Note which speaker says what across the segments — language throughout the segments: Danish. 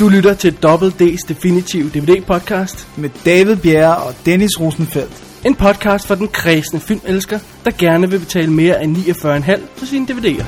Speaker 1: Du lytter til Double D's Definitive DVD-podcast.
Speaker 2: med David Bjerre og Dennis Rosenfeldt.
Speaker 1: En podcast for den kredsende filmelsker, der gerne vil betale mere end 49,5 for sine DVD'er.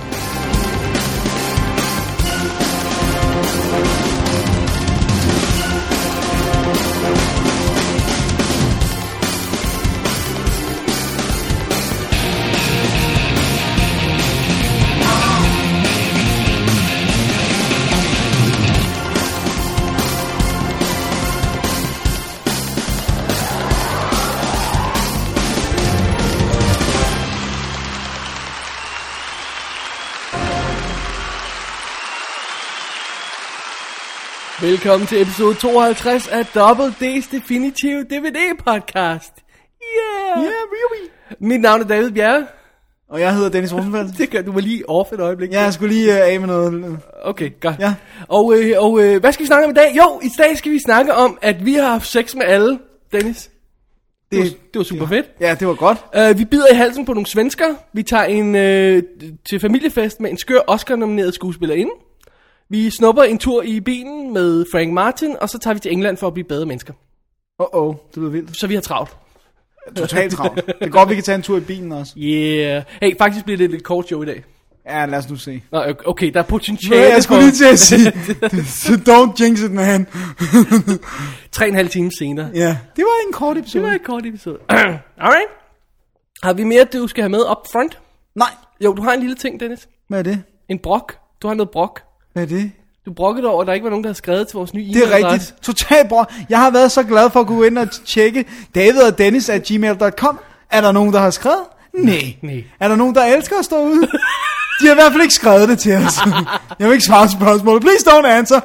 Speaker 1: Velkommen til episode 52 af Double D's Definitive DVD-podcast. Yeah! yeah.
Speaker 2: really?
Speaker 1: Mit navn er David Bjerre.
Speaker 2: Og jeg hedder Dennis Rosenfeldt.
Speaker 1: Det gør du mig lige off et øjeblik.
Speaker 2: Ja, jeg skulle lige uh, af med noget.
Speaker 1: Okay, godt.
Speaker 2: Ja.
Speaker 1: Og, øh, og øh, hvad skal vi snakke om i dag? Jo, i dag skal vi snakke om, at vi har haft sex med alle, Dennis. Det, var, det var super fedt.
Speaker 2: Ja, det var godt.
Speaker 1: Uh, vi bider i halsen på nogle svensker. Vi tager en uh, til familiefest med en skør Oscar-nomineret skuespillerinde. Vi snupper en tur i bilen med Frank Martin, og så tager vi til England for at blive bedre mennesker.
Speaker 2: Åh, oh, oh, det lyder vildt.
Speaker 1: Så vi har travlt.
Speaker 2: Totalt travlt. Det er godt, vi kan tage en tur i bilen også.
Speaker 1: Yeah. Hey, faktisk bliver det lidt kort show i dag.
Speaker 2: Ja, lad os nu se.
Speaker 1: Nå, okay, der er potentiale
Speaker 2: Ja, jeg skulle
Speaker 1: for
Speaker 2: lige til at sige, so don't jinx it, man.
Speaker 1: tre og en halv time senere.
Speaker 2: ja, det var en kort
Speaker 1: Det
Speaker 2: episode.
Speaker 1: var et kort episode. Alright. Har vi mere, du skal have med up front?
Speaker 2: Nej,
Speaker 1: Jo, du har en lille ting, Dennis.
Speaker 2: hvad er det?
Speaker 1: En brok. Du har noget brok.
Speaker 2: Hvad er det?
Speaker 1: Du brokkede over, at der ikke var nogen, der havde skrevet til vores nye
Speaker 2: Det er
Speaker 1: e-mailadresse.
Speaker 2: rigtigt. Totalt bra. Jeg har været så glad for at gå ind og tjekke David og Dennis at gmail.com. Er der nogen, der har skrevet? Nej.
Speaker 1: Nej.
Speaker 2: Er der nogen, der elsker at stå ude? De har i hvert fald ikke skrevet det til os. Jeg vil ikke svare spørgsmålet. Please don't answer.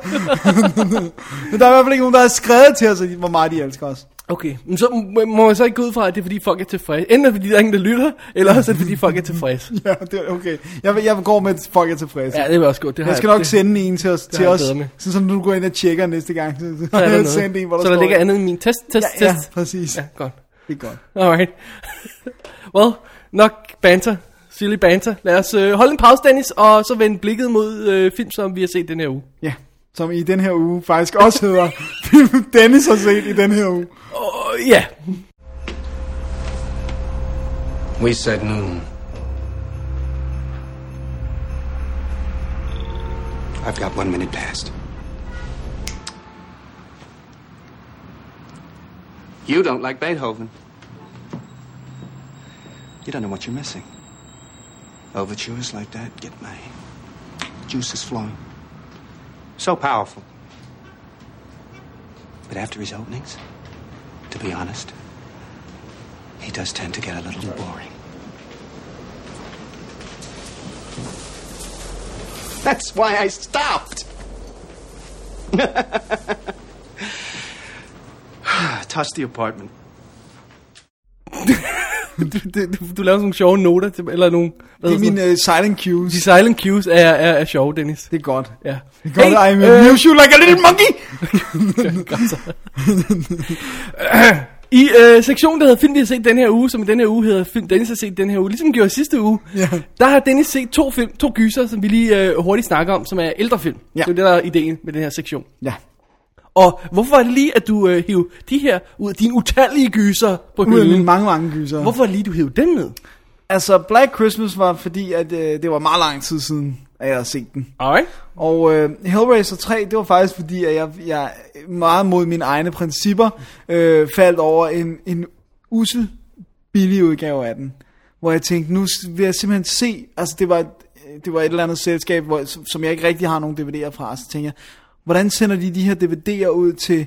Speaker 2: Men der er i hvert fald ikke nogen, der har skrevet til os, at de- hvor meget de elsker os.
Speaker 1: Okay, men så må- må jeg så ikke gå ud fra, at det er fordi folk er tilfredse. Enten er det fordi, der er ingen, der lytter, eller også er det fordi, folk er tilfredse.
Speaker 2: Ja, det er okay. Jeg, vil- jeg går med, at folk er tilfredse.
Speaker 1: Ja,
Speaker 2: Ja,
Speaker 1: det vil også godt. Det har
Speaker 2: jeg skal nok
Speaker 1: det,
Speaker 2: sende en til os, til
Speaker 1: har jeg
Speaker 2: os
Speaker 1: bedre med.
Speaker 2: så som du går ind og tjekker næste gang.
Speaker 1: Så,
Speaker 2: Så har
Speaker 1: er der
Speaker 2: jeg
Speaker 1: noget.
Speaker 2: sendt en, hvor der
Speaker 1: så der
Speaker 2: står-
Speaker 1: ligger andet end min test, test,
Speaker 2: Ja, ja,
Speaker 1: test.
Speaker 2: præcis.
Speaker 1: Ja, godt.
Speaker 2: Det er godt.
Speaker 1: Alright. well, nok banter. Silly banter. Lad os øh, holde en pause, Dennis, og så vende blikket mod øh, film, som vi har set den her uge.
Speaker 2: Ja, som i den her uge faktisk også hedder film Dennis har set i den her uge.
Speaker 1: Og ja,
Speaker 3: We said noon.
Speaker 4: I've got one minute past.
Speaker 3: You don't like Beethoven.
Speaker 4: You don't know what you're missing. Overtures like that get my juices flowing.
Speaker 3: So powerful.
Speaker 4: But after his openings, to be honest, he does tend to get a little boring. That's why I stopped.
Speaker 3: Touch the apartment.
Speaker 1: du, du, du- du laver sådan nogle sjove noter, til, eller nogle... Hvad
Speaker 2: Det
Speaker 1: hedder
Speaker 2: er
Speaker 1: sådan
Speaker 2: mine uh, silent cues.
Speaker 1: De silent cues er, er, er sjove, Dennis.
Speaker 2: Det er godt.
Speaker 1: Ja. øh,
Speaker 2: Det er godt, hey, I'm uh, you like a little monkey.
Speaker 1: I øh, sektionen, der hedder Film, vi har set den her uge, som i den her uge hedder Film, Dennis har set den her uge, ligesom vi gjorde sidste uge,
Speaker 2: Ja.
Speaker 1: der har Dennis set to film, to gyser, som vi lige øh, hurtigt snakker om, som er ældre film.
Speaker 2: Ja.
Speaker 1: Det er jo det, der er ideen med den her sektion.
Speaker 2: Ja,
Speaker 1: Og hvorfor er det lige, at du øh, hiver de her ud af dine utallige gyser på
Speaker 2: ud af mine
Speaker 1: hylden?
Speaker 2: mange, mange gyser.
Speaker 1: Hvorfor er det lige, du hiver dem ned?
Speaker 2: Altså, Black Christmas var fordi, at øh, det var meget lang tid siden, at jeg havde set den.
Speaker 1: Alright.
Speaker 2: Og øh, Hellraiser 3, det var faktisk fordi, at jeg, jeg meget mod mine egne principper øh, faldt over en, en ussel billig udgave af den. Hvor jeg tænkte, nu s- vil jeg simpelthen se, altså det var et, det var et eller andet selskab, hvor, som- som jeg ikke rigtig har nogen DVD'er fra, så tænkte jeg, hvordan sender de de her DVD'er ud til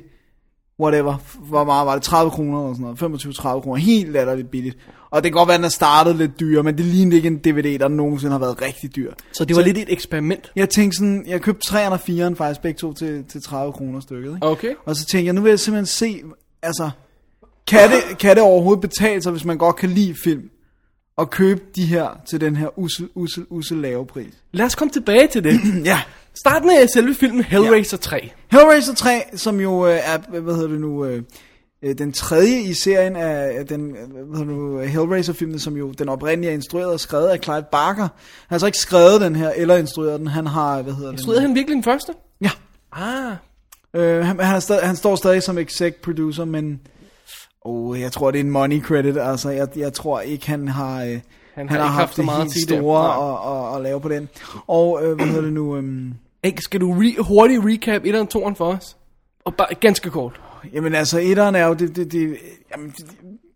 Speaker 2: whatever, hvor meget var det, 30 kroner eller sådan noget, 25-30 kroner, helt latterligt billigt. Og det kan godt være, at den er startet lidt dyr, men det lignede ikke en DVD, der nogensinde har været rigtig dyr.
Speaker 1: Så det var lidt et eksperiment.
Speaker 2: Jeg tænkte sådan, jeg købte 3'eren og 4'eren faktisk, begge to til, til 30 kroner stykket. Ikke?
Speaker 1: Okay.
Speaker 2: Og så tænkte jeg, nu vil jeg simpelthen se, altså, kan det, kan det overhovedet betale sig, hvis man godt kan lide film, at købe de her til den her usel, usel, usel lave pris?
Speaker 1: Lad os komme tilbage til det.
Speaker 2: Ja.
Speaker 1: Start med øh, selve filmen Hellraiser 3.
Speaker 2: Hellraiser 3, som jo øh, er, hvad hedder det nu, øh, øh, den tredje i serien af af den øh, hvad hedder det nu, Hellraiser-filmen, som jo den oprindelige er instrueret og skrevet af Clive Barker. Han har altså ikke skrevet den her, eller instrueret den, han har, hvad hedder det? nu?
Speaker 1: Stod han virkelig den første?
Speaker 2: Ja,
Speaker 1: Ah,
Speaker 2: Øh, han, han, er stadig, han står stadig som exec producer, men oh, jeg tror, det er en money credit. Altså, jeg, jeg tror ikke, han har, øh,
Speaker 1: har
Speaker 2: han han
Speaker 1: ikke
Speaker 2: har
Speaker 1: haft
Speaker 2: haft
Speaker 1: så
Speaker 2: det
Speaker 1: meget
Speaker 2: helt
Speaker 1: at sige der.
Speaker 2: store
Speaker 1: Nej.
Speaker 2: og, og, og lave på den. Og øh, hvad hedder det nu? Øhm,
Speaker 1: Ikke, skal du re- hurtigt recap 1'eren og 2'eren for os? Og bare ganske kort.
Speaker 2: Jamen altså, etteren er jo, det, det, det, jamen, det,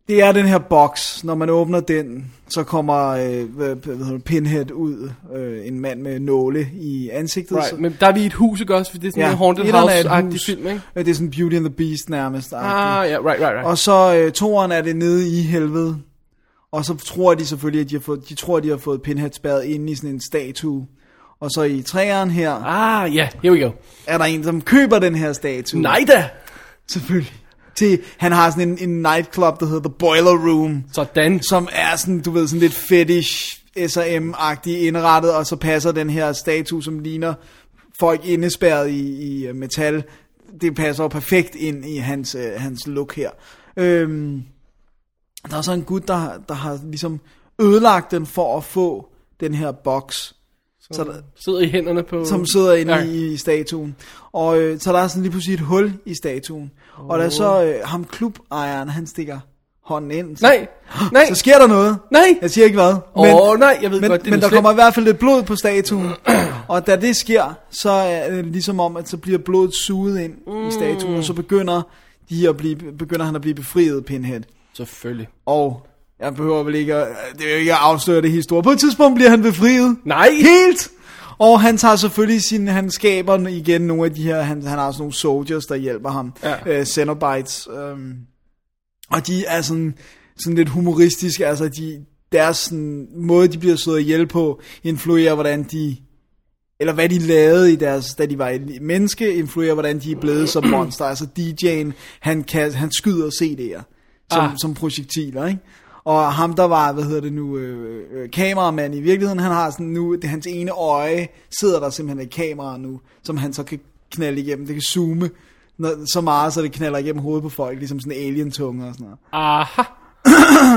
Speaker 2: det er den her boks. Når man åbner den, så kommer øh, hvad, hvad hedder det, Pinhead ud, øh, en mand med nåle i ansigtet. så,
Speaker 1: Right. Men der er vi i et hus, ikke også? For det er sådan ja, en haunted
Speaker 2: etteren er et
Speaker 1: house-agtig
Speaker 2: hus.
Speaker 1: film, ikke?
Speaker 2: Øh, Det er sådan Beauty and the Beast nærmest.
Speaker 1: Ah, ja, right, right, right.
Speaker 2: Og så øh, toeren er det nede i helvede. Og så tror de selvfølgelig, at de har fået, de tror, de har fået Pinhead spærret inde i sådan en statue. Og så i træeren her,
Speaker 1: Ah, ja, yeah, here we go.
Speaker 2: er der en, som køber den her statue.
Speaker 1: Nej da!
Speaker 2: Selvfølgelig. Til, han har sådan en, en nightclub, der hedder The Boiler Room.
Speaker 1: Sådan.
Speaker 2: som er sådan, du ved, sådan lidt fetish S&M-agtig indrettet, og så passer den her statue, som ligner folk indespærret i, i øh, metal, det passer jo perfekt ind i hans, øh, hans look her. Øhm, der er så en gut, der, der har ligesom ødelagt den for at få den her boks, så der-
Speaker 1: Sidder i hænderne på...
Speaker 2: som sidder inde
Speaker 1: Ja.
Speaker 2: ja. i, i statuen. Og øh, så der er sådan lige pludselig et hul i statuen. Oh. Og der er så øh, ham klubejeren, han stikker hånden ind. Så,
Speaker 1: Nej, nej,
Speaker 2: Så sker der noget.
Speaker 1: nej!
Speaker 2: Jeg siger ikke hvad.
Speaker 1: Åh, nej, jeg ved
Speaker 2: men,
Speaker 1: godt, det er
Speaker 2: Men
Speaker 1: noget
Speaker 2: der
Speaker 1: slemt.
Speaker 2: kommer i hvert fald lidt blod på statuen. og da det sker, så er det ligesom om, at så bliver blodet suget ind mm. i statuen, og så begynder, de at blive, begynder han at blive befriet, Pinhead.
Speaker 1: Selvfølgelig.
Speaker 2: Og jeg behøver vel ikke at, det er jo ikke at afsløre det historie. På et tidspunkt bliver han befriet.
Speaker 1: Nej!
Speaker 2: Helt! Og han tager selvfølgelig sin, han skaber igen nogle af de her, han, han har også nogle soldiers, der hjælper ham.
Speaker 1: Ja.
Speaker 2: Øh, Cenobites. Øhm, og de er sådan, sådan lidt humoristiske, altså de, deres sådan, måde, de bliver slået ihjel på, influerer, hvordan de eller hvad de lavede i deres, da de var et menneske, influerer, hvordan de er blevet som monster. Altså DJ'en, han, kan, han skyder CD'er som,
Speaker 1: Ah.
Speaker 2: ah. som projektiler, ikke? Og ham, der var, hvad hedder det nu, øh, øh, kameramand i virkeligheden, han har sådan nu, det er hans ene øje, sidder der simpelthen et kamera nu, som han så kan knalde igennem. Det kan zoome når, så meget, så det knaller igennem hovedet på folk, ligesom sådan alien-tunge og sådan noget.
Speaker 1: Aha!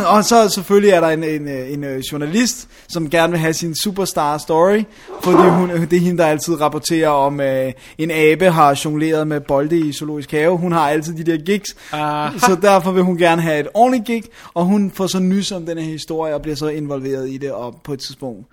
Speaker 2: Og så selvfølgelig er der en, en, øh, en øh, journalist, som gerne vil have sin superstar story, fordi hun, øh, det er hende, der altid rapporterer om, øh, en abe har jongleret med bolde i zoologisk have. Hun har altid de der gigs,
Speaker 1: Aha.
Speaker 2: så derfor vil hun gerne have et ordentligt gig, og hun får så nys om den her historie og bliver så involveret i det, og på et tidspunkt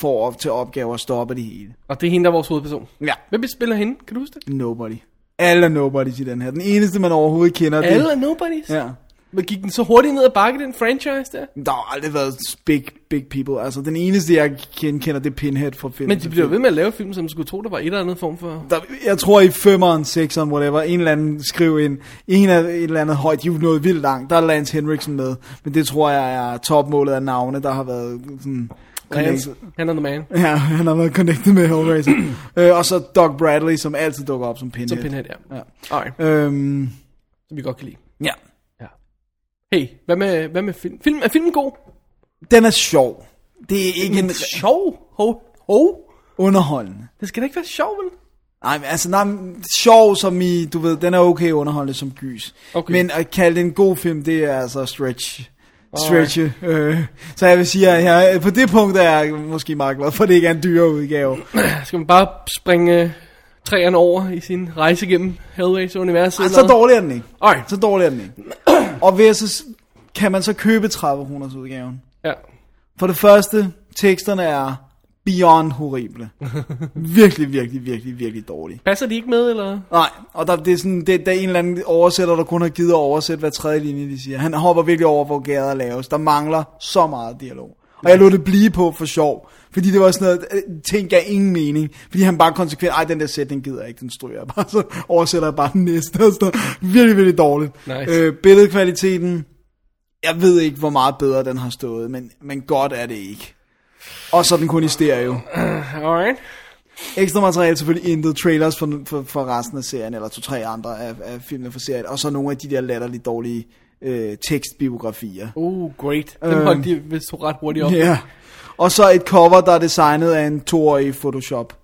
Speaker 2: får op til opgave at stoppe det hele.
Speaker 1: Og det er hende, der er vores hovedperson.
Speaker 2: Ja.
Speaker 1: Hvem spiller hende? Kan du huske det?
Speaker 2: Nobody. Alle er nobodies i den her. Den eneste, man overhovedet kender. det-
Speaker 1: Alle er nobodies.
Speaker 2: Ja.
Speaker 1: Men gik den så hurtigt ned ad bakke, den franchise der?
Speaker 2: Der har aldrig været big, big people. Altså, den eneste, jeg ken- kender, det er Pinhead fra filmen.
Speaker 1: Men de blev ved med at lave film, som skulle tro, der var et eller andet form for...
Speaker 2: Der, jeg tror i 5'eren, 6'eren, whatever, en eller anden skrev ind, en af et eller andet højt, de er jo nået vildt langt, der er Lance Henriksen med, men det tror jeg er topmålet af navne, der har været sådan...
Speaker 1: Lance, han er the man.
Speaker 2: Ja, han har været connected med Hellraiser. øh, og så Doug Bradley, som altid dukker op som Pinhead.
Speaker 1: Som Pinhead, ja.
Speaker 2: Ja.
Speaker 1: Alright,
Speaker 2: Øhm,
Speaker 1: som vi godt kan lide.
Speaker 2: ja.
Speaker 1: Hey, hvad med, hvad med film? film? Er filmen god?
Speaker 2: Den er sjov. Det er ikke en
Speaker 1: sjov? Ho, ho?
Speaker 2: underholdende.
Speaker 1: Det skal da ikke være sjov, vel?
Speaker 2: Nej, men altså, nej, men sjov som i, du ved, den er okay underholdende som gys.
Speaker 1: Okay.
Speaker 2: Men at kalde det en god film, det er altså stretch. Stretche. Øh, så jeg vil sige, at jeg, på det punkt er jeg måske meget glad for, at det ikke er en dyrere udgave.
Speaker 1: Skal man bare springe øh, træerne over i sin rejse gennem Hellraiser-universet?
Speaker 2: Ej,
Speaker 1: eller
Speaker 2: så
Speaker 1: hvad?
Speaker 2: dårlig er den ikke.
Speaker 1: Alright.
Speaker 2: Så dårlig er den ikke. Og ved at så, kan man så købe 30 kroners udgaven.
Speaker 1: Ja.
Speaker 2: For det første, teksterne er beyond horrible. Virkelig, virkelig, virkelig, virkelig dårlige.
Speaker 1: Passer de ikke med, eller?
Speaker 2: Nej, og der, det er sådan, det, der er en eller anden oversætter, der kun har givet at oversætte hver tredje linje, de siger. Han hopper virkelig over, hvor gader laves. Der mangler så meget dialog. Og jeg lod det blive på for sjov, fordi det var sådan noget, øh, ting gav ingen mening, fordi han bare konsekvent, ej, den der sætning gider jeg ikke, den stryger jeg bare, så oversætter jeg bare den næste, og sådan noget. virkelig, virkelig dårligt.
Speaker 1: Nice.
Speaker 2: Øh, billedkvaliteten, jeg ved ikke, hvor meget bedre den har stået, men, men godt er det ikke. Og så er den kun i stereo.
Speaker 1: Alright.
Speaker 2: Ekstra materiale selvfølgelig intet trailers for, for, for resten af serien, eller to-tre andre af, af filmene fra serien, og så nogle af de der latterligt dårlige øh, tekstbiografier.
Speaker 1: Oh, great. Dem
Speaker 2: Øhm.
Speaker 1: holdt de vist ret hurtigt op.
Speaker 2: Ja. Yeah. Og så et cover, der er designet af en toårig i Photoshop.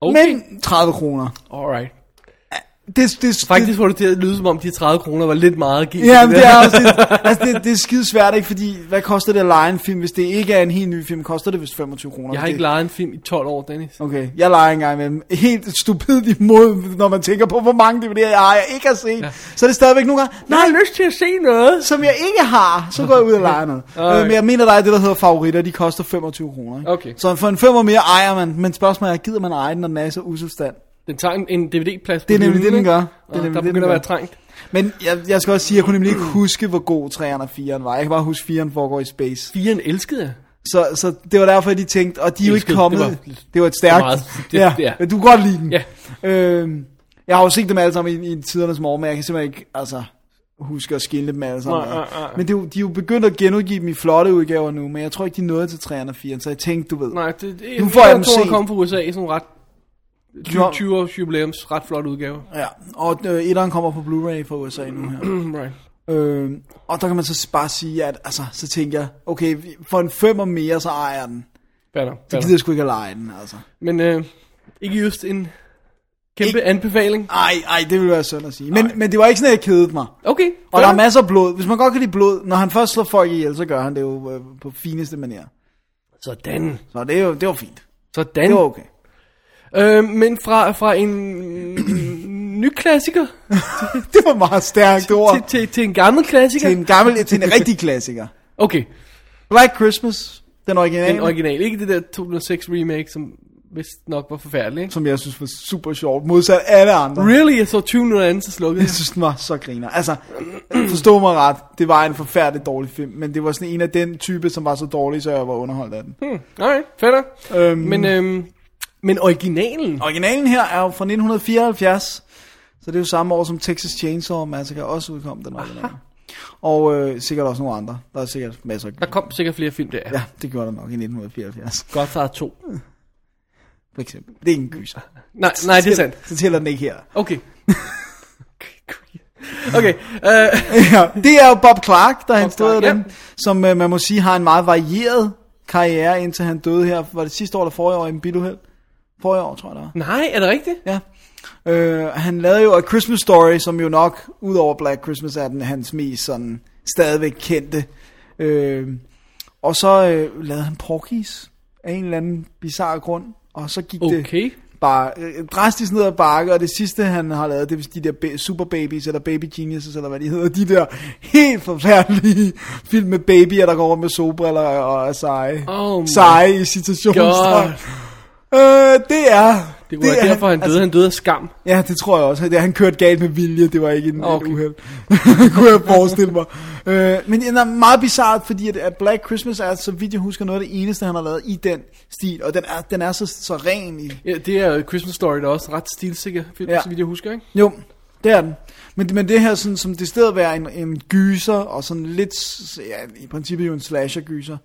Speaker 1: Okay.
Speaker 2: Men 30 kroner.
Speaker 1: Alright.
Speaker 2: Det det, det,
Speaker 1: Faktisk får det til at lyde, som om de 30 kroner var lidt meget at give.
Speaker 2: Ja, men det er også det, altså det, det er skide svært, ikke? Fordi, hvad koster det at lege en film, hvis det ikke er en helt ny film? Koster det vist 25 kroner?
Speaker 1: Jeg har
Speaker 2: Det-
Speaker 1: ikke lejet en film i 12 år, Dennis.
Speaker 2: Okay, jeg leger engang med dem. Helt stupidt imod, når man tænker på, hvor mange DVD'er jeg har, jeg ikke har set. Ja. Så er det stadigvæk nogle gange, nej,
Speaker 1: lyst til at se noget.
Speaker 2: som jeg ikke har, så går jeg ud og leger noget.
Speaker 1: Okay.
Speaker 2: Øh, men jeg mener, der er det, der hedder favoritter, de koster 25 kroner. ikke?
Speaker 1: Okay.
Speaker 2: Så for en femmer mere ejer man, men spørgsmålet er, gider man eje den, når den er i så usel stand?
Speaker 1: Den tager en, en DVD-plads på
Speaker 2: Det er nemlig
Speaker 1: hylden,
Speaker 2: det, den
Speaker 1: ikke?
Speaker 2: gør.
Speaker 1: Og
Speaker 2: Det er nemlig
Speaker 1: der
Speaker 2: det, den
Speaker 1: begynder at
Speaker 2: gør.
Speaker 1: være trængt.
Speaker 2: Men jeg, jeg skal også sige, at jeg kunne nemlig ikke huske, hvor god 3'eren og 4'eren var. Jeg kan bare huske, at 4'eren foregår i space.
Speaker 1: Firen elskede jeg.
Speaker 2: Så, så det var derfor, at de tænkte, og de er jo ikke
Speaker 1: Elskede,
Speaker 2: kommet.
Speaker 1: det
Speaker 2: Det
Speaker 1: var-
Speaker 2: var, det var et stærkt.
Speaker 1: det var meget- det-
Speaker 2: ja,
Speaker 1: ja.
Speaker 2: Men du kan godt lide den.
Speaker 1: Ja.
Speaker 2: Øhm, jeg har jo set dem alle sammen i, i tidernes morgen, men jeg kan simpelthen ikke altså, huske at skille dem alle sammen.
Speaker 1: Nej, nej, nej.
Speaker 2: Men det, er jo- de er jo begyndt at genudgive dem i flotte udgaver nu, men jeg tror ikke, de nåede til 3'eren og 4'eren, så jeg tænkte, du ved.
Speaker 1: Nej, det, det,
Speaker 2: Nu får jeg dem
Speaker 1: tror,
Speaker 2: set.
Speaker 1: kom fra USA i sådan en ret 20 års jubilæums ret flot udgave.
Speaker 2: Ja, og øh, etteren kommer på Blu-ray fra USA nu her.
Speaker 1: right.
Speaker 2: Øh, og der kan man så bare sige, at altså, så tænker jeg, okay, vi- for en femmer mere, så ejer jeg den.
Speaker 1: Banner,
Speaker 2: Det gider jeg sgu ikke at lege den, altså.
Speaker 1: Men øh, ikke just en kæmpe
Speaker 2: Ikke-
Speaker 1: anbefaling.
Speaker 2: Ej, ej, det ville være synd at sige. Men, men det var ikke sådan, at jeg kedede mig.
Speaker 1: Okay.
Speaker 2: Og der er
Speaker 1: fair.
Speaker 2: masser af blod. Hvis man godt kan lide blod, når han først slår folk ihjel, så gør han det jo øh, på fineste manier.
Speaker 1: Sådan.
Speaker 2: Så det, er jo, det var fint.
Speaker 1: Sådan.
Speaker 2: Det var okay.
Speaker 1: Øh, men fra, fra en ny klassiker
Speaker 2: Det var meget stærkt ord.
Speaker 1: til, til, til en gammel klassiker.
Speaker 2: Til en gammel, til en rigtig klassiker.
Speaker 1: Okay,
Speaker 2: Black Christmas, den originale,
Speaker 1: den original. Ikke det der 2006 remake, som vist nok var forfærdelig. Ikke?
Speaker 2: som jeg synes var super sjovt, modsat alle andre.
Speaker 1: Really? Jeg så 20 minutter anden, så slukkede
Speaker 2: Jeg
Speaker 1: jeg.
Speaker 2: synes, den var så griner. Altså, forstå mig ret, det var en forfærdelig dårlig film, men det var sådan en af den type, som var så dårlig, så jeg var underholdt af den.
Speaker 1: Hmm, alright, fair nok.
Speaker 2: Øhm,
Speaker 1: Men, øhm, men originalen,
Speaker 2: Originalen her er jo fra 1974, så det er jo samme år som Texas Chainsaw Massacre også udkom, den originale. Og øh, sikkert også nogle andre. Der er sikkert masser af...
Speaker 1: der kom sikkert flere film der.
Speaker 2: Ja, det gjorde der nok i 1974,
Speaker 1: Godfather 2.
Speaker 2: for eksempel. Det er ikke en gyser.
Speaker 1: Nej, nej, det er sandt.
Speaker 2: Så tæller den ikke her.
Speaker 1: Okay. Okay, øh,
Speaker 2: ja, det er jo Bob Clark, der er instruerede
Speaker 1: Clark,
Speaker 2: den, som øh, man må sige har en meget varieret karriere, indtil han døde her. Var det sidste år eller forrige år i en biluheld? Forrige år, tror jeg, det var.
Speaker 1: nej, er det rigtigt?
Speaker 2: Ja. Øh, han lavede jo A Christmas Story, som jo nok, udover Black Christmas, er den hans mest sådan stadigvæk kendte. Øh, og så øh, lavede han Porky's af en eller anden bizarre grund. Og så gik det
Speaker 1: Okay.
Speaker 2: bare øh, drastisk ned ad bakke, og det sidste han har lavet, det er vist de der ba- Super Babies, eller Baby Geniuses, eller hvad de hedder, de der helt forfærdelige film med babyer, der går rundt med solbriller og er seje.
Speaker 1: Oh my
Speaker 2: seje i citationstegn.
Speaker 1: God.
Speaker 2: Øh, det er... altså-
Speaker 1: Det altså- var derfor, han døde. Han døde af skam.
Speaker 2: Ja, det tror jeg også. Det, han kørte galt med vilje, det var ikke en
Speaker 1: Okay.
Speaker 2: okay. uheld. det kunne jeg forestille mig. Øh, men det er meget bizart, fordi at, at Black Christmas er, så vidt jeg husker, noget af det eneste, han har lavet i den stil. Og den er, den er så, så ren i...
Speaker 1: Ja, det er jo Christmas Story, der er også ret stilsikker film, ja.
Speaker 2: Ja.
Speaker 1: så vidt jeg husker, ikke?
Speaker 2: Jo, det er den. Men, men det her, sådan, som det stedet være en, en gyser, og sådan lidt, s- ja, i princippet jo en slasher-gyser,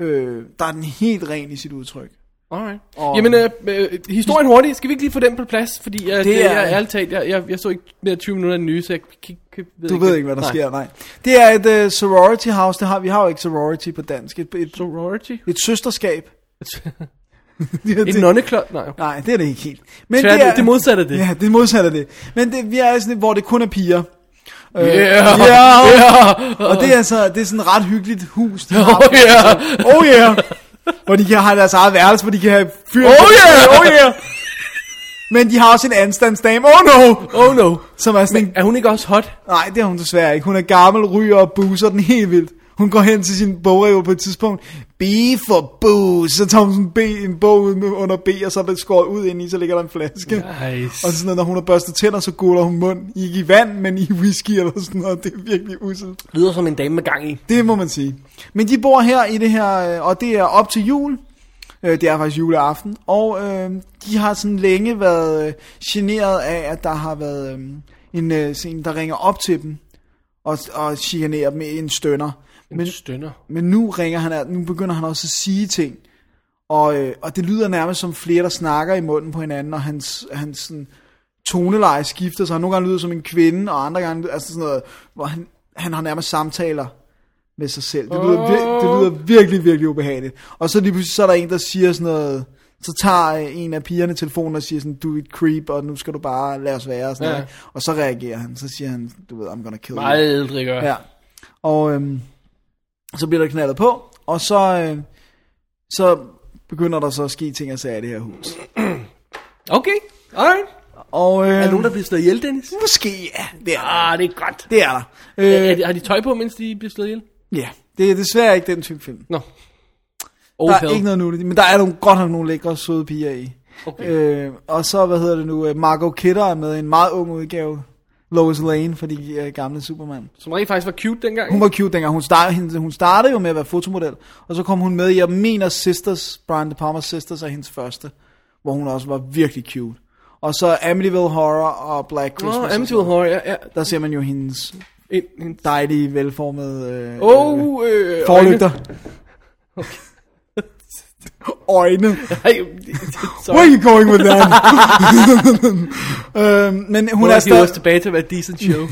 Speaker 2: øh, der er den helt ren i sit udtryk.
Speaker 1: Alright.
Speaker 2: Og-
Speaker 1: Jamen, øh, øh, historien hurtigt. Skal vi ikke lige få den på plads? Fordi øh, det, det er...
Speaker 2: er-
Speaker 1: Jeg, ærligt talt, jeg, jeg, jeg så ikke mere end 20 minutter af den nye, så jeg kan, kan, ved
Speaker 2: Du ved ikke, hvad der sker, nej. Det er et uh, sorority house, det har, vi har jo ikke sorority på dansk, et, et,
Speaker 1: Sorority?
Speaker 2: et søsterskab.
Speaker 1: Et nonneklot? Nej. okay.
Speaker 2: Nej, det er det ikke helt. Men
Speaker 1: Tvært- det modsatte af det.
Speaker 2: Ja, det modsatte af det. Men det, vi er sådan, et, hvor det kun er piger. Øh,
Speaker 1: Yeah.
Speaker 2: yeah.
Speaker 1: Yeah.
Speaker 2: Og det er, så, det er sådan et ret hyggeligt hus, de har.
Speaker 1: Oh yeah.
Speaker 2: Oh yeah. Hvor de kan have deres eget værelse, hvor de kan have fyr.
Speaker 1: Oh yeah, oh yeah.
Speaker 2: Men de har også en anstandsdame. Oh no.
Speaker 1: Oh no.
Speaker 2: Som er sådan en,
Speaker 1: Er hun ikke også hot?
Speaker 2: Nej, det er hun desværre ikke. Hun er gammel, ryger og buser den helt vildt. Hun går hen til sin bogreol på et tidspunkt. B for booze. Så tager hun sådan en, B, en bog ud med- under B, og så er det skåret ud ind i, så ligger der en flaske.
Speaker 1: Nice.
Speaker 2: Og sådan noget, når hun har børstet tænder, så guller hun mund. Ikke i vand, men i whisky eller sådan noget. Det er virkelig uselt.
Speaker 1: Lyder som en dame med gang i.
Speaker 2: Det må man sige. Men de bor her i det her, øh, og det er op til jul. Øh, Det er faktisk juleaften. Og øh, de har sådan længe været øh, generet af, at der har været øh, en, øh, sådan en, der ringer op til dem. Og, og chikanerer dem med en stønner.
Speaker 1: Men
Speaker 2: Men,
Speaker 1: stønner.
Speaker 2: men nu ringer han, af- nu begynder han også at sige ting. Og, øh, og det lyder nærmest som flere, der snakker i munden på hinanden, og hans, hans sådan, toneleje skifter sig. Nogle gange lyder det som en kvinde, og andre gange altså sådan noget, hvor han, han har nærmest samtaler med sig selv. Det lyder, vir- det lyder virkelig, virkelig ubehageligt. Og så lige pludselig så er der en, der siger sådan noget, Så tager øh, en af pigerne telefonen og siger sådan, du er et creep, og nu skal du bare lade os være. Og, sådan
Speaker 1: Ja.
Speaker 2: ja. noget. og så reagerer han, så siger han, du ved, I'm gonna kill you.
Speaker 1: Aldrig gør.
Speaker 2: Ja. Og øhm, så bliver der knaldet på, og så, øh, så begynder der så at ske ting og sager i det her hus.
Speaker 1: Okay, alright.
Speaker 2: Og, øh,
Speaker 1: Er der nogen, der bliver slået ihjel, Dennis?
Speaker 2: Måske, ja. Det er,
Speaker 1: Ah, det er godt.
Speaker 2: det er der.
Speaker 1: Øh, er
Speaker 2: Øh,
Speaker 1: de, har de tøj på, mens de bliver slået ihjel?
Speaker 2: ja, det er desværre ikke den type film.
Speaker 1: Nå.
Speaker 2: Der
Speaker 1: Oh,
Speaker 2: er ikke noget nu, men der er nogle, godt nok nogle lækre søde piger i.
Speaker 1: Okay.
Speaker 2: Øh, og så, hvad hedder det nu, øh, Margot Kidder er med i en meget ung udgave. Lois Lane fra de øh, gamle Superman.
Speaker 1: Som rent faktisk var cute dengang.
Speaker 2: Hun var cute dengang. Hun startede, hende, hun startede jo med at være fotomodel, og så kom hun med i, jeg mener Sisters, Brian De Palmas Sisters er hendes første, hvor hun også var virkelig cute. Og så Amityville Horror og Black
Speaker 1: Nå,
Speaker 2: Christmas. og
Speaker 1: Amityville
Speaker 2: sådan noget.
Speaker 1: Horror, ja. ja.
Speaker 2: Der ser man jo hendes
Speaker 1: En, en,
Speaker 2: dejlige, velformede øh,
Speaker 1: oh,
Speaker 2: øh,
Speaker 1: øh,
Speaker 2: forlygter. Øjne.
Speaker 1: Ej, det- sorry.
Speaker 2: Where are you going with that? øhm, men hun
Speaker 1: Hun
Speaker 2: er
Speaker 1: er stadig...
Speaker 2: stadig...
Speaker 1: også tilbage til at være et decent show.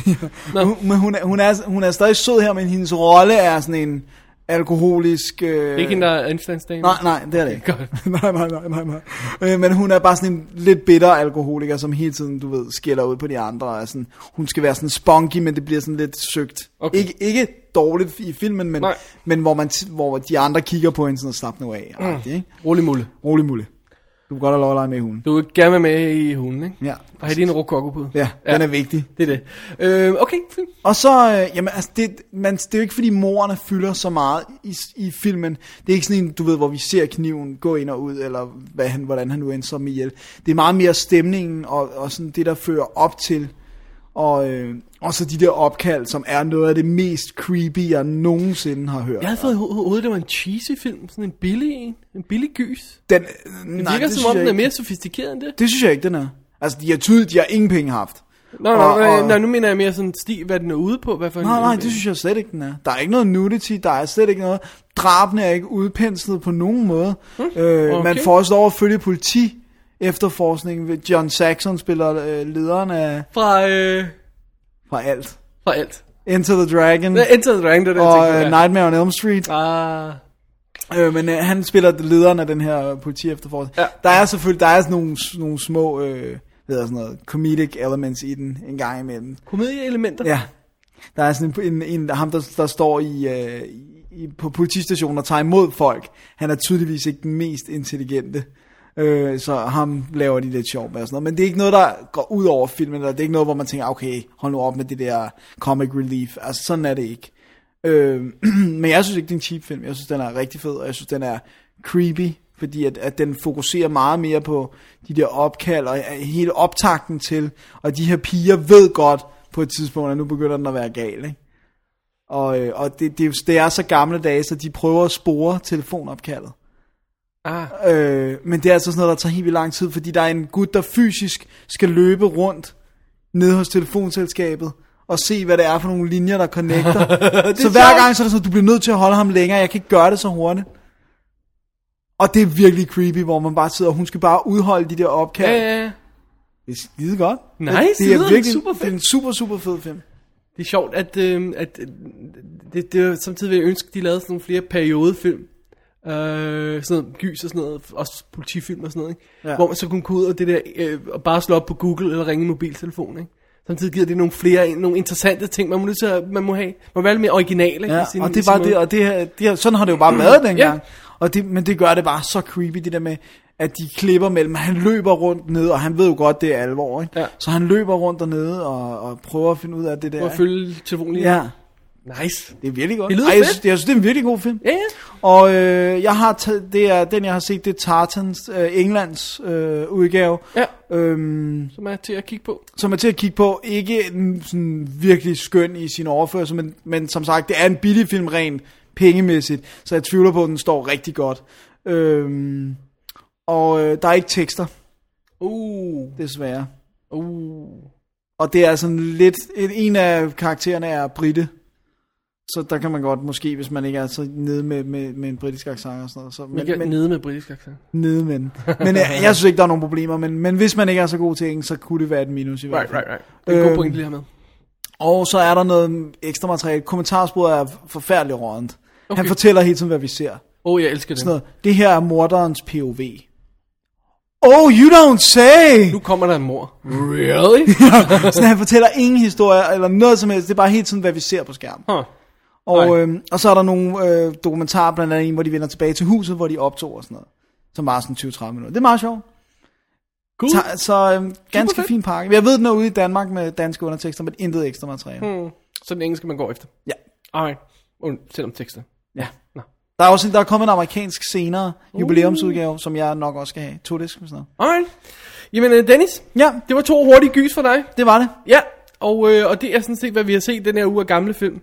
Speaker 2: Hun, men hun, er, hun, er, hun er stadig sød her, men hendes rolle er sådan en alkoholisk... Øh...
Speaker 1: Ikke hende, der er anstandsdame.
Speaker 2: Nej, nej, det er det ikke.
Speaker 1: Godt.
Speaker 2: nej, nej, nej, nej, nej. Øh, men hun er bare sådan en lidt bitter alkoholiker, som hele tiden, du ved, skælder ud på de andre. Og er sådan, hun skal være sådan spunky, men det bliver sådan lidt søgt.
Speaker 1: Okay.
Speaker 2: Ikke, ikke dårligt i filmen, men,
Speaker 1: Nej.
Speaker 2: men hvor, man, t- hvor de andre kigger på hende sådan og slapper nu af. Mm. Ikke?
Speaker 1: Rolig mulle.
Speaker 2: Rolig mulle. Du kan godt have lov at lege med i hunden.
Speaker 1: Du vil gerne være med i hunden, ikke?
Speaker 2: Ja.
Speaker 1: Og have din rokoko på.
Speaker 2: Ja, ja, den er vigtig.
Speaker 1: Det er det. Øh, okay, fint.
Speaker 2: Og så, øh, jamen, altså, det, man, det er jo ikke fordi morerne fylder så meget i, i filmen. Det er ikke sådan en, du ved, hvor vi ser kniven gå ind og ud, eller hvad han, hvordan han nu end som ihjel. Det er meget mere stemningen, og, og sådan det, der fører op til. Og, øh, og så de der opkald, som er noget af det mest creepy, jeg nogensinde har hørt.
Speaker 1: Jeg havde fået i ho- hovedet, det var en cheesy film. Sådan en billig en. En billig gys.
Speaker 2: den,
Speaker 1: Det
Speaker 2: nej,
Speaker 1: virker
Speaker 2: det
Speaker 1: som
Speaker 2: synes
Speaker 1: om,
Speaker 2: jeg
Speaker 1: den er
Speaker 2: ikke-
Speaker 1: mere sofistikeret end det.
Speaker 2: Det synes jeg ikke, den er. Altså, de har tydeligt, de har ingen penge haft.
Speaker 1: Nå, nej,
Speaker 2: Og-
Speaker 1: nej,
Speaker 2: og-
Speaker 1: nej, nu mener jeg mere sådan sti, hvad den er ude på. Hvad for en-
Speaker 2: Nej, nej, det synes jeg slet ikke, den er. Der er ikke noget nudity, der er slet ikke noget. Drabene er ikke udpenslet på nogen måde. Mm, øh,
Speaker 1: Hm, okay.
Speaker 2: Man får også lov at følge politi efterforskningen ved John Saxon spiller øh, lederen af
Speaker 1: Fra, øh,
Speaker 2: fra alt.
Speaker 1: fra alt.
Speaker 2: Enter the Dragon
Speaker 1: Hvad Enter the Dragon, det er det,
Speaker 2: og
Speaker 1: jeg
Speaker 2: øh,
Speaker 1: tænkte, ja.
Speaker 2: Nightmare on Elm Street.
Speaker 1: Ah,
Speaker 2: Øh, men øh, han spiller lederen af den her politi efterforskning.
Speaker 1: Ja.
Speaker 2: Der er selvfølgelig der er sådan nogle, nogle små øh, hvad hedder sådan noget, comedic elements i den en gang imellem.
Speaker 1: komedieelementer.
Speaker 2: Ja. Der er sådan en, en, en ham, der, der står i, øh, i, på politistationen og tager imod folk. Han er tydeligvis ikke den mest intelligente. Øh, så ham laver de lidt sjov med og sådan noget. Men det er ikke noget, der går ud over filmen, eller det er ikke noget, hvor man tænker, okay, hold nu op med det der comic relief. Altså, sådan er det ikke. Øh, men jeg synes ikke, det er en cheap film. Jeg synes, den er rigtig fed, og jeg synes, den er creepy, fordi at, at den fokuserer meget mere på de der opkald, og øh, hele optakten til, og de her piger ved godt på et tidspunkt, at nu begynder den at være gal, ikke? Og, øh, og det, det, er jo- det er så gamle dage, så de prøver at spore telefonopkaldet.
Speaker 1: Ah,
Speaker 2: Øh, men det er altså sådan noget, der tager helt vildt lang tid, fordi der er en gut, der fysisk skal løbe rundt nede hos telefonselskabet og se, hvad det er for nogle linjer, der connecter. så hver gang, så er det sådan, du bliver nødt til at holde ham længere, jeg kan ikke gøre det så hurtigt. Og det er virkelig creepy, hvor man bare sidder, og hun skal bare udholde de der opkald.
Speaker 1: ja, ja, ja.
Speaker 2: Det er skide godt.
Speaker 1: Nice,
Speaker 2: det,
Speaker 1: det
Speaker 2: det
Speaker 1: lyder
Speaker 2: er virkelig
Speaker 1: super fedt.
Speaker 2: Det er en super, super fed film.
Speaker 1: Det er sjovt, at, øh, at øh, det, det, er samtidig vil jeg ønske, at de lavede sådan nogle flere periodefilm. Øh, sådan noget gys og sådan noget, også politifilm og sådan noget, ikke? Ja.
Speaker 2: Ja.
Speaker 1: hvor man så kunne gå ud og, det der, øh, og bare slå op på Google eller ringe i mobiltelefon. Ikke? Samtidig giver det nogle flere, nogle interessante ting, man må, nødt til at, man må have. Man må være lidt mere original. Ikke?
Speaker 2: Ja,
Speaker 1: i sin-
Speaker 2: og
Speaker 1: i
Speaker 2: det
Speaker 1: sin
Speaker 2: var
Speaker 1: måde.
Speaker 2: det, og det, her- det her, sådan har det jo bare været dengang.
Speaker 1: Ja.
Speaker 2: Ja. Og det, men det gør det bare så creepy, det der med, at de klipper mellem, han løber rundt ned, og han ved jo godt, det er alvor, ikke?
Speaker 1: Ja.
Speaker 2: Så han løber rundt dernede og, og prøver at finde ud af det der.
Speaker 1: Prøv at følge telefonen lige.
Speaker 2: ikke? Ja,
Speaker 1: Nice.
Speaker 2: det er virkelig godt.
Speaker 1: Det lyder
Speaker 2: Ej, jeg,
Speaker 1: fedt.
Speaker 2: synes, jeg synes, det er en virkelig god film.
Speaker 1: Ja, ja.
Speaker 2: Og øh, jeg har taget, det er, den jeg har set, det er Tartans, øh, Englands øh, udgave.
Speaker 1: Ja.
Speaker 2: Øhm,
Speaker 1: Som er til at kigge på.
Speaker 2: som er til at kigge på, ikke en sådan virkelig skøn i sin overførsel, men, men som sagt, det er en billig film rent pengemæssigt, så jeg tvivler på, at den står rigtig godt. Øhm, og øh, der er ikke tekster,
Speaker 1: Uh,
Speaker 2: desværre.
Speaker 1: uh.
Speaker 2: Og det er sådan lidt, en, en af karaktererne er britte, så der kan man godt måske, hvis man ikke er så nede med, med, med en britisk accent og sådan noget. Så,
Speaker 1: Men, men, nede med britisk accent.
Speaker 2: nede med den. Men jeg, jeg synes ikke, der er nogen problemer, men, men hvis man ikke er så god til engelsk, så kunne det være et minus i hvert fald.
Speaker 1: right. Det er en god
Speaker 2: Øhm,
Speaker 1: point, lige her med.
Speaker 2: Og så er der noget ekstra materiale. Kommentarsporet er forfærdeligt rådent. Okay.
Speaker 1: Okay.
Speaker 2: Han fortæller hele tiden, hvad vi ser.
Speaker 1: Åh, oh, jeg elsker det.
Speaker 2: Sådan noget. Det her er morderens POV. Oh, you don't say!
Speaker 1: Nu kommer der en mor. Really?
Speaker 2: Sådan, han fortæller ingen historier eller noget som helst. Det er bare helt sådan, hvad vi ser på skærmen.
Speaker 1: huh.
Speaker 2: Og,
Speaker 1: Nej.
Speaker 2: øhm, og så er der nogle øh, dokumentarer, blandt andet en, hvor de vender tilbage til huset, hvor de optog og sådan noget. Som var sådan 20-30 minutter. Det er meget sjovt.
Speaker 1: Cool.
Speaker 2: Ta- så øhm, ganske
Speaker 1: Uh, fedt.
Speaker 2: fin pakke. Jeg ved, den er ude i Danmark med danske undertekster, men intet ekstra materiale.
Speaker 1: Mm.
Speaker 2: Hmm.
Speaker 1: Så den engelske, man går efter.
Speaker 2: Ja.
Speaker 1: Alright. Und, selvom tekster.
Speaker 2: ja.
Speaker 1: Nå.
Speaker 2: Der er også en- der er kommet en amerikansk senere jubilæumsudgave, som jeg nok også skal have. To disk og sådan noget.
Speaker 1: Alright. Jamen, øh, Dennis,
Speaker 2: Ja,
Speaker 1: det var to hurtige gys for dig.
Speaker 2: det var det.
Speaker 1: Ja, og, øh, og det er sådan set, hvad vi har set den her uge af gamle film.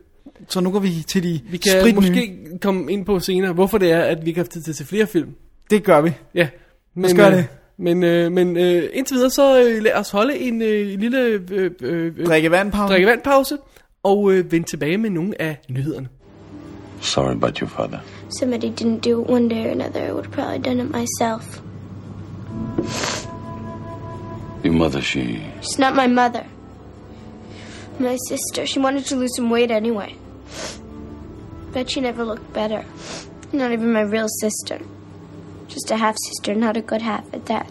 Speaker 2: Så nu går vi til de
Speaker 1: Vi kan
Speaker 2: spritnye.
Speaker 1: måske komme ind på senere, hvorfor det er, at vi ikke har haft tid til at se flere film.
Speaker 2: Det gør vi.
Speaker 1: Ja, men,
Speaker 2: gøre
Speaker 1: øh,
Speaker 2: det.
Speaker 1: Men, øh, men øh, indtil videre, så øh, lad os holde en øh, lille øh, øh, øh,
Speaker 2: Drikke vand, Paul.
Speaker 1: drikkevandpause og øh, vende tilbage med nogle af nyhederne.
Speaker 5: Sorry about your father.
Speaker 6: Somebody didn't do it one day or another, I would have probably done it myself.
Speaker 5: Your mother, she.
Speaker 6: She's not my mother. My sister. She wanted to lose some weight anyway. Bet she never looked better. Not even my real sister. Just a half sister, not a good half at that.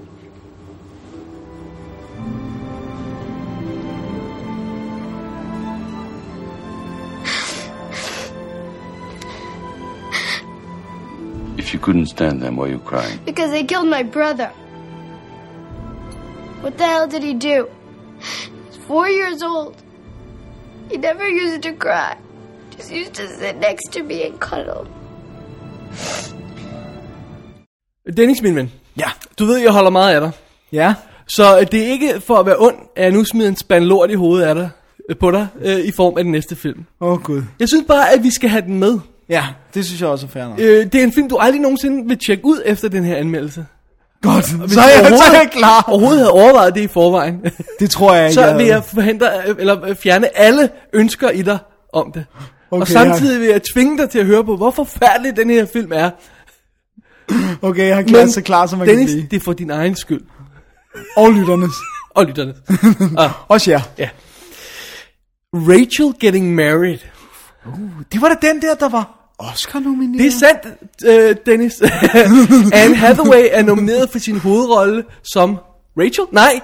Speaker 5: If you couldn't stand them, why are you crying?
Speaker 6: Because they killed my brother. What the hell did he do? He's four years old. He never used to cry. Just used to sit next to me and cuddle.
Speaker 1: Dennis, min ven,
Speaker 2: Ja.
Speaker 1: du ved, jeg holder meget af dig.
Speaker 2: Ja.
Speaker 1: Så øh, det er ikke for at være ond, at jeg nu smider en spand lort i hovedet af dig, øh, på dig øh, i form af den næste film.
Speaker 2: Åh, oh, Gud.
Speaker 1: Jeg synes bare, at vi skal have den med.
Speaker 2: Ja, det synes jeg også er fair nok.
Speaker 1: Øh, det er en film, du aldrig nogensinde vil tjekke ud efter den her anmeldelse.
Speaker 2: Godt, så er, jeg, så
Speaker 1: overhovedet-
Speaker 2: er jeg klar.
Speaker 1: Overhovedet havde overvejet det i forvejen.
Speaker 2: Det tror jeg ikke.
Speaker 1: Så
Speaker 2: jeg
Speaker 1: vil jeg forhindre, øh, eller øh, fjerne alle ønsker i dig om det. Okay, og
Speaker 2: Okay,
Speaker 1: samtidig vil jeg tvinge dig til at høre på, hvor forfærdelig den her film er.
Speaker 2: Okay, jeg har gjort så klar, som man
Speaker 1: Dennis,
Speaker 2: kan blive.
Speaker 1: det er for din egen skyld.
Speaker 2: Og lytternes.
Speaker 1: Og lytterne.
Speaker 2: Også jer.
Speaker 1: Rachel Getting Married.
Speaker 2: Det var da den der, der var Oscar-nomineret.
Speaker 1: Det er sandt, øh, Dennis. Anne Hathaway er nomineret for sin hovedrolle som Rachel? Nej. Det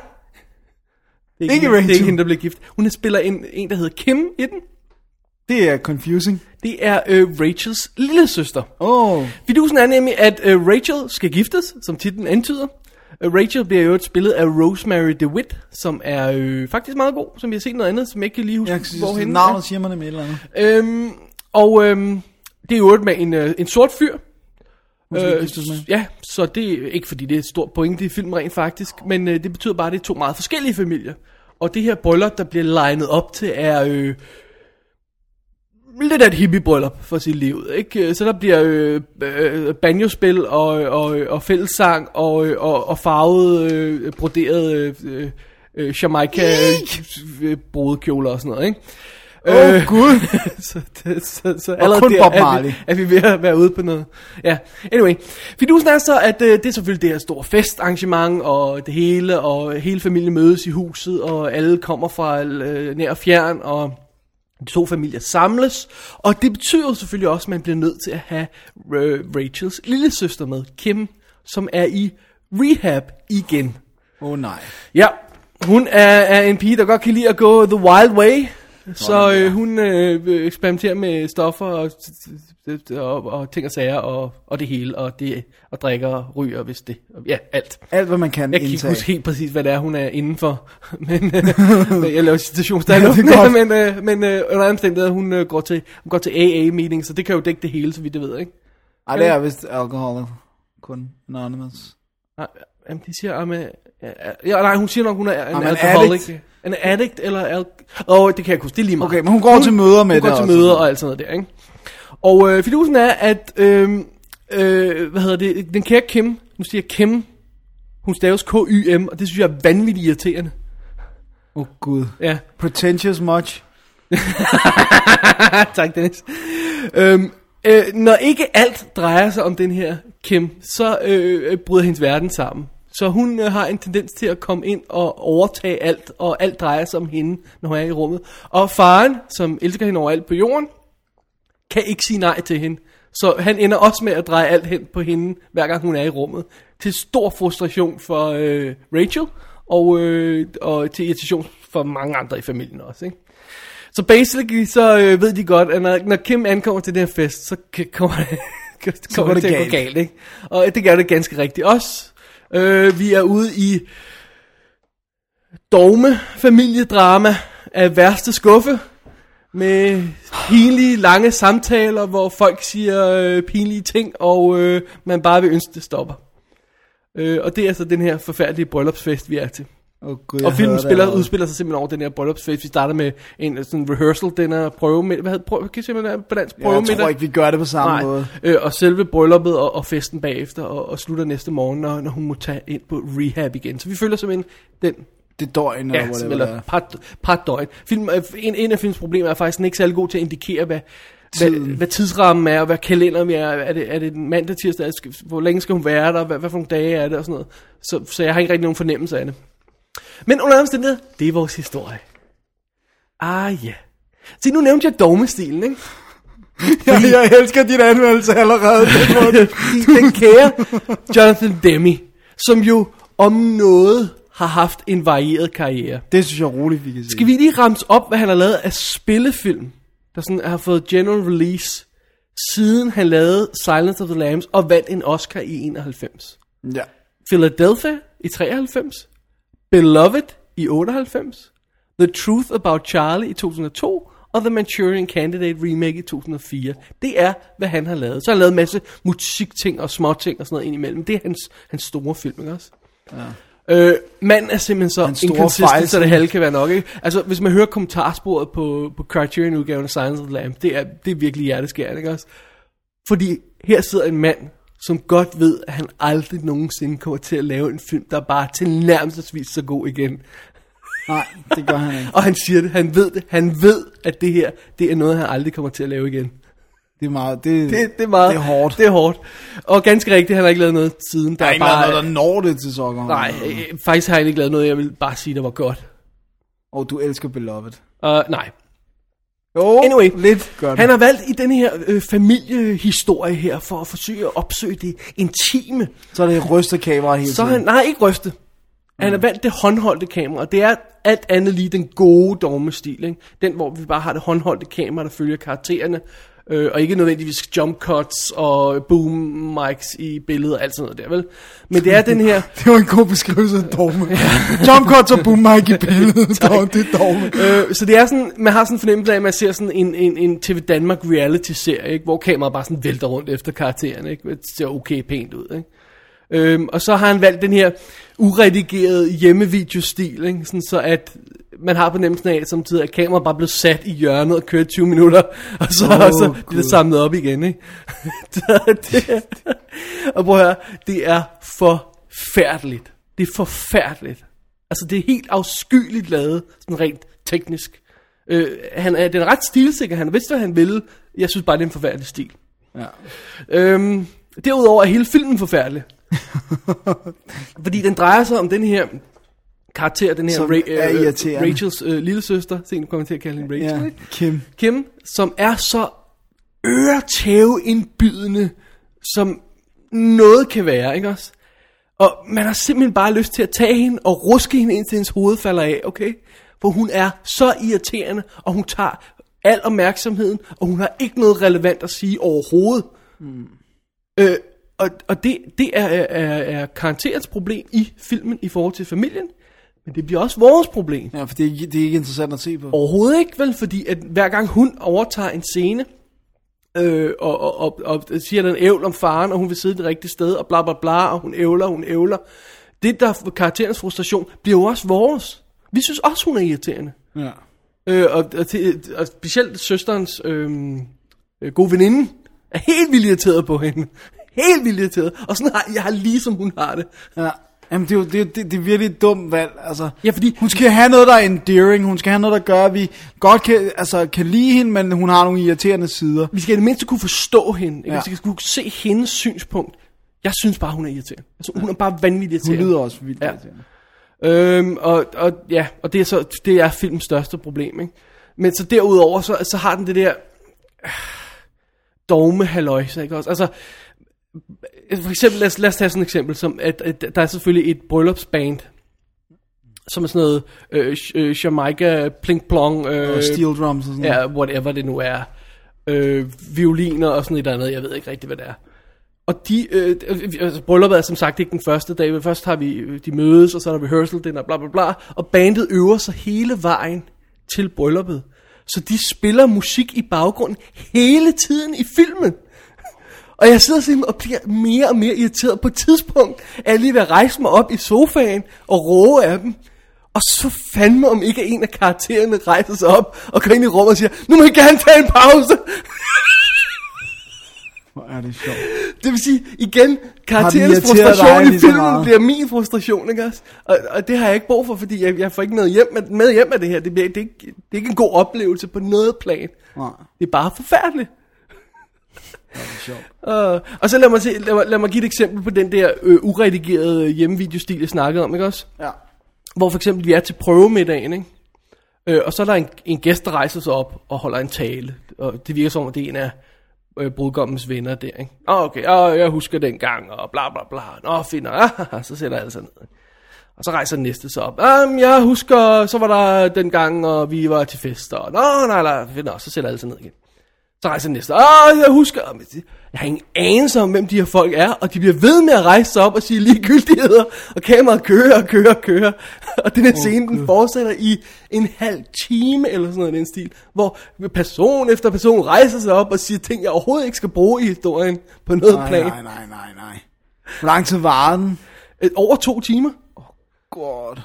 Speaker 1: er
Speaker 2: Ikke
Speaker 1: hende- Det er
Speaker 2: Rachel.
Speaker 1: ikke hende, der bliver gift. Hun spiller en, en der hedder Kim i den.
Speaker 2: det er confusing.
Speaker 1: Det er øh, Rachels lille søster.
Speaker 2: Åh. Oh.
Speaker 1: Fidusen er nemlig, at øh, Rachel skal giftes, som titlen antyder. Øh, Rachel bliver jo spillet af Rosemary DeWitt, som er øh, faktisk meget god, som vi har set noget andet, som jeg ikke kan lige huske,
Speaker 2: Jeg synes,
Speaker 1: hvor hende
Speaker 2: navnet siger mig nemlig et eller andet.
Speaker 1: er. Øhm, og øhm, det er jo med en, øh, en sort fyr. Øh,
Speaker 2: Hun skal giftes med.
Speaker 1: ja, så det er ikke fordi, det er et stort pointe i filmen rent faktisk, men øh, det betyder bare, at det er to meget forskellige familier. Og det her bryllup, der bliver legnet op til, er øh, lidt af et hippiebryllup for sit liv. Ikke? Så der bliver øh, øh, banjospil og, og, og fællessang og, øh, og, og farvet, øh, broderet øh, øh, øh, Jamaica øh, brodekjoler og sådan noget. Ikke? Øh,
Speaker 2: Åh, oh, gud.
Speaker 1: så, det, så, så allerede
Speaker 2: kun
Speaker 1: der
Speaker 2: Bob
Speaker 1: er,
Speaker 2: Marley.
Speaker 1: vi, er vi ved at være ude på noget. Ja, anyway. Fidusen er så, at øh, det er selvfølgelig det her store festarrangement, og det hele, og hele familien mødes i huset, og alle kommer fra øh, nær og fjern, og de to familier samles. Og det betyder jo selvfølgelig også, at man bliver nødt til at have øh, Rachels lille søster med, Kim, som er i rehab igen.
Speaker 2: Åh, oh, nej.
Speaker 1: Ja, hun er, er en pige, der godt kan lide at gå the wild way. Så øh, hun øh, øh, eksperimenterer med stoffer og, og, og ting og sager og, og det hele, og, det, og drikker og ryger, hvis det... Ja, alt.
Speaker 2: Alt, hvad man kan
Speaker 1: Jeg kan ikke
Speaker 2: indtage.
Speaker 1: huske helt præcis, hvad det er, hun er indenfor. Men øh, jeg laver citationstegn.
Speaker 2: Ja,
Speaker 1: ja,
Speaker 2: det er godt.
Speaker 1: men øh, men øh, under andre omstændigheder, hun øh, går til, hun går til AA-meeting, så det kan jo dække det hele, så vidt jeg ved, ikke?
Speaker 2: Ej, det er vist alkohol. Kun anonymous.
Speaker 1: Nej, jamen, de siger, I'm a, ja, nej, hun siger nok, hun er en
Speaker 2: I'm an
Speaker 1: alkoholik.
Speaker 2: addict.
Speaker 1: En addict, eller... Al- Åh, oh, det kan jeg ikke huske, det er lige meget.
Speaker 2: Okay, men hun går til møder med
Speaker 1: hun
Speaker 2: det
Speaker 1: går til
Speaker 2: også.
Speaker 1: møder og alt sådan noget der, ikke? Og øh, fidusen er, at... Øh, øh, hvad hedder det? Den kære Kim, nu siger jeg Kim, hun staves K-Y-M, og det synes jeg er vanvittigt irriterende.
Speaker 2: Åh, oh, gud.
Speaker 1: Ja,
Speaker 2: Pretentious much.
Speaker 1: tak Dennis. Øhm, øh, når ikke alt drejer sig om den her Kim, så øh, øh, bryder hendes verden sammen. Så hun øh, har en tendens til at komme ind og overtage alt, og alt drejer sig om hende, når hun er i rummet. Og faren, som elsker hende overalt på jorden, kan ikke sige nej til hende. Så han ender også med at dreje alt hen på hende, hver gang hun er i rummet. Til stor frustration for øh, Rachel, og, øh, og til irritation for mange andre i familien også, ikke? Så basically, så øh, ved de godt, at når, når Kim ankommer til den her fest, så k- kommer det, kommer
Speaker 2: går
Speaker 1: det
Speaker 2: det
Speaker 1: til at gå
Speaker 2: galt.
Speaker 1: galt, ikke? Og det gør det ganske rigtigt også. Øh, vi er ude i dogme familiedrama af værste skuffe. Med pinlige, lange samtaler, hvor folk siger øh, pinlige ting, og øh, man bare vil ønske, det stopper. Øh, og det er så den her forfærdelige bryllupsfest, vi er til.
Speaker 2: Oh, God,
Speaker 1: Og filmen spiller, udspiller sig simpelthen over den her bryllupsfest. Vi starter med en øh, sådan rehearsal, den her prøve med, hvad hedder prøve, kan I se, hvad den er på dansk?
Speaker 2: Ja, jeg tror
Speaker 1: Prøvemiddag?
Speaker 2: ikke, vi gør det på samme
Speaker 1: Nej.
Speaker 2: måde.
Speaker 1: Øh, og selve brylluppet og, og festen bagefter, og, og slutter næste morgen, når, når hun må tage ind på rehab igen. Så vi følger simpelthen den
Speaker 2: Det er døgn, eller
Speaker 1: Ja,
Speaker 2: hvor
Speaker 1: som-
Speaker 2: det
Speaker 1: eller
Speaker 2: er.
Speaker 1: par, par døgn. Film, øh, en, en af films problemer er faktisk, at den ikke er særlig god til at indikere, hvad, hvad,
Speaker 2: Tiden.
Speaker 1: hvad tidsrammen er, og hvad kalenderen er. Er det, er det mandag, tirsdag, er det- skal- hvor længe skal hun være der, hvad, hvad for nogle dage er det, og sådan noget. Så, så jeg har ikke rigtig nogen fornemmelse af det. Men under alle omstændigheder, det er vores historie. Ah ja. Yeah. Se, nu nævnte jeg dogmestilen, ikke?
Speaker 2: Jeg, jeg elsker din anmeldelse allerede. Den måde,
Speaker 1: Fordi den kære Jonathan Demi, som jo om noget har haft en varieret karriere.
Speaker 2: Det synes jeg er roligt, vi kan sige.
Speaker 1: Skal vi lige ramse op, hvad han har lavet af spillefilm, der sådan har fået general release, siden han lavede Silence of the Lambs og vandt en Oscar i 91.
Speaker 2: Ja.
Speaker 1: Philadelphia i 93, Beloved i 98, The Truth About Charlie i 2002, og The Manchurian Candidate remake i 2004. Det er, hvad han har lavet. Så har han lavet en masse musikting og småting og sådan noget indimellem. Det er hans, hans store film, ikke også? Ja. Øh, manden er simpelthen så
Speaker 2: Hans store
Speaker 1: inconsistent, så
Speaker 2: fejlsnit.
Speaker 1: det halve kan være nok, ikke? Altså, hvis man hører kommentarsporet på, på Criterion-udgaven af Science of the Lamb, det er, det er virkelig hjerteskærende, ikke også? Fordi her sidder en mand, som godt ved, at han aldrig nogensinde kommer til at lave en film, der bare er tilnærmelsesvis så god igen.
Speaker 2: Nej, det gør han ikke.
Speaker 1: Og han siger det, han ved det, han ved, at det her, det er noget, han aldrig kommer til at lave igen.
Speaker 2: Det er meget... Det,
Speaker 1: Det, det er meget...
Speaker 2: Det er hårdt.
Speaker 1: Det er hårdt. Og ganske rigtigt, han har ikke lavet noget siden. Der
Speaker 2: der er
Speaker 1: er
Speaker 2: ikke
Speaker 1: bare...
Speaker 2: noget, der når det til sokkerne.
Speaker 1: Nej, øh, faktisk har han ikke lavet noget, jeg vil bare sige, der var godt.
Speaker 2: Og du elsker Beloved.
Speaker 1: Uh, nej.
Speaker 2: Jo,
Speaker 1: Anyway,
Speaker 2: lidt gør det.
Speaker 1: Han har valgt i denne her øh, familiehistorie her, for at forsøge at opsøge det intime,
Speaker 2: Så er det ryster kameraet hele
Speaker 1: Så er
Speaker 2: tiden. Mm.
Speaker 1: han, nej, ikke ryste. Han har valgt det håndholdte kamera, og det er alt andet lige den gode dogmestil, ikke? Den, hvor vi bare har det håndholdte kamera, der følger karaktererne, øh, og ikke nødvendigvis jump cuts og boom mics i billedet og alt sådan noget der, vel? Men det er den her...
Speaker 2: Det var en god beskrivelse af dogme. Jump cuts og boom mic i billedet. Dog, det er dogme.
Speaker 1: Øh, så det er sådan, man har sådan en fornemmelse af, at man ser sådan en, en, en TV Danmark reality-serie, ikke? hvor kameraet bare sådan vælter rundt efter karakteren. Ikke? Det ser okay pænt ud. Ikke? Øhm, og så har han valgt den her uredigerede hjemmevideostil, ikke? Sådan så at man har fornemmelsen af, at samtidig at kameraet bare blev sat i hjørnet og kørt 20 minutter, og så, oh,
Speaker 2: Åh,
Speaker 1: og så bliver
Speaker 2: Gud.
Speaker 1: det samlet op igen. Ikke? Så det, og prøv at høre, det er forfærdeligt. Det er forfærdeligt. Altså, det er helt afskyeligt lavet, sådan rent teknisk. Øh, han er, den er ret stilsikker, han vidste, hvad han ville. Jeg synes bare, det er en forfærdelig stil.
Speaker 2: Ja.
Speaker 1: Øhm, derudover er hele filmen forfærdelig. Fordi den drejer sig om den her karakter, den her
Speaker 2: Som
Speaker 1: Ra-
Speaker 2: er
Speaker 1: øh,
Speaker 2: irriterende.
Speaker 1: Rachels øh, lille søster, sen kommer jeg til at kalde hende Rachel,
Speaker 2: ja.
Speaker 1: ikke?
Speaker 2: Kim.
Speaker 1: Kim, som er så øretæveindbydende, som noget kan være, ikke også? Og man har simpelthen bare lyst til at tage hende og ruske hende, indtil hendes hoved falder af, okay? For hun er så irriterende, og hun tager al opmærksomheden, og hun har ikke noget relevant at sige overhovedet. Mm. Øh, og, og det, det er, er, er karakterens problem i filmen i forhold til familien, men det bliver også vores problem.
Speaker 2: Ja, for det er, ikke- det er ikke interessant at se på.
Speaker 1: Overhovedet ikke, vel? Fordi at hver gang hun overtager en scene, øh, og, og, og, og siger den ævl om faren, og hun vil sidde det rigtige sted, og bla bla bla, og hun ævler, hun ævler. Det der er karakterens frustration, bliver jo også vores. Vi synes også, hun er irriterende.
Speaker 2: Ja.
Speaker 1: Øh, og, og, til, og specielt søsterens øh, øh, gode veninde er helt vildt irriteret på hende. Helt vildt irriteret. Og sådan har jeg har ligesom hun har det.
Speaker 2: Ja. Jamen, det er jo det, er- det, det er virkelig et dumt valg, altså.
Speaker 1: Ja, fordi-
Speaker 2: Hun skal have noget, der er endearing. Hun skal have noget, der gør, at vi godt kan, altså, kan lide hende, men hun har nogle irriterende sider.
Speaker 1: Vi skal i det mindste kunne forstå hende. Ikke? Altså,
Speaker 2: Ja.
Speaker 1: Vi skal kunne se hendes synspunkt. Jeg synes bare, hun er irriterende. Altså, hun er bare vanvittig
Speaker 2: Hun
Speaker 1: irriterende.
Speaker 2: lyder også vildt
Speaker 1: Ja.
Speaker 2: irriterende.
Speaker 1: Øhm, og, og, ja, og det er så det er filmens største problem, ikke? Men øh, så derudover, så, så har den det der... dogme halløjse, ikke også? Altså, øh, for eksempel, lad os, lad os tage sådan et eksempel, som at, at der er selvfølgelig et bryllupsband, som er sådan noget øh, sh- øh, Jamaica, pling plong, øh,
Speaker 2: Og steel drums og sådan noget.
Speaker 1: ja, whatever det nu er, øh, violiner og sådan et eller andet, jeg ved ikke rigtig, hvad det er. Og de, øh, altså, brylluppet er som sagt ikke den første dag, men først har vi, øh, de mødes, og så er der rehearsal, den og bla bla bla, og bandet øver sig hele vejen til brylluppet. Så de spiller musik i baggrunden hele tiden i filmen. Og jeg sidder simpelthen og bliver mere og mere irriteret. På et tidspunkt er jeg lige ved at rejse mig op i sofaen og råbe af dem. Og så fandme om ikke en af karaktererne rejser sig op og går ind i rummet og siger, nu må I gerne tage en pause.
Speaker 2: Hvor er det sjovt.
Speaker 1: Det vil sige, igen, karakterens
Speaker 2: irriteret dig
Speaker 1: frustration i
Speaker 2: lige så
Speaker 1: filmen
Speaker 2: meget?
Speaker 1: bliver min frustration, ikke også? Og, og det har jeg ikke brug for, fordi jeg, jeg får ikke noget hjem med, med hjem af det her. Det, bliver, det, er ikke, det er ikke en god oplevelse på noget plan.
Speaker 2: Nej,
Speaker 1: Det er bare forfærdeligt.
Speaker 2: det er sjovt.
Speaker 1: Uh, og så lad mig, se, lad, mig, lad mig give et eksempel på den der øh, uredigerede hjemmevideostil, jeg snakkede om, ikke også?
Speaker 2: Ja.
Speaker 1: Hvor for eksempel vi er til prøvemiddagen, ikke? Øh, og så er der en, en gæst, der rejser sig op og holder en tale. Og det virker som om, det er en af øh, brudgommens venner der, ikke? Åh, oh, okay, oh, jeg husker den gang, og bla bla bla. Nå, fint, nok. ah, så sætter jeg altså ned. ikke? Og så rejser den næste sig op. Um, jeg husker, så var der den gang, og vi var til fester. Og, Nå, nej, nej, fint, nok. så sætter jeg altså ned igen. Så rejser den næste. Åh, jeg husker. Men det- Jeg har ingen anelse om, hvem de her folk er. Og de bliver ved med at rejse sig op og sige ligegyldigheder. Og kameraet kører og kører og kører. Og den her scene, den fortsætter i en halv time eller sådan noget i den stil. Hvor person efter person rejser sig op og siger ting, jeg overhovedet ikke skal bruge i historien på noget
Speaker 2: Nej,
Speaker 1: plan.
Speaker 2: nej, nej, nej, nej. Hvor lang tid var den?
Speaker 1: Øh, Over to timer.
Speaker 2: God.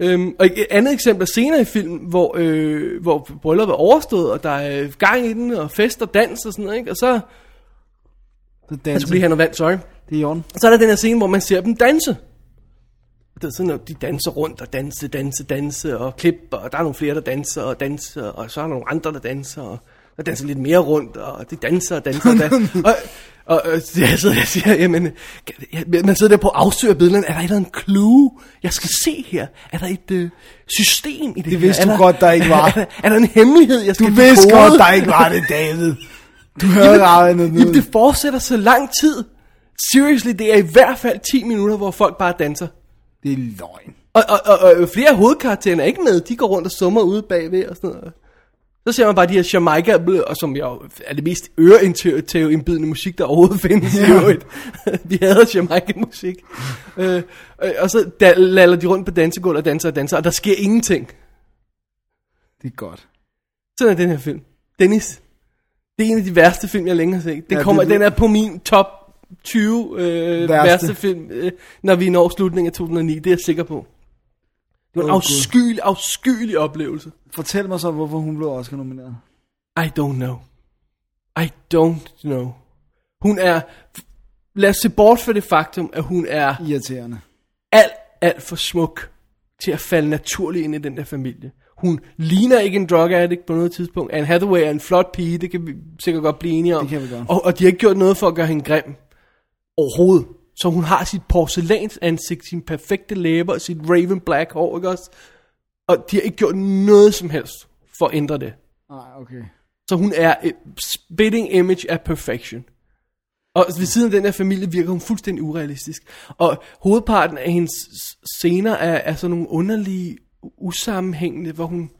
Speaker 1: Øhm, og et andet eksempel er senere i filmen, hvor, øh, hvor brylluppet er overstået, og der er gang i den, og fest og dans og sådan noget, ikke? Og så, Altså,
Speaker 2: Det
Speaker 1: jeg
Speaker 2: danser.
Speaker 1: skulle lige have noget vand, sorry.
Speaker 2: Det er i orden.
Speaker 1: Og så er der den her scene, hvor man ser dem danse. Og Det er sådan, at de danser rundt og danse, danse, danse og klipper, og der er nogle flere, der danser og danser, og så er der nogle andre, der danser, og der danser lidt mere rundt, og de danser og danser og danser. og, og, og så jeg sidder og siger, jamen, kan- ja, man sidder der på afsøger billederne, er der et eller andet clue, jeg skal se her? Er der et øh, system i det
Speaker 2: Det
Speaker 1: her?
Speaker 2: vidste
Speaker 1: Er
Speaker 2: du
Speaker 1: der-
Speaker 2: godt, der ikke var.
Speaker 1: Er der, er der en hemmelighed, jeg
Speaker 2: Du
Speaker 1: skal
Speaker 2: vidste
Speaker 1: dekode?
Speaker 2: godt, der ikke var det, David. Du hørte aldrig noget.
Speaker 1: Jamen, det fortsætter så lang tid. Seriously, det er i hvert fald 10 minutter, hvor folk bare danser.
Speaker 2: det er løgn.
Speaker 1: Og, og, og, og flere af hovedkaraktererne er ikke med. De går rundt og summer ude bagved og sådan noget. Så ser man bare de her Jamaica, bl- og som jo er det mest øreindbydende musik, der overhovedet findes i øvrigt. de hader Jamaica-musik. øh, øh, og så da, laller de rundt på dansegulvet og danser og danser, og der sker ingenting.
Speaker 2: Det er godt.
Speaker 1: Sådan er den her film. Dennis, det er en af de værste film, jeg længe har set. Den,
Speaker 2: Ja,
Speaker 1: ja, kommer,
Speaker 2: det-
Speaker 1: den er på min top 20 øh, værste.
Speaker 2: Værste.
Speaker 1: værste film, øh, når vi når slutningen af 2009. Det er jeg sikker på. Det var en
Speaker 2: Åh, Gud.
Speaker 1: afskyelig, afskyelig oplevelse.
Speaker 2: Fortæl mig så, hvorfor hun blev Oscar-nomineret.
Speaker 1: I don't know. I don't know. Hun er... Lad os se bort fra det faktum, at hun er
Speaker 2: Irriterende.
Speaker 1: alt, alt for smuk til at falde naturligt ind i den der familie. Hun ligner ikke en drug addict på noget tidspunkt. Anne Hathaway er en flot pige, det kan vi sikkert godt blive enige om.
Speaker 2: Det kan vi godt.
Speaker 1: Og, og de har ikke gjort noget for at gøre hende grim. Overhovedet. Så hun har sit porcelænsansigt, sin perfekte læber og sit raven black hår, ikke også? Og de har ikke gjort noget som helst for at ændre det.
Speaker 2: Nej, okay.
Speaker 1: Så hun er et spitting image af perfection. Og ved siden af den her familie virker hun fuldstændig urealistisk. Og hovedparten af hendes s- scener er, er sådan nogle underlige, u- usammenhængende, hvor hun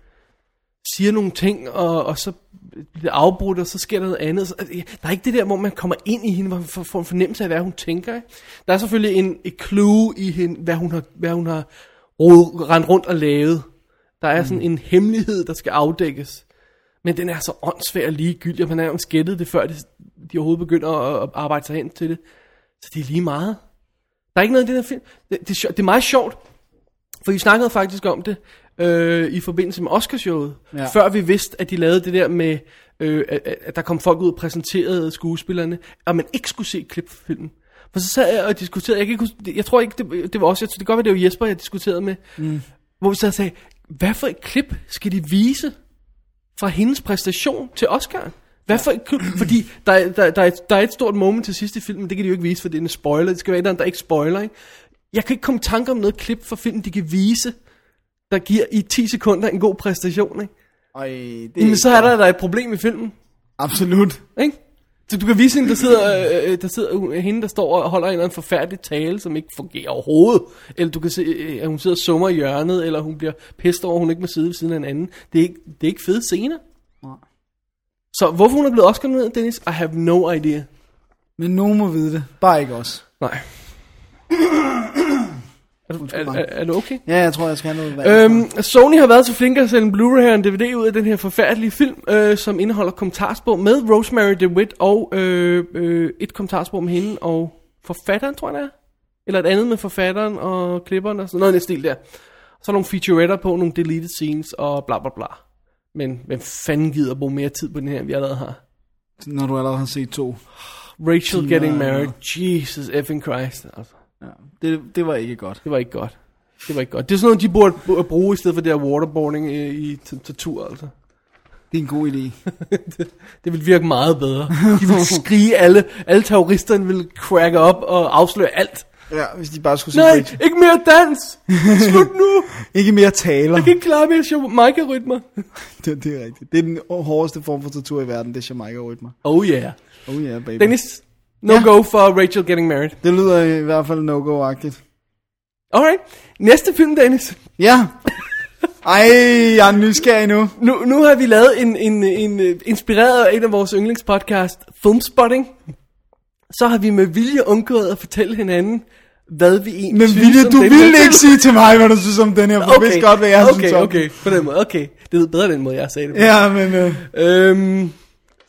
Speaker 1: siger nogle ting, og, og så bliver det afbrudt, og så sker der noget andet. Så, øh, der er ikke det der, hvor man kommer ind i hende, hvor man får, får en fornemmelse af, hvad hun tænker. Ikke? Der er selvfølgelig en, et clue i hende, hvad hun har, hvad hun har rod, rendt rundt og lavet. Der er sådan en hemmelighed, der skal afdækkes. Men den er så åndssvær og ligegyldig, og man har jo skættet det, før de, de overhovedet begynder at, at arbejde sig hen til det. Så det er lige meget. Der er ikke noget i den her film. Det, det, er sjovt- det er meget sjovt, for vi snakkede faktisk om det øh, i forbindelse med Oscarshowet, ja.
Speaker 2: Ja.
Speaker 1: før vi vidste, at de lavede det der med, øh, at, at- at der kom folk ud og præsenterede skuespillerne, og man ikke skulle se et klip fra filmen. For så sad jeg og diskuterede, jeg, kan ikke, huske- jeg tror ikke, det, det var også, jeg, det kan godt være, det var Jesper, jeg diskuterede med, mm. hvor vi så sagde, hvad for et klip skal de vise? fra hendes præstation til Oscar. Hvad for, fordi der, er- der, der, er et, der er et stort moment til sidst i filmen, det kan de jo ikke vise, for det er en spoiler. Det skal være et eller andet, der ikke spoiler. Ikke? Jeg kan ikke komme i tanke om noget klip fra filmen, de kan vise, der giver i 10 sekunder en god præstation. Ikke?
Speaker 2: Ej, det
Speaker 1: Jamen, så er der, der er et problem i filmen.
Speaker 2: Absolut.
Speaker 1: Ikke? Så du kan vise hende, der sidder, øh, øh, der sidder hun- hende, der står og holder en eller anden forfærdelig tale, som ikke fungerer overhovedet. Eller du kan se, øh, at hun sidder og summer i hjørnet, eller hun bliver pissed over, at hun ikke må sidde ved siden af en anden. Det er ikke, det er ikke fede scener.
Speaker 2: Nej.
Speaker 1: Så hvorfor hun er blevet Oscar med, Dennis? I have no idea.
Speaker 2: Men nogen må vide det. Bare ikke os.
Speaker 1: Nej. er, du, er, er, er du okay?
Speaker 2: Ja, jeg tror, jeg skal have noget vand.
Speaker 1: Øhm, Sony har været så flinke at sende en Blu-ray og en DVD ud af den her forfærdelige film, øh, som indeholder kommentarspor med Rosemary DeWitt og øh, øh, et kommentarspor med hende og forfatteren, tror jeg det er. Eller et andet med forfatteren og klipperen og sådan noget i den stil der. Så er nogle featuretter på, nogle deleted scenes og bla bla bla. Men hvem fanden gider bruge mere tid på den her, end vi allerede har?
Speaker 2: Når du allerede har set to.
Speaker 1: Rachel
Speaker 2: Timer
Speaker 1: getting
Speaker 2: eller-
Speaker 1: married. Jesus effing Christ. Altså.
Speaker 2: Ja. Det, det var ikke godt.
Speaker 1: Det var ikke godt. Det var ikke godt. Det er sådan noget, de burde bu- bruge i stedet for det der waterboarding i, i t- tortur, altså.
Speaker 2: Det er en god idé.
Speaker 1: Det ville virke meget bedre. De ville skrige alle, alle terroristerne ville cracke op og afsløre alt.
Speaker 2: Ja, hvis de bare skulle se
Speaker 1: Nej,
Speaker 2: Bridget.
Speaker 1: ikke mere dans! Slut nu!
Speaker 2: Ikke mere taler.
Speaker 1: Jeg kan ikke klare mere Jamaica-rytmer.
Speaker 2: Det, det er rigtigt. Det er den hårdeste form for tortur i verden, det er Jamaica rytmer.
Speaker 1: Oh yeah.
Speaker 2: Oh yeah, baby.
Speaker 1: Dennis, no
Speaker 2: Ja.
Speaker 1: ja. go for Rachel getting married.
Speaker 2: Det lyder i hvert fald no-go-agtigt.
Speaker 1: Alright. Næste film, Dennis.
Speaker 2: Ja. Ej, jeg er nysgerrig nu.
Speaker 1: Nu, nu har vi lavet en, en, en, en inspireret af en af vores yndlingspodcast, Filmspotting. Så har vi med vilje undgået at fortælle hinanden, hvad vi egentlig
Speaker 2: Men
Speaker 1: synes
Speaker 2: Vilje,
Speaker 1: om
Speaker 2: du
Speaker 1: den
Speaker 2: ville
Speaker 1: her
Speaker 2: ikke
Speaker 1: film.
Speaker 2: sige til mig, hvad du synes om den her, for okay. du vidste godt, hvad jeg
Speaker 1: okay,
Speaker 2: synes om.
Speaker 1: okay, okay, på den måde, okay. Det lyder bedre den måde, jeg sagde det på.
Speaker 2: Ja, men... Uh,
Speaker 1: Øhm,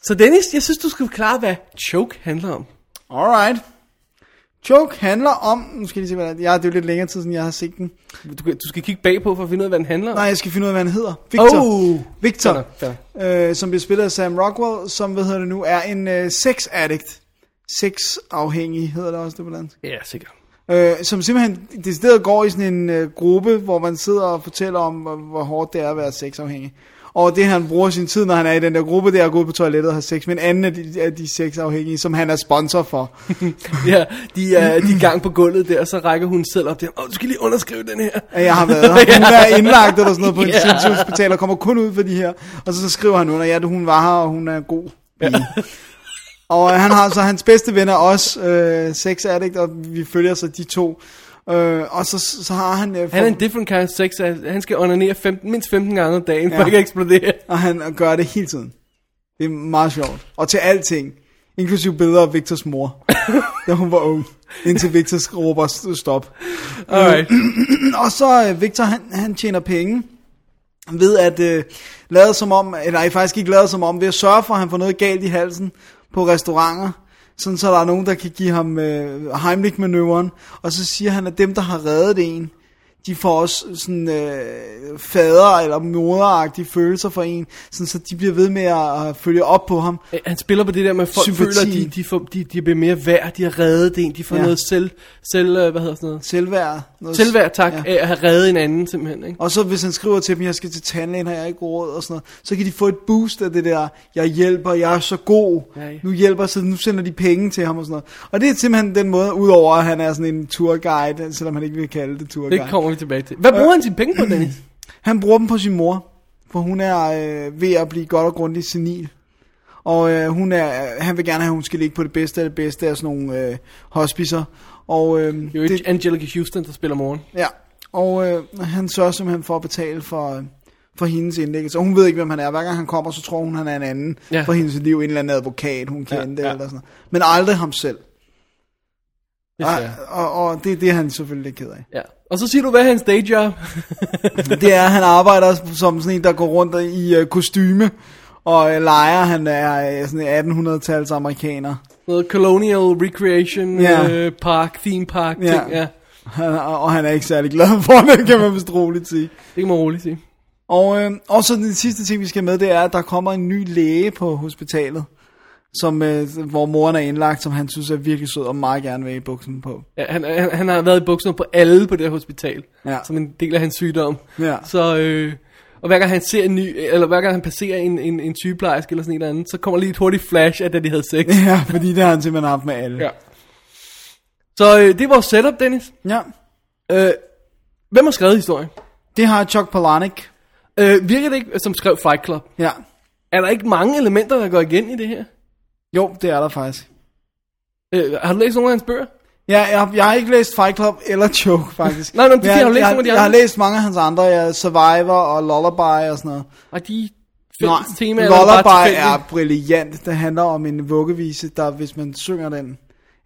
Speaker 1: så Dennis, jeg synes, du skal forklare, hvad choke handler om.
Speaker 2: alright. Choke handler om... Nu skal jeg lige se, hvad der... Ja, det er jo lidt længere tid, siden jeg har set den.
Speaker 1: Du, kan- du skal kigge bagpå for at finde ud af, hvad den handler om.
Speaker 2: Nej, jeg skal finde ud af, hvad han hedder. Victor.
Speaker 1: Oh.
Speaker 2: Victor.
Speaker 1: Fair nok, fair nok.
Speaker 2: øh, som bliver spillet af Sam Rockwell, som, hvad hedder det nu, er en øh, sex addict. Sex afhængig hedder det også det på dansk.
Speaker 1: Ja, sikkert.
Speaker 2: Øh, som simpelthen decideret går i sådan en øh, gruppe, hvor man sidder og fortæller om, hvor, hvor hårdt det er at være sexafhængig. Og det han bruger sin tid, når han er i den der gruppe, det er at gå ud på toilettet og have sex med en anden af de, af de sexafhængige, som han er sponsor for.
Speaker 1: Ja, de er, de er i gang på gulvet der, og så rækker hun selv op der. Åh, du skal lige underskrive den her.
Speaker 2: at jeg har været her. Hun er indlagt eller sådan noget på en
Speaker 1: Ja.
Speaker 2: sindshospital og kommer kun ud for de her. Og så, så skriver han under, ja, hun var her, og hun er en god. Ja. og øh, han har så hans bedste venner også øh, sex addict, og vi følger så de to. Øh, og så, så har han... Øh,
Speaker 1: Han er
Speaker 2: for-
Speaker 1: en different kind of sex. addict. Han skal onanere 15, mindst 15 gange om dagen, ja. for
Speaker 2: Ja.
Speaker 1: ikke at eksplodere.
Speaker 2: og han gør det hele tiden. Det er meget sjovt. Og til alting. Inklusive billeder af Victors mor, da hun var ung. Indtil Victor råber "St- stop.
Speaker 1: Alright.
Speaker 2: Og så øh, Victor, han, han tjener penge ved at øh, lade som om, eller nej, faktisk ikke lade som om, ved at sørge for, at han får noget galt i halsen på restauranter, sådan så der er nogen, der kan give ham øh, Heimlich-manøvren, og så siger han, at dem, der har reddet en, de får også sådan øh, fader- eller moderagtige følelser for en, sådan så de bliver ved med at, at følge op på ham.
Speaker 1: Øh, Han spiller på det der med, at folk
Speaker 2: Sympati.
Speaker 1: Sympati. føler, at de, de, får, de, de bliver mere værd, de har reddet en, de får
Speaker 2: Ja.
Speaker 1: ja. noget selv, selv, øh, hvad hedder sådan noget,
Speaker 2: Selvværd. Noget,
Speaker 1: selvværd tak, ja. af at have reddet en anden simpelthen, ikke?
Speaker 2: Og så hvis han skriver til dem, jeg skal til tandlægen, har jeg ikke råd og sådan noget, så kan de få et boost af det der, jeg hjælper, jeg er så god,
Speaker 1: Ja, ja.
Speaker 2: nu hjælper, så nu sender de penge til ham og sådan noget. Og det er simpelthen den måde, udover at han er sådan en tourguide, selvom han ikke vil kalde det tourguide.
Speaker 1: Det kommer vi tilbage til. Hvad bruger han sine penge på, Dennis?
Speaker 2: Han bruger dem på sin mor, for hun er øh, ved at blive godt og grundigt senil. Og øh, hun er, han vil gerne have, at hun skal ligge på det bedste af det bedste af sådan nogle øh, hospicer. Og, øh,
Speaker 1: Det er jo ikke Angelica Houston, der spiller moren.
Speaker 2: Ja, og øh, han sørger simpelthen for at betale for, øh, for hendes indlæggelse. Og hun ved ikke, hvem han er. Hver gang han kommer, så tror hun, han er en anden ja.
Speaker 1: Ja.
Speaker 2: for hendes liv. En eller anden advokat, hun
Speaker 1: Ja,
Speaker 2: kendte
Speaker 1: ja.
Speaker 2: ja, ja. eller sådan noget. Men aldrig ham selv.
Speaker 1: Hvis
Speaker 2: Og,
Speaker 1: det er.
Speaker 2: og, og det, det er han selvfølgelig lidt ked af.
Speaker 1: Ja. Og så siger du, hvad er hans day job?
Speaker 2: Det er, at han arbejder som sådan en, der går rundt i øh, kostyme. Og øh, leger, han er øh, sådan en 1800-tals amerikaner.
Speaker 1: Noget colonial recreation
Speaker 2: Ja.
Speaker 1: ja. øh, park, theme park,
Speaker 2: Ja.
Speaker 1: ja. ting. Ja.
Speaker 2: Han, og, og han er ikke særlig glad for det, kan man vist roligt sige.
Speaker 1: Det kan man roligt sige.
Speaker 2: Og, øh, og så den sidste ting, vi skal med, det er, at der kommer en ny læge på hospitalet, som, øh, hvor moren er indlagt, som han synes er virkelig sød og meget gerne vil i buksen på.
Speaker 1: Ja, han, han, han har været i bukserne på alle på det her hospital,
Speaker 2: Ja.
Speaker 1: som en del af hans sygdom.
Speaker 2: Ja.
Speaker 1: Så, øh, og hver gang han ser en ny, eller hver gang han passerer en, en, en sygeplejerske eller sådan en eller anden, så kommer lige et hurtigt flash af, da de havde sex.
Speaker 2: Ja, fordi det har han simpelthen haft med alle.
Speaker 1: ja. Så øh, det er vores setup, Dennis.
Speaker 2: ja.
Speaker 1: Øh, hvem har skrevet historien?
Speaker 2: Det har Chuck Palahniuk.
Speaker 1: Øh, virker det ikke, øh, som skrev Fight Club?
Speaker 2: Ja.
Speaker 1: Er der ikke mange elementer, der går igen i det her?
Speaker 2: Jo, det er der faktisk.
Speaker 1: Øh, har du læst nogle af hans bøger?
Speaker 2: Ja, jeg, jeg har ikke læst Fight Club eller Choke, faktisk.
Speaker 1: Nej, nej, men det er fordi,
Speaker 2: jeg,
Speaker 1: har du læst
Speaker 2: jeg,
Speaker 1: nogle af de
Speaker 2: jeg har
Speaker 1: andre?
Speaker 2: læst mange af hans andre, ja, Survivor og Lullaby og sådan noget.
Speaker 1: Og de
Speaker 2: Nej,
Speaker 1: fælles temaer eller bare
Speaker 2: Lullaby
Speaker 1: tilfældige?
Speaker 2: er brilliant. Det handler om en vuggevise, der hvis man synger den,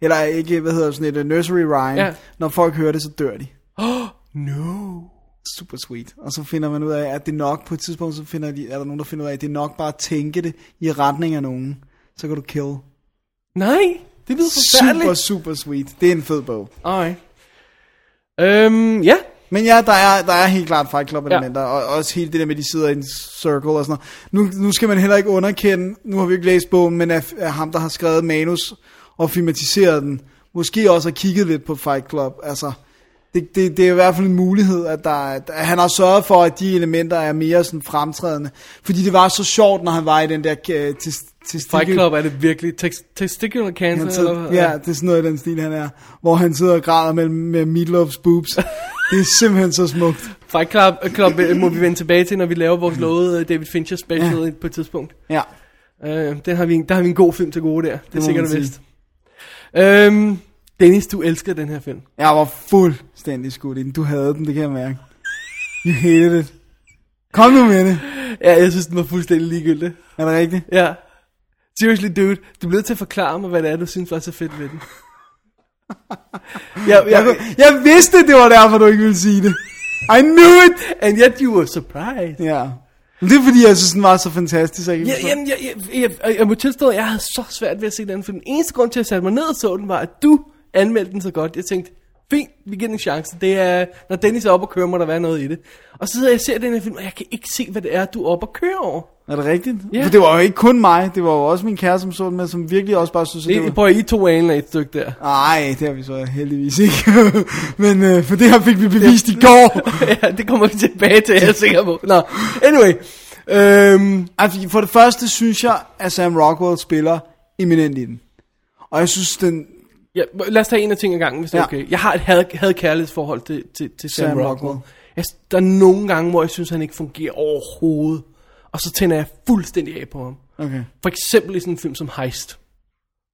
Speaker 2: eller ikke, hvad hedder det, sådan et øh, nursery rhyme,
Speaker 1: Ja.
Speaker 2: ja. når folk hører det, så dør de.
Speaker 1: No.
Speaker 2: Super sweet. Og så finder man ud af, at det nok på et tidspunkt, så finder de, er der nogen, der finder ud af, at det er nok bare at tænke det i retning af nogen. Så kan du kill.
Speaker 1: Nej, det lyder forfærdeligt.
Speaker 2: Super, super sweet. Det er en fed bog.
Speaker 1: Alright. Øhm, ja.
Speaker 2: Men ja, der er, der er helt klart Fight Club elementer, ja. og også hele det der med, de sidder i en circle og sådan noget. Nu, nu skal man heller ikke underkende, nu har vi ikke læst bogen, men af, af ham, der har skrevet manus og filmatiseret den, måske også har kigget lidt på Fight Club. Altså, det, det, det er i hvert fald en mulighed, at, der, er- at han har sørget for, at de elementer er mere sådan fremtrædende. Fordi det var så sjovt, når han var i den der øh, til, til
Speaker 1: Fight Club er det virkelig tex- testicular cancer?
Speaker 2: han sidder,
Speaker 1: eller-
Speaker 2: ja, det er sådan noget i den stil, han er. Hvor han sidder og græder med, med Meatloaf's boobs. det er simpelthen så smukt.
Speaker 1: Fight Club, øh, Club øh, må vi vende tilbage til, når vi laver vores lovede øh, David Fincher special ja. på et tidspunkt.
Speaker 2: Ja.
Speaker 1: Øh, den har vi, en- der har vi en god film til gode der. Det er
Speaker 2: må
Speaker 1: sikkert
Speaker 2: man
Speaker 1: vist. Øhm, Dennis, du elsker den her film.
Speaker 2: Jeg var fuldstændig skudt i den. Du havde den, det kan jeg mærke. You hated it. Kom nu med det.
Speaker 1: Ja, jeg synes, den var fuldstændig ligegyldig.
Speaker 2: Er det rigtigt?
Speaker 1: Ja. Seriously, dude. Du bliver nødt til at forklare mig, hvad det er, du synes var så fedt ved den. jeg,
Speaker 2: Jeg,
Speaker 1: jeg,
Speaker 2: kunne- jeg vidste, det var derfor, du ikke ville sige det. I knew it!
Speaker 1: and yet you were surprised.
Speaker 2: Ja. Men det er fordi, jeg synes, den var så fantastisk. Jeg kan
Speaker 1: Ja,
Speaker 2: forstå.
Speaker 1: jamen, jeg, jeg, jeg, jeg, jeg må tilstå, at jeg havde så svært ved at se den, for den eneste grund til, at jeg satte mig ned og så den, var, at du anmeldte den så godt. Jeg tænkte, fint, vi giver den en chance. Det er, når Dennis er oppe og kører, må der være noget i det. Og så sidder jeg og ser den her film, og jeg kan ikke se, hvad det er, du er oppe og kører over.
Speaker 2: Er det rigtigt?
Speaker 1: Ja.
Speaker 2: For det var jo ikke kun mig. Det var jo også min kæreste, som så den med, som virkelig også bare synes, at det
Speaker 1: Det,
Speaker 2: var...
Speaker 1: prøv at I to anlagde et stykke der.
Speaker 2: Nej, det har vi så heldigvis ikke. Men øh, for det her fik vi bevist i går.
Speaker 1: ja, det kommer vi tilbage til, jeg er sikker på. Nå, anyway. Øhm,
Speaker 2: Altså, for det første synes jeg, at Sam Rockwell spiller eminent i den. Og jeg synes, den
Speaker 1: ja, lad os tage en af ting ad gangen, hvis det er
Speaker 2: Ja.
Speaker 1: okay. Jeg har et had, had kærlighedsforhold til, til, til Sam,
Speaker 2: Sam
Speaker 1: Rockwell.
Speaker 2: Rockwell.
Speaker 1: Jeg, der er nogle gange, hvor jeg synes, han ikke fungerer overhovedet. Og så tænder jeg fuldstændig af på ham.
Speaker 2: Okay.
Speaker 1: For eksempel i sådan en film som Heist.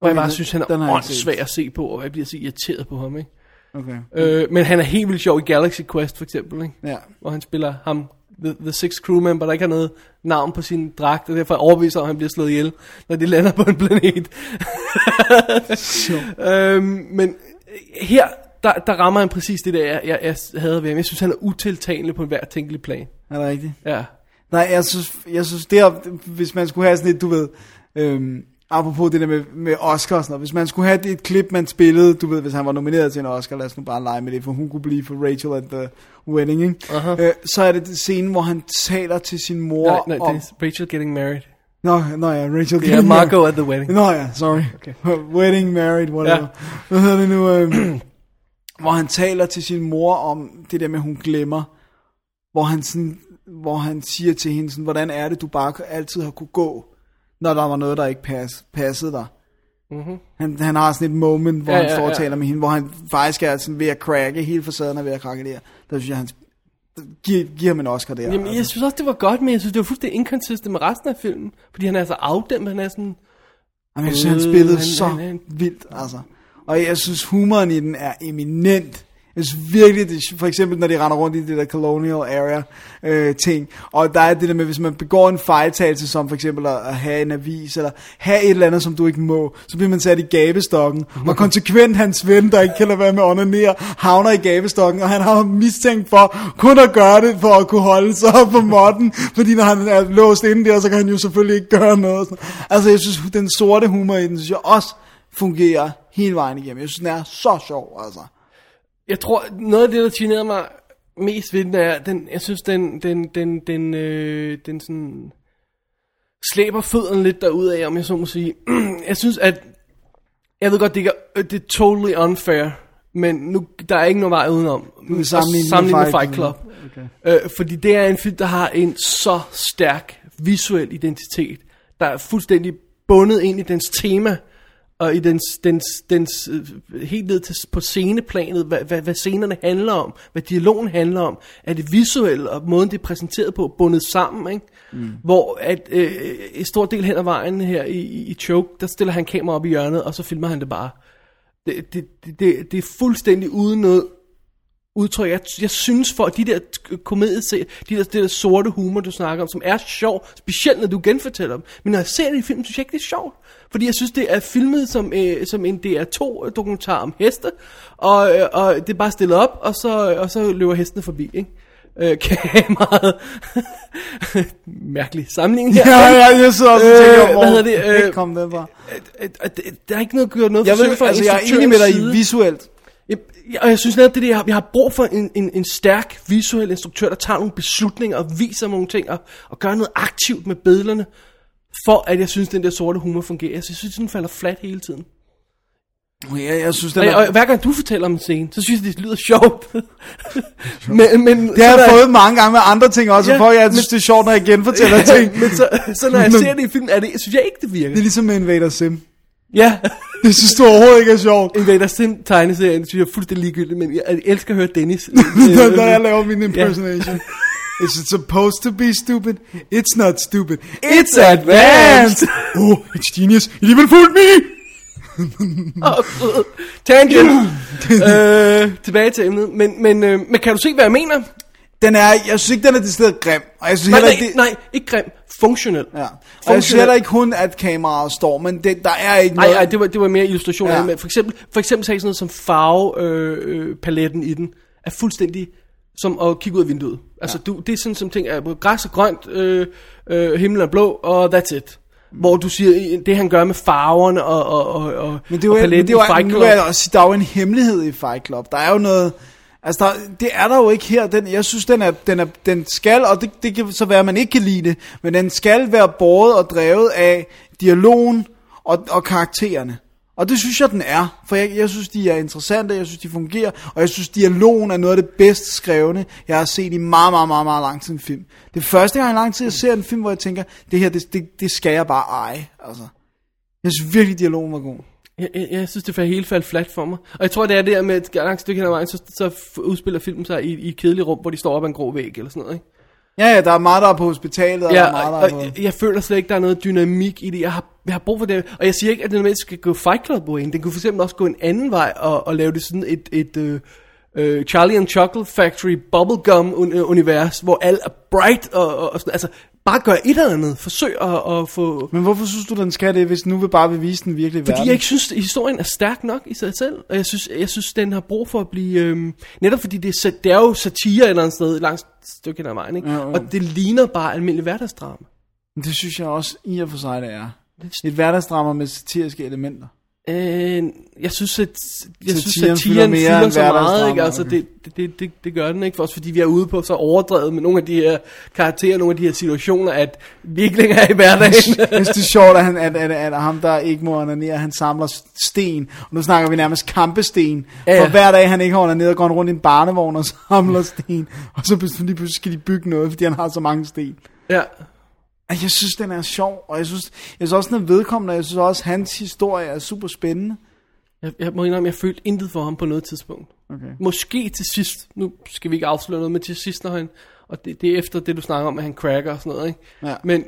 Speaker 1: Hvor jeg
Speaker 2: Okay,
Speaker 1: bare
Speaker 2: den-
Speaker 1: synes, han
Speaker 2: den har
Speaker 1: er
Speaker 2: jeg ikke set.
Speaker 1: åndssvag at se på, og jeg bliver så irriteret på ham, ikke?
Speaker 2: Okay.
Speaker 1: Øh, men han er helt vildt sjov i Galaxy Quest, for eksempel, ikke?
Speaker 2: Ja.
Speaker 1: Hvor han spiller ham, the, the Six Crewmember, der ikke har noget navn på sin dragt, og derfor er overbevist om, at han bliver slået ihjel, når de lander på en planet. øhm, men her, der, der rammer han præcis det der, jeg, jeg, jeg havde ved ham. Jeg synes, han er utiltalende på hver tænkelig plan.
Speaker 2: Er det rigtigt?
Speaker 1: Ja.
Speaker 2: Nej, jeg synes, jeg synes det her, hvis man skulle have sådan et, du ved, øhm, apropos det der med, med Oscar og sådan noget, hvis man skulle have det, et klip, man spillede, du ved, hvis han var nomineret til en Oscar, lad os nu bare lege med det, for hun kunne blive for Rachel at the wedding, ikke? Uh-huh. Øh, så er det den scene, hvor han taler til sin mor
Speaker 1: Nej, nej,
Speaker 2: om...
Speaker 1: Dennis, Rachel getting married.
Speaker 2: Nå, nå ja, Rachel
Speaker 1: Ja, yeah, Margot at the wedding.
Speaker 2: Nå ja, sorry.
Speaker 1: Okay.
Speaker 2: Okay. Wedding, married, whatever.
Speaker 1: Ja.
Speaker 2: Ja. Hvad hedder det nu? Øh, hvor han taler til sin mor om det der med, at hun glemmer. Hvor han, sådan, hvor han siger til hende, sådan, hvordan er det, du bare altid har kunne gå, når der var noget, der ikke pas, passede dig. Mm-hmm. Han, han har sådan et moment, hvor
Speaker 1: Ja,
Speaker 2: ja, han
Speaker 1: ja,
Speaker 2: står og
Speaker 1: ja.
Speaker 2: taler med hende, hvor han faktisk er sådan ved at cracke, hele facaden er ved at krakke der. Der synes jeg, han giver, giver ham en Oscar der.
Speaker 1: Jamen, jeg synes også, det var godt, men jeg synes, det var fuldstændig inconsistent med resten af filmen. Fordi han er så afdæmpet, han er sådan...
Speaker 2: Jamen, jeg synes,
Speaker 1: Øh,
Speaker 2: han spillede
Speaker 1: han-
Speaker 2: så
Speaker 1: han- han-
Speaker 2: vildt, altså. Og jeg synes, humoren i den er eminent. Jeg synes virkelig, det, er sj- for eksempel når de render rundt i det der colonial area øh, ting, og der er det der med, hvis man begår en fejltagelse, som for eksempel at, at have en avis, eller have et eller andet, som du ikke må, så bliver man sat i gabestokken, og konsekvent hans ven, der ikke kan lade være med at onanere, havner i gabestokken, og han har mistænkt for kun at gøre det, for at kunne holde sig på modden, fordi når han er låst inde der, så kan han jo selvfølgelig ikke gøre noget. Altså jeg synes, den sorte humor i den, synes jeg også fungerer hele vejen igennem. Jeg synes, den er så sjov, altså.
Speaker 1: Jeg tror, noget af det, der generede mig mest ved den, er, den, jeg synes, den, den, den, den, øh, den sådan slæber fødderne lidt derud af, om jeg så må sige. jeg synes, at... Jeg ved godt, det, ikke er, øh, det er totally unfair, men nu, der er ikke nogen vej udenom.
Speaker 2: vil sammenligne
Speaker 1: Og
Speaker 2: med
Speaker 1: sammenligne med
Speaker 2: Fight
Speaker 1: Fight Club.
Speaker 2: Club.
Speaker 1: Okay. Øh, fordi det er en film, der har en så stærk visuel identitet, der er fuldstændig bundet ind i dens tema, og i dens, dens, dens øh, helt ned til, på sceneplanet, hvad, hvad, hvad scenerne handler om, hvad dialogen handler om, er det visuelle og måden, det er præsenteret på, bundet sammen, ikke? Mm. hvor at, øh, en stor del hen ad vejen her i, i i Choke, der stiller han kamera op i hjørnet, og så filmer han det bare. Det, det, det, det, det er fuldstændig uden noget udtryk. Jeg, jeg synes for, at de der komedieserier, de der, det der sorte humor, du snakker om, som er sjov, specielt når du genfortæller dem, men når jeg ser det i film, synes jeg ikke, det er sjovt. Fordi jeg synes, det er filmet som, øh, som en DR2-dokumentar om heste, og, øh, og det er bare stillet op, og så, og så løber hestene forbi, ikke? Øh, kameraet. Mærkelig sammenligning her.
Speaker 2: ja, ja, jeg sidder også og tænker,
Speaker 1: Øh,
Speaker 2: hvor
Speaker 1: hvad hedder det, øh,
Speaker 2: det kom den fra.
Speaker 1: Øh, øh, øh, Der er ikke noget gjort noget
Speaker 2: Jeg,
Speaker 1: forsøg
Speaker 2: ved,
Speaker 1: fra
Speaker 2: altså, jeg er enig
Speaker 1: instruktørens
Speaker 2: med dig i
Speaker 1: side.
Speaker 2: visuelt.
Speaker 1: Jeg, jeg, og jeg synes netop, det der, vi har brug for en, en, en stærk visuel instruktør, der tager nogle beslutninger og viser nogle ting og, og gør noget aktivt med billederne, for at jeg synes, den der sorte humor fungerer. Jeg synes, den falder flat hele tiden.
Speaker 2: Jeg, jeg synes, den
Speaker 1: Og,
Speaker 2: er...
Speaker 1: og hver gang du fortæller om en scene, så synes jeg, det lyder sjovt. men, men,
Speaker 2: Det har
Speaker 1: så
Speaker 2: jeg
Speaker 1: når
Speaker 2: fået mange gange med andre ting også,
Speaker 1: Ja,
Speaker 2: for jeg synes, det er sjovt, når jeg genfortæller ting.
Speaker 1: men så, så når jeg
Speaker 2: Men-
Speaker 1: ser det i filmen, er det, synes jeg ikke, det
Speaker 2: Det
Speaker 1: virker.
Speaker 2: er ligesom med Invader Sim.
Speaker 1: Ja,
Speaker 2: Det synes du overhovedet ikke er sjovt.
Speaker 1: Invader Sim tegneserien, synes jeg er fuldstændig ligegyldigt, men jeg elsker at høre Dennis.
Speaker 2: når, når jeg laver min impersonation. Is it supposed to be stupid? It's not stupid. It's advanced! oh, it's genius. It even fooled me!
Speaker 1: Øh, Tangent. øh, tilbage til emnet. Men, men, øh, men kan du se, hvad jeg mener?
Speaker 2: Den er, jeg synes ikke, den er decideret grim. Og jeg synes
Speaker 1: Nej,
Speaker 2: heller
Speaker 1: nej,
Speaker 2: ikke, det,
Speaker 1: nej ikke grim. Funktionel.
Speaker 2: Ja. Og jeg synes heller ikke hun, at kameraet står, men det, der er ikke
Speaker 1: Nej,
Speaker 2: noget.
Speaker 1: nej, det var, det var mere illustrationer.
Speaker 2: Ja.
Speaker 1: Ja. For eksempel, for eksempel sagde sådan noget som farvepaletten øh, paletten i den, er fuldstændig som at kigge ud af vinduet. Altså, ja. du, det er sådan som ting, er både græs og grønt, øh, øh, himmel er blå, og that's it. Hvor du siger, øh, det han gør med farverne og, og, og, og,
Speaker 2: men det er
Speaker 1: og
Speaker 2: jo, men
Speaker 1: paletten
Speaker 2: det er
Speaker 1: i
Speaker 2: jo,
Speaker 1: Fight
Speaker 2: nu
Speaker 1: Club.
Speaker 2: er jeg også, sige, der er jo en hemmelighed i Fight Club. Der er jo noget... Altså, der, det er der jo ikke her. Den, jeg synes, den, er, den, er, den skal, og det, det kan så være, at man ikke kan lide det, men den skal være båret og drevet af dialogen og, og karaktererne. Og det synes jeg, den er. For jeg, jeg synes, de er interessante, jeg synes, de fungerer, og jeg synes, dialogen er noget af det bedst skrevne, jeg har set i meget, meget, meget, meget lang tid en film. Det er første gang i lang tid, jeg ser en film, hvor jeg tænker, det her, det, det, det skal jeg bare eje. Altså. Jeg synes virkelig, dialogen var god.
Speaker 1: Jeg, jeg, jeg synes, det faldt helt faldt flat for mig. Og jeg tror, det er det der med, at et langt stykke hen ad vejen, så, så f- udspiller filmen sig i, i et kedeligt rum, hvor de står op ad en grå væg eller sådan noget, ikke?
Speaker 2: Ja, ja, der er meget, der er på hospitalet, og ja, der
Speaker 1: Ja,
Speaker 2: er meget,
Speaker 1: og,
Speaker 2: der er
Speaker 1: og
Speaker 2: på...
Speaker 1: jeg, jeg føler slet ikke, der er noget dynamik i det. Jeg har, jeg har brug for det. Og jeg siger ikke, at den nødvendigvis skal gå Fight club vejen. Den kunne for eksempel også gå en anden vej og, og lave det sådan et... et øh, øh, Charlie and Chocolate Factory bubblegum un- øh, univers, hvor alt er bright og, og, og sådan, altså bare gør et eller andet, forsøg at, at få
Speaker 2: Men hvorfor synes du, den skal det, hvis den nu vil bare vil vise den virkelige verden?
Speaker 1: Fordi jeg ikke synes, at historien er stærk nok i sig selv, og jeg synes, jeg synes den har brug for at blive... Øhm, netop fordi det er, sat- det er jo satire et eller andet sted, et langt stykke hen ad vejen, ikke?
Speaker 2: Ja, ja.
Speaker 1: og det ligner bare almindelig hverdagsdrama.
Speaker 2: Det synes jeg også i og for sig, det er.
Speaker 1: Det-
Speaker 2: Et hverdagsdrama med satiriske elementer.
Speaker 1: Øh, jeg synes, at jeg synes,
Speaker 2: Satiren
Speaker 1: satiren
Speaker 2: fylder
Speaker 1: fylder,
Speaker 2: mere
Speaker 1: fylder
Speaker 2: end
Speaker 1: så meget,
Speaker 2: hverdagsdrama,
Speaker 1: ikke? Altså,
Speaker 2: okay.
Speaker 1: det, det- det, det, det, gør den ikke for os, fordi vi er ude på så overdrevet med nogle af de her karakterer, nogle af de her situationer, at vi ikke længere er i hverdagen.
Speaker 2: Jeg synes, det er sjovt, at, han, at, at, at ham, der ikke må onanere, han samler sten. Og nu snakker vi nærmest kampesten.
Speaker 1: Ja, ja.
Speaker 2: For hver dag, han ikke har onaneret, går han rundt i en barnevogn og samler sten. Og så pludselig lige pludselig skal de bygge noget, fordi han har så mange sten.
Speaker 1: ja.
Speaker 2: Ej, Jeg synes, den er sjov, og jeg synes, jeg synes også, den er vedkommende, og jeg synes også, hans historie er super spændende.
Speaker 1: Jeg, jeg må indrømme, jeg følte intet for ham på noget tidspunkt.
Speaker 2: Okay.
Speaker 1: Måske til sidst, nu skal vi ikke afsløre noget, men til sidst, når han, og det, det er efter det, du snakker om, at han cracker og sådan noget, ikke?
Speaker 2: Ja.
Speaker 1: Men,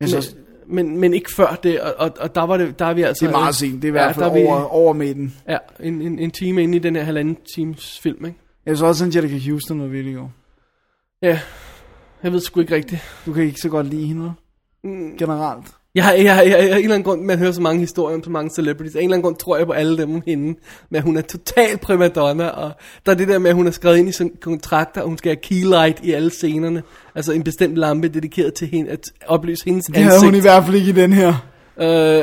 Speaker 2: Jeg synes,
Speaker 1: men, men, men ikke før det, og, og, og der, var det, der er vi altså...
Speaker 2: Det er meget sent, det er i hvert
Speaker 1: der
Speaker 2: fald
Speaker 1: er vi-
Speaker 2: over, over midten.
Speaker 1: Ja, en, en, en time inde i den her halvanden times film, ikke?
Speaker 2: Jeg så også Angelica Houston var virkelig god.
Speaker 1: Ja, jeg ved sgu ikke rigtigt.
Speaker 2: Du kan ikke så godt lide hende, mm. generelt.
Speaker 1: Jeg har, jeg, har- jeg, jeg, af en eller anden grund, man hører så mange historier om så mange celebrities, af en eller anden grund tror jeg på alle dem om hende, men hun er total primadonna, og der er det der med, at hun er skrevet ind i sine kontrakter, og hun skal have keylight i alle scenerne, altså en bestemt lampe dedikeret til hende, at oplyse hendes
Speaker 2: Det havde
Speaker 1: ansigt.
Speaker 2: hun i hvert fald ikke i den her.
Speaker 1: Øh, I, I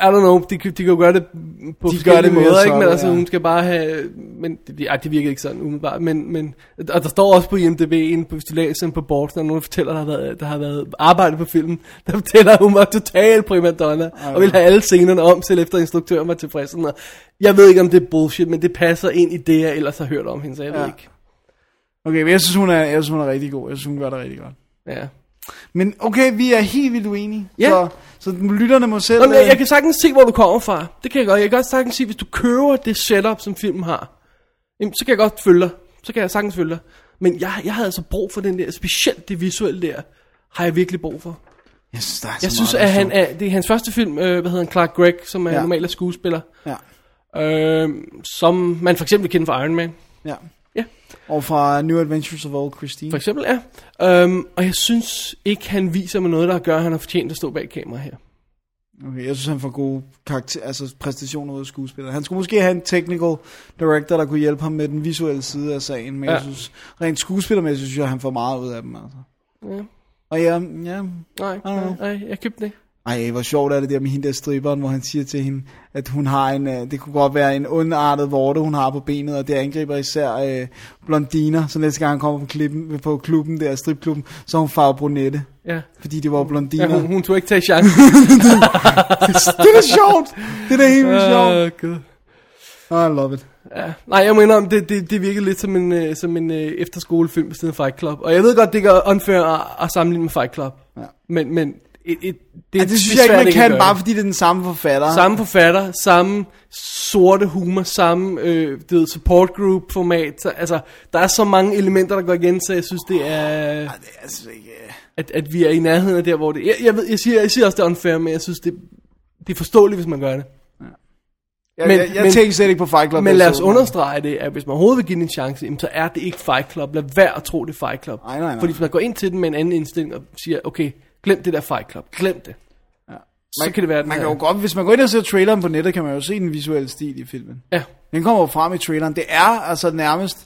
Speaker 1: don't know, de, kan- de kan jo gøre det på de
Speaker 2: gør det
Speaker 1: forskellige
Speaker 2: mere
Speaker 1: måder, ikke?
Speaker 2: sådan,
Speaker 1: men altså
Speaker 2: ja.
Speaker 1: hun skal bare have, men det, det- ej, det virker ikke sådan umiddelbart, men, men og der står også på IMDb, inde på, hvis du læser inde på boards, når nogen fortæller, der har været, der har været arbejdet på filmen, der fortæller, at hun var total primadonna, og ville have alle scenerne om, selv efter instruktøren var tilfreds. Sådan noget. Jeg ved ikke, om det er bullshit, men det passer ind i det, jeg ellers har hørt om hende, så jeg ja.
Speaker 2: Ja.
Speaker 1: ved ikke.
Speaker 2: Okay, men jeg synes, hun er, jeg synes, hun er rigtig god. Jeg synes, hun gør det rigtig godt.
Speaker 1: Ja.
Speaker 2: Men okay, vi er helt vildt uenige.
Speaker 1: Ja.
Speaker 2: Så, så lytterne må selv...
Speaker 1: Nå, men jeg,
Speaker 2: øh,
Speaker 1: jeg kan sagtens se, hvor du kommer fra. Det kan jeg godt. Jeg kan godt sagtens se, hvis du kører det setup, som filmen har, jamen, så kan jeg godt følge dig. Så kan jeg sagtens følge dig. Men jeg, jeg havde altså brug for den der, specielt det visuelle der, har jeg virkelig brug for.
Speaker 2: jeg synes, der er så
Speaker 1: Jeg synes,
Speaker 2: meget,
Speaker 1: at
Speaker 2: der
Speaker 1: han er, det er hans første film, øh, hvad hedder han, Clark Gregg, som er
Speaker 2: Ja.
Speaker 1: ja. normalt er skuespiller.
Speaker 2: Ja,
Speaker 1: Øh, som man for eksempel kender fra Iron Man.
Speaker 2: ja.
Speaker 1: Ja,
Speaker 2: Og fra New Adventures of Old Christine.
Speaker 1: for eksempel, ja. Øhm, og jeg synes ikke, han viser mig noget, der gør, at han har fortjent at stå bag kamera her.
Speaker 2: Okay, jeg synes, han får gode karakter, altså præstationer ud af skuespillere. Han skulle måske have en technical director, der kunne hjælpe ham med den visuelle side af sagen, men ja.
Speaker 1: Ja.
Speaker 2: jeg synes, rent skuespillermæssigt, synes jeg, han får meget ud af dem, altså.
Speaker 1: Ja.
Speaker 2: Og ja, ja.
Speaker 1: Nej,
Speaker 2: nej.
Speaker 1: nej, nej, jeg købte den ikke.
Speaker 2: Ej, hvor sjovt er det der med hende der striberen, hvor han siger til hende, at hun har en, øh, det kunne godt være en ondartet vorte, hun har på benet, og det angriber især øh, blondiner, så næste gang han kommer på, klippen, på klubben der, stripklubben, så er hun farvet brunette,
Speaker 1: Ja.
Speaker 2: fordi det var
Speaker 1: Ja,
Speaker 2: blondiner.
Speaker 1: hun, hun tog ikke tage chancen.
Speaker 2: det er da sjovt! Det er da helt vildt sjovt!
Speaker 1: Åh, Øh, Gud.
Speaker 2: I love it.
Speaker 1: Ja. Nej, jeg mener om det, det, det virkede lidt som en, øh, som en øh, efterskolefilm ved siden af Fight Club. Og jeg ved godt, det gør unfair at, at sammenligne med Fight Club.
Speaker 2: Ja.
Speaker 1: Men, men et, et, det,
Speaker 2: Ja, det synes jeg
Speaker 1: svært
Speaker 2: ikke, man
Speaker 1: at
Speaker 2: kan,
Speaker 1: gøre
Speaker 2: bare
Speaker 1: det.
Speaker 2: fordi det er den samme forfatter.
Speaker 1: Samme forfatter, samme sorte humor, samme øh, det ved, support group format. Så, altså, der er så mange elementer, der går igen, så jeg synes, det er...
Speaker 2: Det er altså ikke...
Speaker 1: at, at vi er i nærheden af der, hvor det... Jeg, jeg, ved, jeg, siger, jeg siger også, det er unfair, men jeg synes, det, det er forståeligt, hvis man gør det.
Speaker 2: Jeg, men,
Speaker 1: Men-
Speaker 2: jeg, jeg
Speaker 1: men-
Speaker 2: tænker slet ikke på Fight Club.
Speaker 1: Men
Speaker 2: jeg
Speaker 1: lad os
Speaker 2: så den.
Speaker 1: understrege det, at hvis man overhovedet vil give den en chance, jamen, så er det ikke Fight Club. Lad være at tro, det er Fight Club.
Speaker 2: Nej, nej, nej.
Speaker 1: Fordi hvis man går ind til den med en anden indstilling og siger, okay, glem det der Fight Club, glem det. Ja. Så kan det være, at den
Speaker 2: Man
Speaker 1: er-
Speaker 2: kan jo godt, hvis man går ind og ser traileren på nettet, kan man jo se den visuelle stil i filmen.
Speaker 1: Ja,
Speaker 2: Den kommer jo frem i traileren. Det er altså nærmest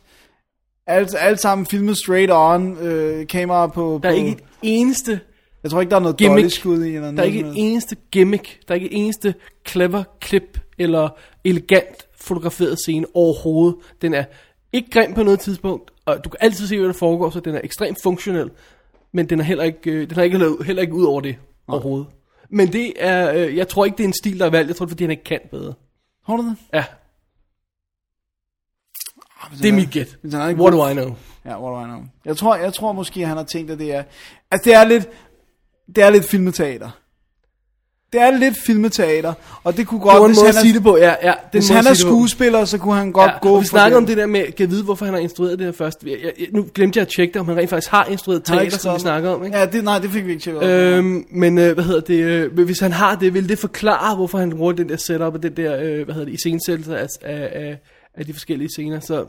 Speaker 2: alt, alt sammen filmet straight on, øh, kamera på...
Speaker 1: der er
Speaker 2: på
Speaker 1: ikke et eneste
Speaker 2: jeg tror ikke, der er noget
Speaker 1: gimmick.
Speaker 2: dårligt skud i. Eller
Speaker 1: Der er ikke et eneste gimmick, der er ikke et eneste clever klip eller elegant fotograferet scene overhovedet. Den er ikke grim på noget tidspunkt, og du kan altid se, hvad der foregår, så den er ekstremt funktionel, men den er heller ikke, øh, den har ikke, lavet- heller ikke ud over det overhovedet. Men det er, øh, jeg tror ikke, det er en stil, der er valgt, jeg tror, det er, fordi han ikke kan bedre.
Speaker 2: Har du det? Ah,
Speaker 1: Ja, det er mit gæt.
Speaker 2: Hvis han er ikke
Speaker 1: What do I know?
Speaker 2: Ja, what do I know? Jeg tror, jeg tror måske, han har tænkt, at det er... Altså, det er lidt... Det er lidt filmeteater. Det er lidt filmeteater, og det kunne godt...
Speaker 1: Det var en
Speaker 2: hvis
Speaker 1: måde at
Speaker 2: han er-
Speaker 1: sige det på, ja. ja det
Speaker 2: Hvis
Speaker 1: en måde
Speaker 2: han
Speaker 1: at
Speaker 2: er
Speaker 1: sige det på.
Speaker 2: skuespiller, så kunne han godt
Speaker 1: ja,
Speaker 2: gå
Speaker 1: og Vi
Speaker 2: for
Speaker 1: snakker om det der med, kan jeg vide, hvorfor han har instrueret det her først? Jeg, jeg, nu glemte jeg at tjekke det, om han rent faktisk har instrueret
Speaker 2: Han har ikke
Speaker 1: teater, som vi
Speaker 2: skrevet-
Speaker 1: snakker om, ikke?
Speaker 2: Ja, det, nej, det fik vi ikke tjekket. Øh,
Speaker 1: Øhm, men øh, hvad hedder det, øh, men hvis han har det, vil det forklare, hvorfor han bruger den der setup og den der, øh, hvad hedder det, iscenesættelse af, af, af, af de forskellige scener, så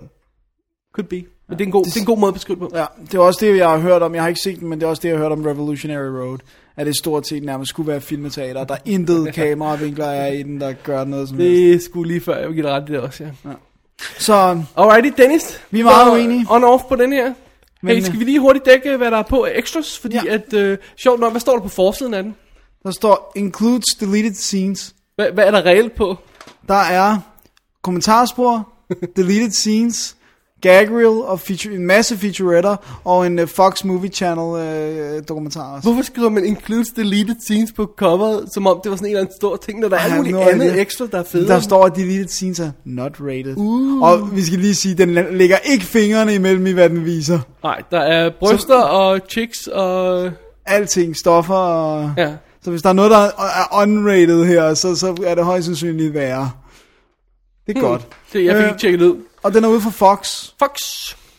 Speaker 1: could be. Men det, er en god, det er en god måde at beskrive det på.
Speaker 2: ja, det er også det, jeg har hørt om. Jeg har ikke set den, men det er også det, jeg har hørt om Revolutionary Road. At det stort set nærmest skulle være filmeteater. Der er intet kameravinkler er i den, der gør noget som helst.
Speaker 1: Det skulle lige før, jeg vil give dig ret i det også, ja.
Speaker 2: Så
Speaker 1: Alrighty, Dennis.
Speaker 2: Vi er meget
Speaker 1: Så,
Speaker 2: uenige.
Speaker 1: On-off på den her.
Speaker 2: Men, øh,
Speaker 1: Men, hey, skal vi lige hurtigt dække, hvad der er på af extras? Fordi
Speaker 2: Ja.
Speaker 1: ja. at, øh, sjovt nok, hvad står der på forsiden af den?
Speaker 2: der står includes deleted scenes.
Speaker 1: Hvad, hvad er der reelt på?
Speaker 2: Der er kommentarspor, deleted scenes, gag reel og feature, en masse featuretter og en uh, Fox Movie Channel uh, dokumentar også.
Speaker 1: Hvorfor skriver man includes deleted scenes på coveret, som om det var sådan en eller anden stor ting, når der er
Speaker 2: Ej,
Speaker 1: alt muligt
Speaker 2: nu er
Speaker 1: andet
Speaker 2: det-
Speaker 1: ekstra, der er federe?
Speaker 2: Der står, at deleted scenes er not rated. Uh. Og vi skal lige sige, den la- lægger ikke fingrene imellem i, hvad den viser.
Speaker 1: Nej, der er bryster så... og chicks og...
Speaker 2: Alting, stoffer og...
Speaker 1: Ja.
Speaker 2: Så hvis der er noget, der er er unrated her, så, så er det højst sandsynligt værre. Det er hmm. godt.
Speaker 1: Det, jeg fik
Speaker 2: Øh.
Speaker 1: ikke tjekket ud.
Speaker 2: Og den er ude for Fox.
Speaker 1: Fox!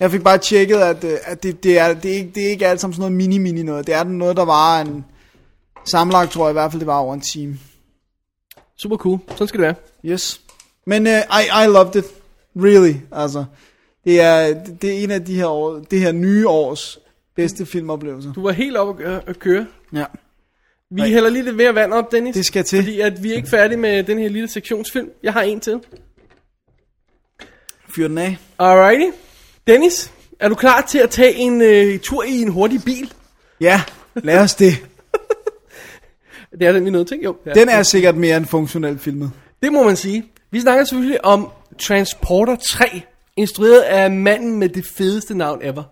Speaker 2: Jeg fik bare tjekket, at, øh, at det, det, er, det, er ikke, det er ikke alt sammen sådan noget mini-mini noget. Det er noget, der var en... Sammenlagt tror jeg i hvert fald, det var over en time.
Speaker 1: Super cool. Sådan skal det være.
Speaker 2: Yes. Men uh, I, I loved it. Really, altså. Det er, det det er en af de her, år, det her nye års bedste filmoplevelser.
Speaker 1: Du var helt oppe at, at køre.
Speaker 2: Ja.
Speaker 1: Vi hælder lige lidt mere vand op, Dennis.
Speaker 2: Det skal til.
Speaker 1: Fordi at vi er ikke færdige med den her lille sektionsfilm. Jeg har en til.
Speaker 2: Fyr den af.
Speaker 1: Alrighty. Dennis, er du klar til at tage en øh, tur i en hurtig bil?
Speaker 2: Ja, lad os det.
Speaker 1: Det er den, vi er nødt til, ikke? Jo. Ja.
Speaker 2: Den er sikkert mere end funktionelt filmet.
Speaker 1: Det må man sige. Vi snakker selvfølgelig om Transporter 3, instrueret af manden med det fedeste navn ever.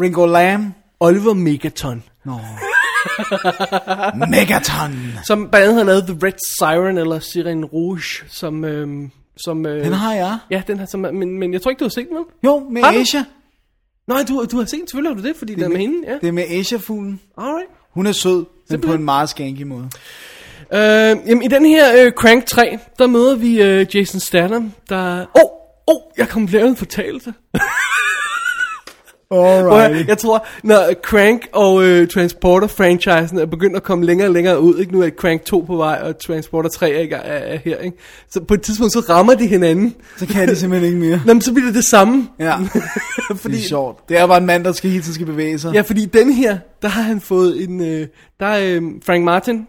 Speaker 2: Ringo Lam.
Speaker 1: Oliver Megaton.
Speaker 2: Nå. Megaton.
Speaker 1: Som blandt andet har lavet The Red Siren, eller Siren Rouge, som... Øhm, som øh,
Speaker 2: Den har jeg.
Speaker 1: Ja, den har som, men, men jeg tror ikke, du har set den, vel?
Speaker 2: Jo, med
Speaker 1: Har du?
Speaker 2: Asia.
Speaker 1: Nej, du, du har set den, selvfølgelig har du det, fordi det den er med hende, ja.
Speaker 2: Det er med Asia-fuglen.
Speaker 1: Alright.
Speaker 2: Hun er sød, men på
Speaker 1: Simpelthen.
Speaker 2: en meget skanky måde.
Speaker 1: Øh, jamen, i den her øh, Crank 3, der møder vi øh, Jason Statham, der... Åh, oh, åh, oh, jeg kom lavet en fortalelse. Hvor jeg,
Speaker 2: Alright.
Speaker 1: jeg tror, når Crank og øh, Transporter-franchisen er begyndt at komme længere og længere ud, ikke? nu er Crank 2 på vej, og Transporter 3 er, i gang- er, er her, ikke? så på et tidspunkt så rammer de hinanden.
Speaker 2: Så kan de simpelthen ikke mere.
Speaker 1: Nå, men så bliver det det samme.
Speaker 2: Ja,
Speaker 1: fordi,
Speaker 2: det er sjovt. Det er bare en mand, der skal hele tiden skal bevæge sig.
Speaker 1: Ja, fordi den her, der har han fået en... Øh, der er øh, Frank Martin,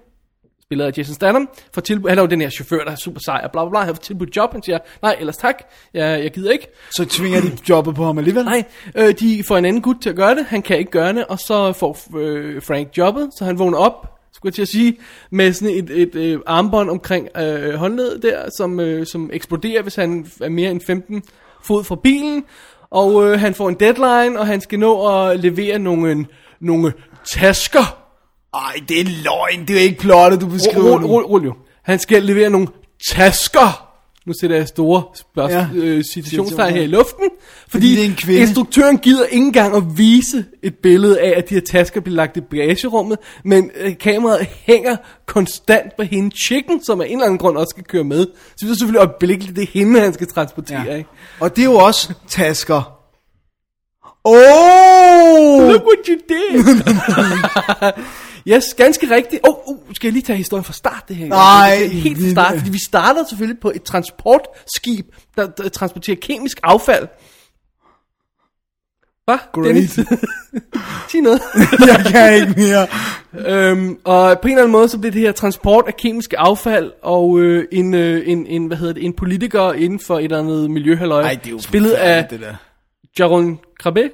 Speaker 1: spillet af Jason Statham, får tilbud, han er jo den her chauffør, der er super sej, og bla bla bla, han får tilbudt job, han siger, nej, ellers tak, jeg, jeg gider ikke.
Speaker 2: Så tvinger de jobbet på ham alligevel.
Speaker 1: Nej, øh, de får en anden gut til at gøre det, han kan ikke gøre det, og så får øh, Frank jobbet, så han vågner op, skulle jeg til at sige, med sådan et, et øh, armbånd omkring øh, håndledet der, som, øh, som eksploderer, hvis han er mere end 15 fod fra bilen, og øh, han får en deadline, og han skal nå at levere nogle, nogle tasker,
Speaker 2: Ej, det er løgn. Det er jo ikke plottet, du
Speaker 1: Rul,
Speaker 2: beskriver
Speaker 1: rul,
Speaker 2: nu.
Speaker 1: rul, rul jo. Han skal levere nogle tasker. Nu sætter jeg store spørgsmål,
Speaker 2: Ja.
Speaker 1: ja. øh, citationstegn her i luften. Fordi,
Speaker 2: det er en kvinde.
Speaker 1: instruktøren gider ikke engang at vise et billede af, at de her tasker bliver lagt i bagagerummet. Men øh, kameraet hænger konstant på hende chicken, som af en eller anden grund også skal køre med. Så det er selvfølgelig øjeblikkeligt, det er hende, han skal transportere. Ja. Ikke?
Speaker 2: Og det er jo også tasker. Oh!
Speaker 1: Look what you did! yes, ganske rigtigt. Åh, oh, uh, skal jeg lige tage historien fra start, det her?
Speaker 2: Nej,
Speaker 1: Det er Helt fra
Speaker 2: lille.
Speaker 1: start, fordi vi starter selvfølgelig på et transportskib, der, der transporterer kemisk affald. Hvad?
Speaker 2: Great.
Speaker 1: Dennis? Sig noget.
Speaker 2: Jeg kan ikke mere.
Speaker 1: øhm, og på en eller anden måde, så bliver det her transport af kemiske affald, og øh, en, øh, en, en, hvad hedder det, en politiker inden for et eller andet miljøhalløj,
Speaker 2: Ej, det er jo
Speaker 1: spillet af
Speaker 2: det der.
Speaker 1: Jaron Krabbe.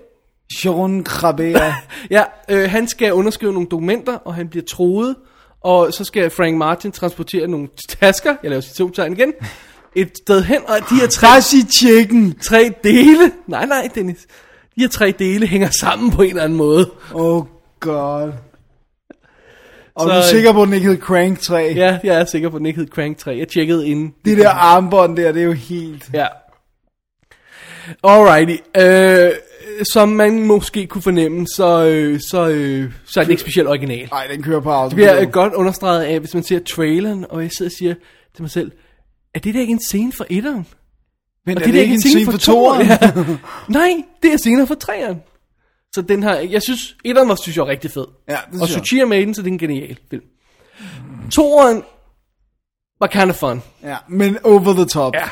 Speaker 2: Sharon Krabea.
Speaker 1: Ja, øh, han skal underskrive nogle dokumenter, og han bliver troet, og så skal Frank Martin transportere nogle tasker, jeg laver citationstegn igen, et sted hen, og de her tre,
Speaker 2: Trashy Chicken.
Speaker 1: tre dele, nej nej Dennis, de her tre dele hænger sammen på en eller anden måde.
Speaker 2: Oh god. Og
Speaker 1: Så-
Speaker 2: du er sikker på, at den ikke hed Crank 3?
Speaker 1: Ja, jeg er sikker på, at den ikke hed Crank 3, jeg tjekkede inden.
Speaker 2: Det der armbånd der, det er jo helt...
Speaker 1: Ja. Alrighty, øh, som man måske kunne fornemme, så, øh, så, øh, så er det ikke specielt original.
Speaker 2: Nej, den kører på auto.
Speaker 1: Det bliver øh, godt understreget af, hvis man ser traileren, og jeg sidder og siger til mig selv, er det der ikke en scene for etteren?
Speaker 2: Men
Speaker 1: Og
Speaker 2: er det, det ikke en scene for toeren?
Speaker 1: Ja. Nej, det er scener for treeren. Så den har, jeg synes, etteren var, synes jeg, var rigtig fed.
Speaker 2: Ja, det
Speaker 1: og
Speaker 2: synes jeg.
Speaker 1: Suchi er med i den, så det er en genial film. Toeren var kind of fun.
Speaker 2: ja, men over the top.
Speaker 1: Ja.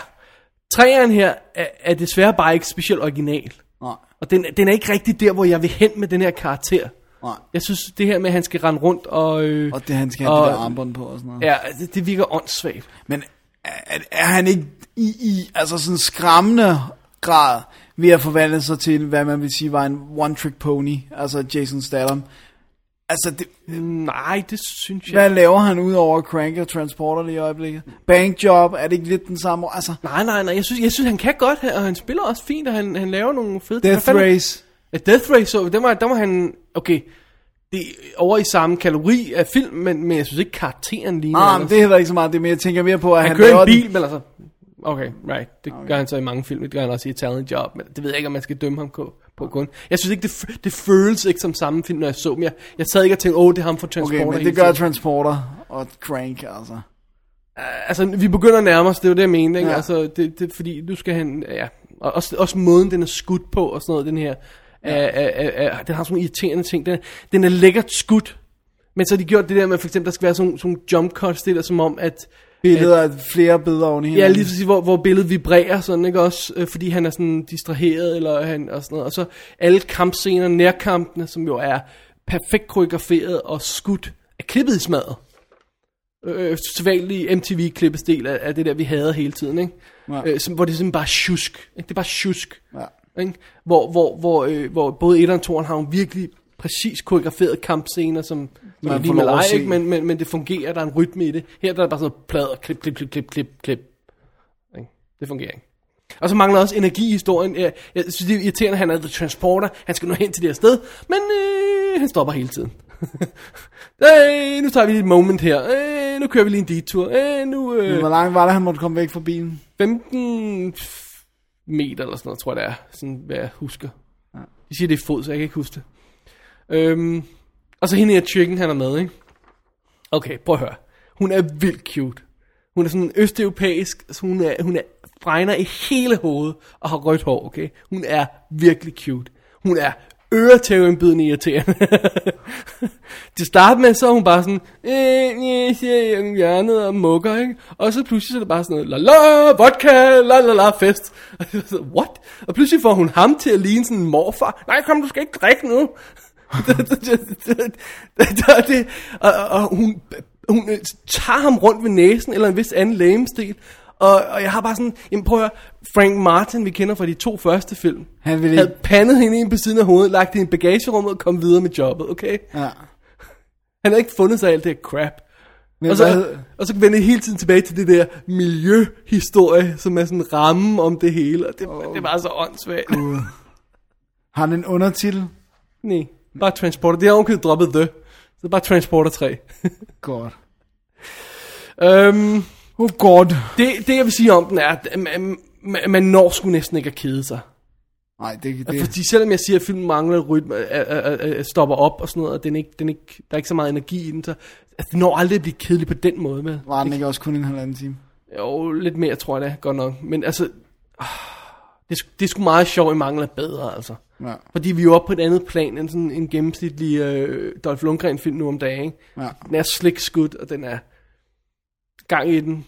Speaker 1: Treeren her er, er desværre bare ikke specielt original.
Speaker 2: Nej,
Speaker 1: Og den, den er ikke rigtig der, hvor jeg vil hen med den her karakter.
Speaker 2: nej.
Speaker 1: Jeg synes, det her med, at han skal rende rundt og... Øh,
Speaker 2: Og det, han skal have
Speaker 1: Og-
Speaker 2: det der armbånd på og sådan noget.
Speaker 1: ja, det, det virker åndssvagt.
Speaker 2: Men er, er han ikke i, i altså sådan skræmmende grad ved at forvandle sig til, hvad man vil sige var en one-trick pony, altså Jason Statham? Altså, det,
Speaker 1: Nej, det synes jeg
Speaker 2: hvad laver han ud over Crank og Transporter lige i øjeblikket? Bankjob, er det ikke lidt den samme? Altså,
Speaker 1: Nej, nej, nej. Jeg synes, jeg synes han kan godt, og han spiller også fint, og han, han laver nogle fede...
Speaker 2: Death
Speaker 1: Hvad fanden-
Speaker 2: Race.
Speaker 1: Ja, Death Race, så den var, den var han... Okay, det er over i samme kategori af film, men, men jeg synes ikke, karakteren ligner...
Speaker 2: Nej,
Speaker 1: ellers.
Speaker 2: men det er heller ikke så meget. Det er mere, jeg tænker mere på, at han,
Speaker 1: han, kører
Speaker 2: laver
Speaker 1: en bil,
Speaker 2: Den.
Speaker 1: men altså... Okay, right. Det okay. gør han så i mange film. Det gør han også i Italian Job. Men det ved jeg ikke, om man skal dømme ham på, på kun. Jeg synes ikke, det, f- det føles ikke som samme film, når jeg så dem. Jeg, jeg sad ikke og tænkte, åh, oh, det er ham fra Transporter.
Speaker 2: Okay, men
Speaker 1: hele
Speaker 2: det gør
Speaker 1: tiden."
Speaker 2: Transporter og Crank, altså.
Speaker 1: Altså, vi begynder at nærme os, det er jo det, jeg mente, ikke?
Speaker 2: Ja.
Speaker 1: Ja. Altså, det, det, fordi nu skal han, ja, og også, også måden, den er skudt på, og sådan noget, den her, ja. er, er, er, er- den har sådan nogle irriterende ting, den, er- den er lækkert skudt, men så har de gjort det der med, for eksempel, der skal være sådan, sådan nogle jump cuts, det der som om, at,
Speaker 2: Billeder, af flere billeder oven i
Speaker 1: ja,
Speaker 2: hinanden.
Speaker 1: lige præcis, hvor, hvor billedet vibrerer sådan, ikke også, øh, fordi han er sådan distraheret, eller han, og sådan noget, og så alle kampscener, nærkampene, som jo er perfekt koreograferet og skudt, er klippet i smadret. Øh, sædvanlig MTV-klippestil af, af det der, vi havde hele tiden, ikke?
Speaker 2: Ja.
Speaker 1: Ja. Øh, som, hvor det er simpelthen bare tjusk, ikke? det er bare tjusk.
Speaker 2: Ja.
Speaker 1: Ikke? Hvor, hvor, hvor, øh, hvor både 1 og 2 har jo virkelig præcis koreograferet kampscener, som
Speaker 2: Man
Speaker 1: man
Speaker 2: får
Speaker 1: lige
Speaker 2: lov
Speaker 1: med
Speaker 2: at
Speaker 1: lege,
Speaker 2: se.
Speaker 1: ikke? Men, men, men det fungerer, der er en rytme i det. Her der er der bare sådan noget plader, klip, klip, klip, klip, klip, klip. Ikke? Det fungerer ikke. Og så mangler også energi i historien. Jeg, jeg synes, det er irriterende, at han er the transporter. Han skal nå hen til det her sted, men øh, han stopper hele tiden. øh, nu tager vi lige et moment her. Øh, nu kører vi lige en detur. Øh, nu... Øh,
Speaker 2: Men Hvor langt var det, han måtte komme væk fra bilen?
Speaker 1: 15 meter eller sådan noget, tror jeg det er, sådan hvad jeg husker. De siger, det er fod, så jeg kan ikke huske det. Øhm, og så hende her chicken, han er med, ikke? Okay, prøv at høre. Hun er vildt cute. Hun er sådan østeuropæisk, så hun er, hun er fregner i hele hovedet og har rødt hår, okay? Hun er virkelig cute. Hun er øretæveindbydende irriterende. Til start med, så er hun bare sådan, øh, øh, siger jeg om hjørnet og mukker, ikke? Og så pludselig så er det bare sådan noget, la la, vodka, la la la, fest. Og så, så, what? Og pludselig får hun ham til at ligne sådan en morfar. Nej, kom, du skal ikke drikke nu. og, det, og, og hun, hun øh, tager ham rundt ved næsen, eller en vis anden lægemstil. Og, og jeg har bare sådan, jamen prøv at høre, Frank Martin, vi kender fra de to første film,
Speaker 2: Han ville
Speaker 1: havde
Speaker 2: ikke-
Speaker 1: pandet hende ind på siden af hovedet, lagt hende i bagagerummet og kom videre med jobbet, okay?
Speaker 2: Ja.
Speaker 1: Han har ikke fundet sig af alt det her crap.
Speaker 2: Men
Speaker 1: Og så, og så vender jeg hele tiden tilbage til det der miljøhistorie, som er sådan rammen om det hele, og det, oh. det var så åndssvagt.
Speaker 2: har den en undertitel?
Speaker 1: Nej, bare Transporter. Det har ovenkøbet droppet The. Så bare Transporter 3.
Speaker 2: Godt.
Speaker 1: øhm,
Speaker 2: Oh god.
Speaker 1: det, det jeg vil sige om den er, at man, man, man når sgu næsten ikke at kede sig.
Speaker 2: Nej, det,
Speaker 1: Det.
Speaker 2: det,
Speaker 1: Fordi selvom jeg siger, at filmen mangler rytme, øh, øh, øh, stopper op og sådan noget, og den ikke, den ikke, der er ikke så meget energi i den, så altså, den når aldrig at blive kedelig på den måde. Med.
Speaker 2: var den ikke også kun en halvanden time?
Speaker 1: Jo, lidt mere tror jeg da, godt nok. Men altså, ah, det, er sgu- det er sgu meget sjovt, at mangler bedre, altså.
Speaker 2: Ja.
Speaker 1: Fordi vi er jo oppe på et andet plan end sådan en gennemsnitlig øh, Dolph Lundgren-film nu om dagen. Ikke?
Speaker 2: ja.
Speaker 1: Den er slikskudt, og den er gang i den.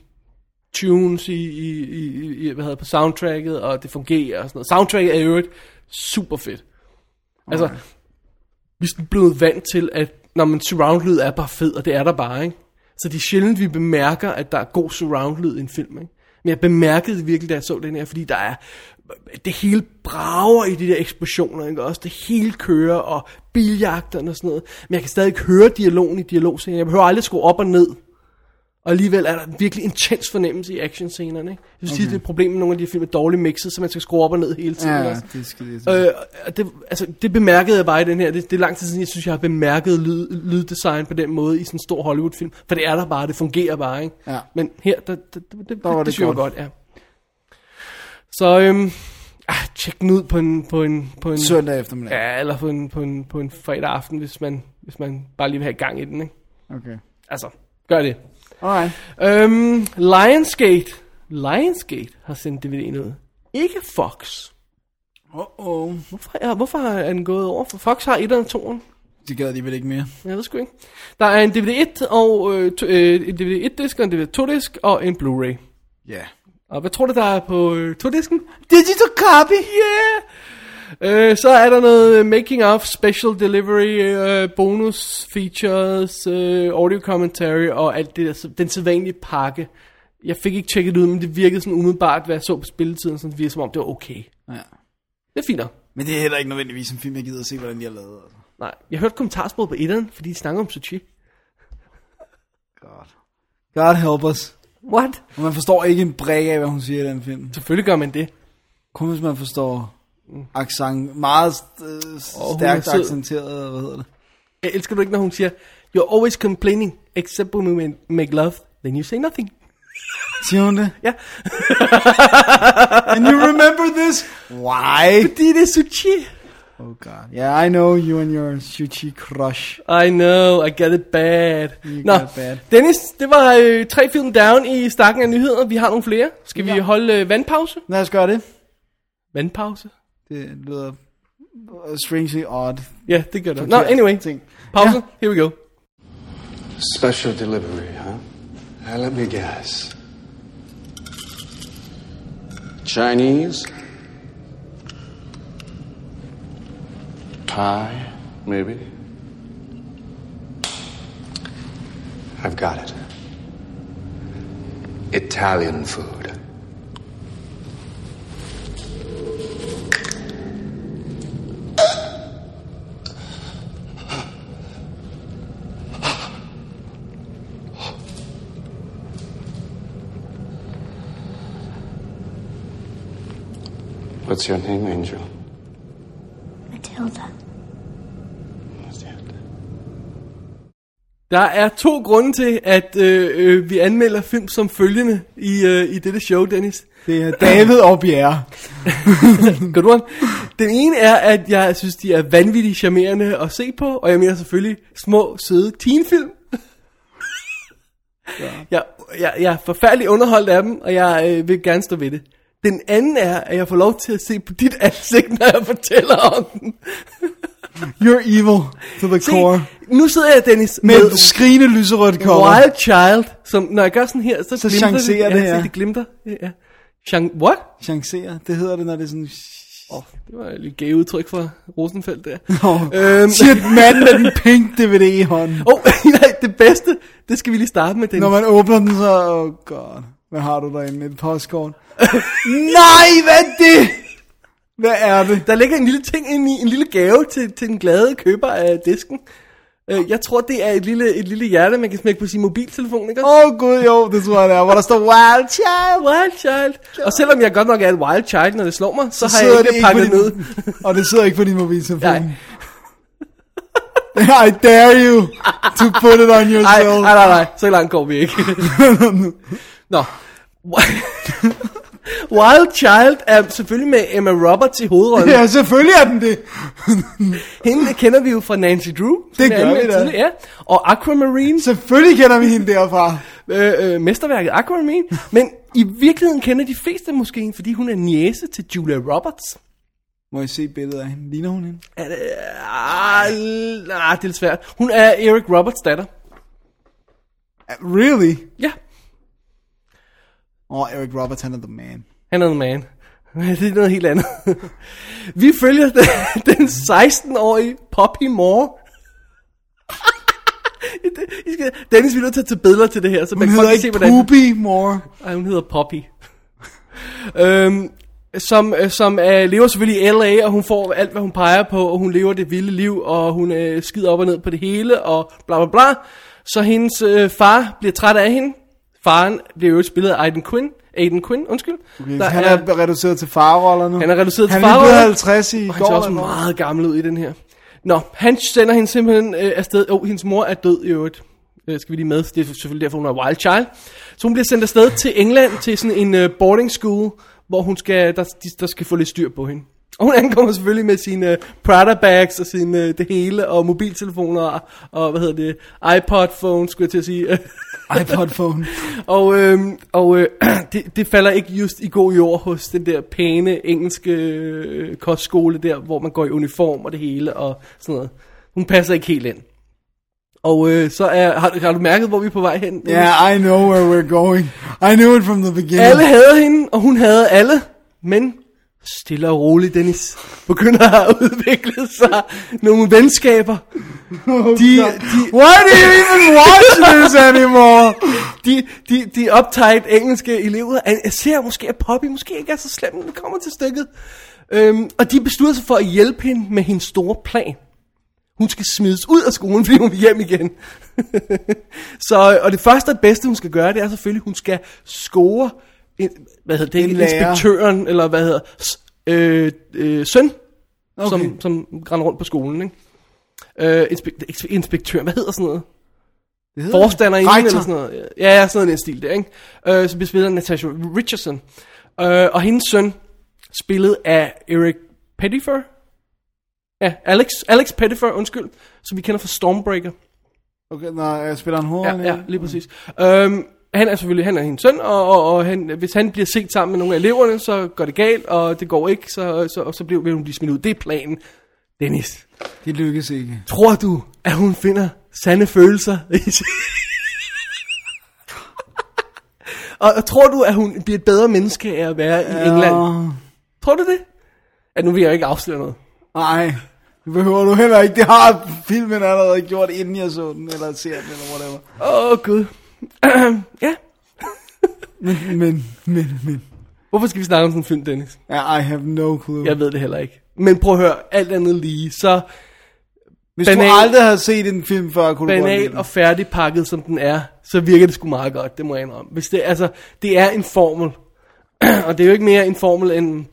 Speaker 1: Tunes i, i, i, i hvad hedder, det, på soundtracket, og det fungerer og sådan noget. Soundtracket er jo et super fedt. Altså, vi er sådan blevet vant til, at når man surround-lyd er bare fed, og det er der bare, ikke? Så det er sjældent, vi bemærker, at der er god surround-lyd i en film, ikke? Men jeg bemærkede det virkelig, da jeg så den her, fordi der er... Det hele brager i de der eksplosioner, ikke? Også det hele kører, og biljagterne og sådan noget. Men jeg kan stadig høre dialogen i dialogscenen. Jeg behøver aldrig skrue op og ned. Og alligevel er der en virkelig intens fornemmelse i actionscenerne, ikke? Jeg synes, okay. det er et problem med nogle af de her film er dårligt mixet, så man skal skrue op og ned hele tiden.
Speaker 2: Ja,
Speaker 1: også.
Speaker 2: det skal det.
Speaker 1: Øh, og det, altså, det bemærkede jeg bare i den her. Det, det er lang tid siden, jeg synes, jeg har bemærket lyd, lyddesign på den måde i sådan en stor Hollywood-film. For det er der bare, det fungerer bare, ikke?
Speaker 2: Ja.
Speaker 1: Men her, der, der, der, det, det,
Speaker 2: var
Speaker 1: det,
Speaker 2: det
Speaker 1: det synes jeg var
Speaker 2: godt.
Speaker 1: godt, ja. Så, øhm, ah, tjek den ud på en, på en, på en
Speaker 2: Søndag eftermiddag.
Speaker 1: ja, eller på en, på en, på en fredag aften, hvis man, hvis man bare lige vil have gang i den, ikke?
Speaker 2: Okay.
Speaker 1: Altså, gør det.
Speaker 2: Alright.
Speaker 1: Øhm, Lionsgate. Lionsgate har sendt DVD'en ud. Ikke Fox.
Speaker 2: Uh-oh.
Speaker 1: Hvorfor, er, hvorfor er den gået over? For Fox har 1 og 2'eren.
Speaker 2: Det gad de vel ikke mere.
Speaker 1: Jeg ved sgu ikke. Der er en DVD-1 og øh, to, øh, en DVD-1-disk og en DVD-2-disk og en Blu-ray.
Speaker 2: Ja. Yeah.
Speaker 1: Og hvad tror du, der er på øh, 2-disken?
Speaker 2: Digital copy!
Speaker 1: Yeah! Øh, så er der noget øh, making of, special delivery, øh, bonus features, øh, audio commentary og alt det der, så- den sædvanlige pakke. Jeg fik ikke tjekket det ud, men det virkede sådan umiddelbart, hvad jeg så på spilletiden, sådan det virkede som om det var okay.
Speaker 2: Ja.
Speaker 1: Det er fint nok.
Speaker 2: Men det er heller ikke nødvendigvis en film, jeg gider at se, hvordan de har lavet. Altså.
Speaker 1: Nej, jeg hørte kommentarsporet på etteren, fordi de snakker om Suchi.
Speaker 2: God. God help us.
Speaker 1: What?
Speaker 2: Og man forstår ikke en brik af, hvad hun siger i den film.
Speaker 1: Selvfølgelig gør man det.
Speaker 2: Kun hvis man forstår accent. Meget øh,
Speaker 1: hun
Speaker 2: stærkt
Speaker 1: er sød.
Speaker 2: accenteret, eller hvad hedder det?
Speaker 1: Jeg elsker du ikke, når hun siger, You're always complaining, except when we make love, then you say nothing.
Speaker 2: Siger hun det?
Speaker 1: Ja,
Speaker 2: And you remember this? Why?
Speaker 1: fordi det er sushi.
Speaker 2: Oh god. Yeah, I know you and your sushi crush.
Speaker 1: I know, I got it bad.
Speaker 2: You
Speaker 1: Nå,
Speaker 2: got it bad.
Speaker 1: Dennis, det var øh, tre film down i stakken af nyheder. Vi har nogle flere. Skal vi holde øh, vandpause?
Speaker 2: Lad os gøre det.
Speaker 1: Vandpause?
Speaker 2: Det lyder øh, strangely odd.
Speaker 1: Ja, det gør det. Nå, anyway.
Speaker 2: Ting.
Speaker 1: Pause. Here we go.
Speaker 4: Special delivery, huh? Now, let me guess.
Speaker 5: Chinese? Thai, maybe?
Speaker 4: I've got it. Italian food.
Speaker 5: What's your name, Angel?
Speaker 6: Matilda.
Speaker 5: That's it.
Speaker 1: Der er to grunde til, at øh, øh, vi anmelder film som følgende i, øh, i dette show, Dennis.
Speaker 2: Det er David og Bjerre.
Speaker 1: Good one. Den ene er, at jeg synes, de er vanvittigt charmerende at se på, og jeg mener selvfølgelig små, søde teenfilm. jeg, jeg, jeg er forfærdelig underholdt af dem, og jeg øh, vil gerne stå ved det. Den anden er, at jeg får lov til at se på dit ansigt, når jeg fortæller om den.
Speaker 2: You're evil to the core.
Speaker 1: Se, nu sidder jeg, Dennis,
Speaker 2: Med et skrigende lyserødt cover.
Speaker 1: Wild Child, som når jeg gør sådan her, så,
Speaker 2: Så
Speaker 1: glimter
Speaker 2: chancerer
Speaker 1: det.
Speaker 2: det,
Speaker 1: ja.
Speaker 2: ja.
Speaker 1: se, det glimter. Ja, ja. Chan- What?
Speaker 2: Chancere, det hedder det, når det er sådan... Oh.
Speaker 1: Det var et lidt gay udtryk fra Rosenfeldt der.
Speaker 2: Øhm. Shit, manden med den pink DVD i hånden.
Speaker 1: Åh, oh, nej, det bedste, det skal vi lige starte med, Dennis.
Speaker 2: Når man åbner den, så... Åh, oh god. Hvad har du derinde? Et postkort? Nej, hvad er det? Hvad er det?
Speaker 1: Der ligger en lille ting ind i, en lille gave til, til den glade køber af disken. Øh, jeg tror, det er et lille, et lille hjerte, man kan smække på sin mobiltelefon, ikke?
Speaker 2: Åh oh, gud, jo, det tror jeg det er, hvor der står Wild Child.
Speaker 1: Wild Child. Og selvom jeg godt nok er et wild child, når det slår mig, så, så har
Speaker 2: sidder
Speaker 1: jeg ikke
Speaker 2: på
Speaker 1: pakket ned.
Speaker 2: din, Og det sidder ikke på din mobiltelefon.
Speaker 1: Nej.
Speaker 2: I dare you to put it on
Speaker 1: Ej,
Speaker 2: yourself.
Speaker 1: nej, nej, nej, så langt går vi ikke. Nå. Wild Child er selvfølgelig med Emma Roberts i hovedrollen.
Speaker 2: Ja, selvfølgelig er den det.
Speaker 1: Hende kender vi jo fra Nancy Drew. som
Speaker 2: Det
Speaker 1: vi
Speaker 2: gør vi
Speaker 1: anmeldte
Speaker 2: da.
Speaker 1: tidligere, Ja. Og Aquamarine,
Speaker 2: Selvfølgelig kender vi hende derfra.
Speaker 1: øh, øh, mesterværket Aquamarine. Men i virkeligheden kender de fleste måske hende, fordi hun er niece til Julia Roberts.
Speaker 2: Må jeg se billedet af hende? Ligner hun hende?
Speaker 1: Er det, ah, l- ah, det er lidt svært. Hun er Eric Roberts datter.
Speaker 2: Really?
Speaker 1: Ja,
Speaker 2: Åh, oh, Eric Roberts, han er the man.
Speaker 1: han er en man. Det er noget helt andet. Vi følger den- den 16-årige Poppy Moore. I skal- Dennis, vi er nødt til at tage billeder til det her, så man
Speaker 2: Hun
Speaker 1: kan
Speaker 2: hedder
Speaker 1: godt se,
Speaker 2: ikke
Speaker 1: hvordan...
Speaker 2: Poopy Moore.
Speaker 1: Ej, hun hedder Poppy. øhm, som øh, som øh, lever selvfølgelig i LA, og hun får alt, hvad hun peger på, og hun lever det vilde liv, og hun øh, skider op og ned på det hele, og bla bla bla. Så hendes øh, far bliver træt af hende. Faren bliver jo spillet af Aiden Quinn. Aiden Quinn, undskyld.
Speaker 2: Okay, der han er, er reduceret til farroller nu.
Speaker 1: Han er reduceret til
Speaker 2: han
Speaker 1: farroller.
Speaker 2: Han er blevet 50 i
Speaker 1: og han
Speaker 2: går.
Speaker 1: ser også
Speaker 2: eller noget.
Speaker 1: meget gammel ud i den her. Nå, han sender hende simpelthen øh, afsted. Jo, oh, hendes mor er død i øvrigt. Øh, skal vi lige med. Det er selvfølgelig derfor, hun er wild child. Så hun bliver sendt afsted til England, til sådan en øh, boarding school, hvor hun skal, der, de, der skal få lidt styr på hende. Og hun ankommer selvfølgelig med sine øh, Prada bags og sine øh, det hele, og mobiltelefoner, og, og hvad hedder det, iPod phone, skulle jeg til at sige.
Speaker 2: iPod phone.
Speaker 1: Og, øhm, og øh, det, det falder ikke just i god jord hos den der pæne engelske øh, kostskole der, hvor man går i uniform og det hele og sådan noget. Hun passer ikke helt ind. Og øh, så er, har, du- har du mærket, hvor vi er på vej hen?
Speaker 2: Yeah, I know where we're going. I knew it from the beginning.
Speaker 1: Alle havde hende, og hun havde alle, men stille og roligt, Dennis, begynder at udvikle sig nogle venskaber. De, de,
Speaker 2: Why do you even watch this anymore?
Speaker 1: de, de, de optaget engelske elever an- jeg ser måske, at Poppy måske ikke er så slem, når det kommer til stykket. Øhm, og de beslutter sig for at hjælpe hende med hendes store plan. Hun skal smides ud af skolen, fordi hun vil hjem igen. så, og det første og det bedste, hun skal gøre, det er selvfølgelig, hun skal score, en, hvad hedder det,
Speaker 2: En
Speaker 1: ikke
Speaker 2: lærer.
Speaker 1: inspektøren, eller hvad hedder, s- øh, øh, søn, okay.
Speaker 2: Okay.
Speaker 1: som, som render rundt på skolen, ikke? Øh, inspe- inspe- inspektør, hvad hedder sådan noget?
Speaker 2: Det hedder
Speaker 1: forstander inden,
Speaker 2: Rektor.
Speaker 1: eller sådan noget. Ja, ja, sådan noget i den stil der, ikke? Øh, så bliver spillet af Natasha Richardson. Øh, og hendes søn, spillet af Eric Pettifer. Ja, Alex, Alex Pettifer, undskyld, som vi kender fra Stormbreaker.
Speaker 2: Okay, nej, jeg spiller en hård.
Speaker 1: Ja, ja lige præcis. Øhm, han er selvfølgelig, han er hendes søn, og, og, og han, hvis han bliver set sammen med nogle af eleverne, så går det galt, og det går ikke, så, så, og så bliver, vil hun blive smidt ud. Det er planen. Dennis,
Speaker 2: Det lykkes ikke.
Speaker 1: tror du, at hun finder sande følelser i sin- Og og tror du, at hun bliver et bedre menneske af at være i England? Tror du det? At nu vil jeg jo ikke afsløre noget.
Speaker 2: Nej, det behøver du heller ikke. Det har filmen allerede gjort, inden jeg så den, eller ser den, eller whatever.
Speaker 1: Åh, oh, Gud. ja.
Speaker 2: Men, men, men, men.
Speaker 1: Hvorfor skal vi snakke om sådan en film, Dennis?
Speaker 2: Ja, I have no clue.
Speaker 1: Jeg ved det heller ikke. Men prøv at høre, alt andet lige, så
Speaker 2: Hvis
Speaker 1: banal-
Speaker 2: du aldrig havde set en film før, kunne du godt lide
Speaker 1: banal
Speaker 2: den.
Speaker 1: og færdigpakket som den er, så virker det sgu meget godt, det må jeg indrømme. Hvis det, altså, det er en formel, og det er jo ikke mere en formel end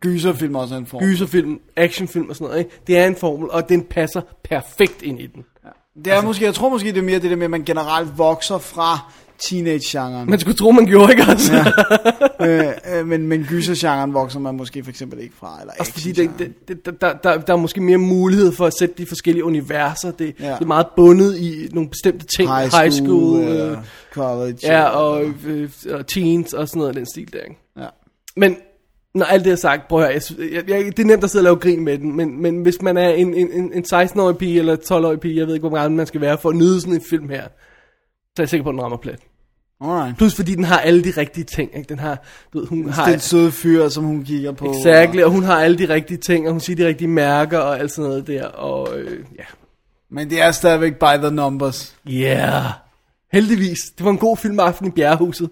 Speaker 2: Gyserfilm også er en form.
Speaker 1: gyserfilm, actionfilm og sådan noget. Ikke? Det er en formel, og den passer perfekt ind i den.
Speaker 2: Det er altså, måske, jeg tror måske, det er mere det der med, at man generelt vokser fra teenage-genren.
Speaker 1: Man skulle tro, man gjorde, ikke altså? Ja.
Speaker 2: øh, øh, men men gyser-genren vokser man måske for eksempel ikke fra. Eller
Speaker 1: Også fordi det,
Speaker 2: action-genren.
Speaker 1: det, det, der- der, der, der er måske mere mulighed for at sætte de forskellige universer. Det, ja.
Speaker 2: Ja.
Speaker 1: det er meget bundet i nogle bestemte ting.
Speaker 2: high school,
Speaker 1: High school
Speaker 2: eller
Speaker 1: øh,
Speaker 2: college.
Speaker 1: ja, og, øh, og teens og sådan noget af den stil der. Ikke?
Speaker 2: ja.
Speaker 1: Men når alt det er sagt, prøv at høre, jeg, sy- jeg, jeg, det er nemt at sidde og lave grin med den, men, men hvis man er en, en, en- en 16-årig pige eller 12-årig pige, jeg ved ikke, hvor gammel man skal være for at nyde sådan en film her, så er jeg sikker på, at den rammer plet.
Speaker 2: Alright.
Speaker 1: Plus fordi den har alle de rigtige ting, ikke? Den har, du ved, hun har...
Speaker 2: Den søde fyr, som hun kigger på.
Speaker 1: Exactly, og hun har alle de rigtige ting, og hun siger de rigtige mærker og alt sådan noget der, og øh, ja.
Speaker 2: Men det er stadigvæk by the numbers.
Speaker 1: Yeah. Heldigvis. Det var en god filmaften i bjerrehuset.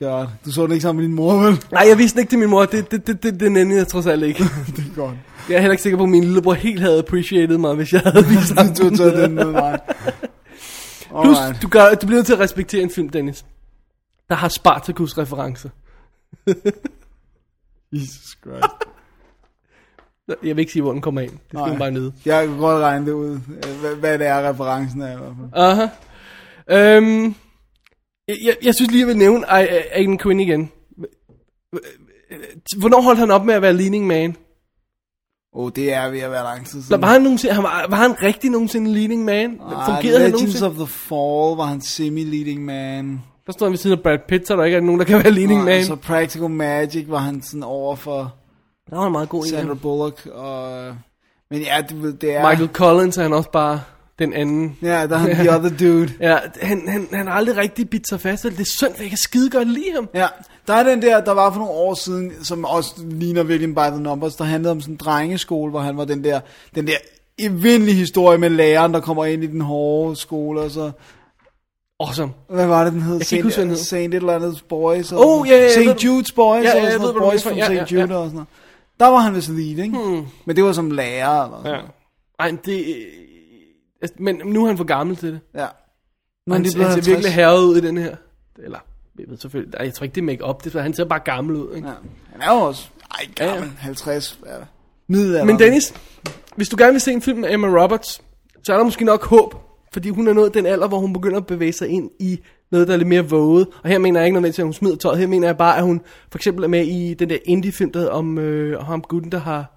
Speaker 2: God. Du så det ikke sammen med din mor, vel?
Speaker 1: Nej, jeg vidste den ikke til min mor. Det, det, det, det, det nændede jeg trods alt ikke.
Speaker 2: det er godt.
Speaker 1: Jeg er heller ikke sikker på, at min lillebror helt havde appreciated mig, hvis jeg havde vist ham.
Speaker 2: Du har taget den med mig.
Speaker 1: Plus,
Speaker 2: Alright.
Speaker 1: du, gør, du bliver nødt til at respektere en film, Dennis, der har Spartacus-referencer.
Speaker 2: Jesus Christ.
Speaker 1: Jeg vil ikke sige, hvor den kommer ind. Det skal
Speaker 2: Nej.
Speaker 1: man bare nyde.
Speaker 2: Jeg kan godt regne det ud, øh, hvad, hvad det er, referencen er i hvert fald.
Speaker 1: Aha. Øhm, jeg, jeg, jeg synes lige, jeg vil nævne A- A- Aiden Quinn igen. Hvornår holdt han op med at være leading man?
Speaker 2: Åh, oh, det er ved at være lang tid
Speaker 1: Eller
Speaker 2: siden.
Speaker 1: var han, nogensinde, han var, var han rigtig nogensinde leading man?
Speaker 2: Ah,
Speaker 1: Fungerede han
Speaker 2: Legends
Speaker 1: nogensinde?
Speaker 2: of the Fall var han semi-leading man.
Speaker 1: Der står han ved siden af Brad Pitt, så der ikke er nogen, der kan være leading
Speaker 2: Og
Speaker 1: man.
Speaker 2: så Practical Magic var han sådan over for
Speaker 1: Der var en meget god en.
Speaker 2: Sandra Bullock. Og... Men ja, du ved, det er...
Speaker 1: Michael Collins er han også bare den anden.
Speaker 2: Ja, der er han the other dude.
Speaker 1: Ja, han, han, han har aldrig rigtig bidt sig fast. vel? Det er synd, for jeg kan skide godt lide ham.
Speaker 2: Ja, der er den der, der var for nogle år siden, som også ligner virkelig By the Numbers, der handlede om sådan en drengeskole, hvor han var den der, den der evindelige historie med læreren, der kommer ind i den hårde skole, og så,
Speaker 1: Awesome.
Speaker 2: hvad var det, den hed?
Speaker 1: Jeg kan ikke huske, hvad den hed.
Speaker 2: Saint et eller andet Boys. og-
Speaker 1: Oh, ja, ja, jeg ved-
Speaker 2: Saint Jude's Boys,
Speaker 1: Ja, ja, jeg
Speaker 2: og sådan noget,
Speaker 1: ved, hvad du
Speaker 2: Boys
Speaker 1: mener.
Speaker 2: from
Speaker 1: Ja,
Speaker 2: Saint
Speaker 1: ja, ja.
Speaker 2: Jude, og sådan noget. Der var han vist lead, ikke? Hmm. Men det var som lærer, eller sådan
Speaker 1: Ja. Ej, men det... altså, Men nu er han for gammel til det.
Speaker 2: Ja.
Speaker 1: Men han,
Speaker 2: de
Speaker 1: det
Speaker 2: er
Speaker 1: han ser
Speaker 2: 50.
Speaker 1: virkelig herret ud i den her. Eller, jeg ved selvfølgelig, Ej, jeg tror ikke, det er make-up. Det, er- han ser bare gammel ud. Ikke?
Speaker 2: Ja. Han er jo også, ej,
Speaker 1: ja.
Speaker 2: gammel, 50, ja. Middelalderen.
Speaker 1: Men Dennis, hvis du gerne vil se en film med Emma Roberts, så er der måske nok håb. Fordi hun er nået den alder, hvor hun begynder at bevæge sig ind i noget, der er lidt mere våget. Og her mener jeg ikke nødvendigvis, at hun smider tøjet. Her mener jeg bare, at hun for eksempel er med i den der indie-film, der hedder om, øh, om gutten, der har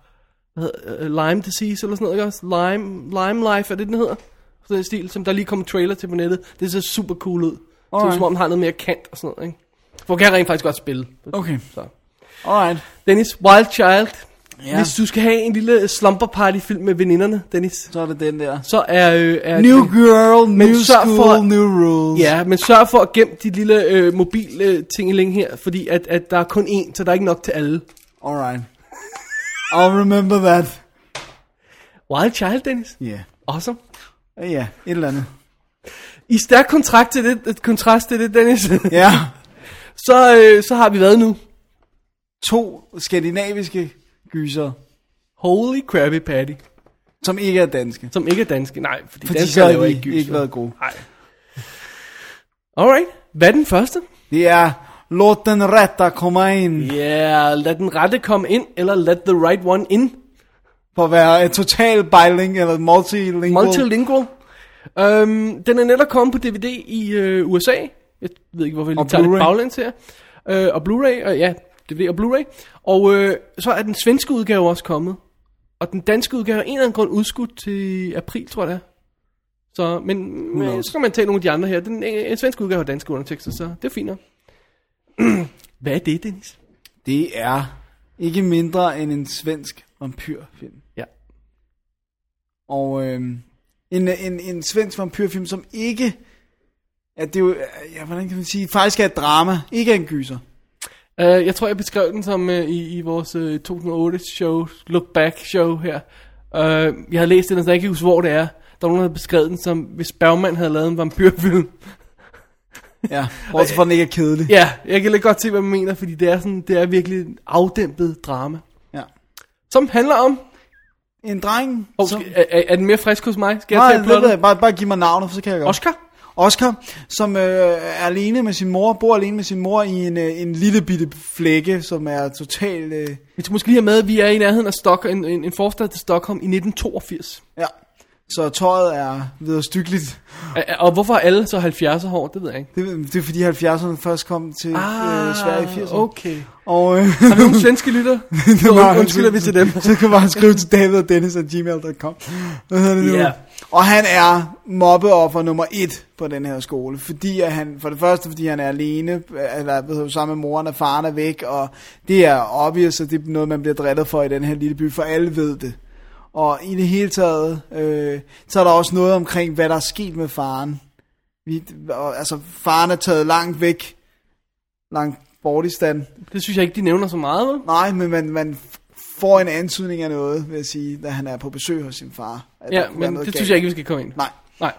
Speaker 1: hvad hedder, øh, Lyme disease eller sådan noget. Ikke også? Lyme, Lyme Life, er det den hedder? Sådan en stil, som der lige kom en trailer til på nettet. Det ser super cool ud. Så
Speaker 2: Alright.
Speaker 1: som om den har noget mere kant og sådan noget. Ikke? Hvor kan jeg rent faktisk godt spille.
Speaker 2: Okay.
Speaker 1: Så.
Speaker 2: Alright.
Speaker 1: Dennis, Wild Child. Ja.
Speaker 2: Ja.
Speaker 1: Hvis du skal have en lille slumber party film med veninderne, Dennis,
Speaker 2: Så er det den der.
Speaker 1: så er... Øh, er
Speaker 2: New girl,
Speaker 1: Men
Speaker 2: new
Speaker 1: sørg
Speaker 2: school,
Speaker 1: for-
Speaker 2: new rules.
Speaker 1: Ja, men sørg for at gemme dit lille øh, mobil øh, tingeling her, fordi at, at der er kun én, så der er ikke nok til alle.
Speaker 2: Alright. I'll remember that.
Speaker 1: Wild Child, Dennis.
Speaker 2: Ja.
Speaker 1: Awesome.
Speaker 2: Yeah. Ja, et eller andet.
Speaker 1: I stærk kontrakt til det, et kontrast til det, Dennis,
Speaker 2: Ja.
Speaker 1: så, øh, så har vi været nu.
Speaker 2: To skandinaviske gyser,
Speaker 1: Holy Krabby Patty,
Speaker 2: som ikke er danske.
Speaker 1: som ikke er danske. Nej, fordi,
Speaker 2: Fordi
Speaker 1: danskere
Speaker 2: så har
Speaker 1: laver
Speaker 2: de
Speaker 1: ikke gyser.
Speaker 2: ikke været gode.
Speaker 1: Nej. Alright, hvad er den første?
Speaker 2: Det er, låt den rette komme ind.
Speaker 1: Ja, yeah, lad den rette komme ind, eller let the right one in.
Speaker 2: For at være en total biling eller multilingual.
Speaker 1: Multilingual. Øhm, den er netop kommet på DVD i øh, USA. Jeg ved ikke, hvorfor jeg lige
Speaker 2: Og
Speaker 1: tager det
Speaker 2: Blu-ray.
Speaker 1: baglæns her. Øh, og Blu-ray, og ja, DVD og Blu-ray. Og øh, så er den svenske udgave også kommet. Og den danske udgave er af en eller anden grund udskudt til april, tror jeg det er. Så, men øh,
Speaker 2: knows?
Speaker 1: så kan man tage nogle af de andre her. Den øh, svenske udgave har danske undertekster, så det er fint nok. Hvad er det, Dennis?
Speaker 2: Det er ikke mindre end en svensk vampyrfilm.
Speaker 1: Ja.
Speaker 2: Og øhm, en, en, en svensk vampyrfilm, som ikke... At det er jo, ja, hvordan kan man sige, faktisk er et drama, ikke er en gyser.
Speaker 1: Uh, jeg tror, jeg beskrev den som uh, i, i vores uh, 2008-show, Look Back-show her. Uh, jeg havde læst den, og så jeg kan ikke huske, hvor det er. Der var nogen, der havde beskrevet den som, hvis Bergman havde lavet en vampyrfilm.
Speaker 2: Ja, bortset fra, at den ikke er kedelig.
Speaker 1: ja, jeg kan lidt godt se, hvad man mener, fordi det er, sådan, det er virkelig en afdæmpet drama.
Speaker 2: Ja.
Speaker 1: Som handler om...
Speaker 2: En dreng,
Speaker 1: Oh,
Speaker 2: som...
Speaker 1: skal, er, er, er den mere frisk hos mig? Skal
Speaker 2: Nej,
Speaker 1: jeg tage
Speaker 2: det ved jeg,
Speaker 1: plottet?
Speaker 2: bare, bare giv mig navnet, for så kan jeg godt.
Speaker 1: Oscar?
Speaker 2: Oscar, som øh, er alene med sin mor, bor alene med sin mor i en, øh, en lille bitte flække, som er totalt... Øh,
Speaker 1: Vi skal måske lige have med, at vi er i nærheden af Stockholm, en, en, en forstad til Stockholm i 1982.
Speaker 2: ja, Så tøjet er vederstykkeligt.
Speaker 1: Og- Og hvorfor er alle så 70'er hår, det ved jeg ikke.
Speaker 2: Det, det er fordi 70'erne først kom til ah, øh, Sverige i 80'erne.
Speaker 1: okay.
Speaker 2: Og, øh,
Speaker 1: Har vi nogle svenske lytter? Så und- undskylder vi til dem.
Speaker 2: Så kan man bare skrive til david og dennis at gmail.com. Hvad hedder det nu?
Speaker 1: Ja.
Speaker 2: Og han er mobbeoffer nummer et på den her skole. Fordi at han, for det første, fordi han er alene, øh, eller ved du, sammen med moren og faren er væk, og det er obvious, og det er noget, man bliver drillet for i den her lille by, for alle ved det. Og i det hele taget, øh, så er der også noget omkring, hvad der er sket med faren. Vi, og, altså, faren er taget langt væk, langt bort i stand.
Speaker 1: Det synes jeg ikke, de nævner så meget, vel?
Speaker 2: Nej, men man, man f- får en antydning af noget, vil jeg sige, da han er på besøg hos sin far. At der
Speaker 1: Ja,
Speaker 2: kunne være
Speaker 1: men
Speaker 2: noget
Speaker 1: det
Speaker 2: galt.
Speaker 1: synes jeg ikke, vi skal komme ind. på.
Speaker 2: Nej.
Speaker 1: Nej.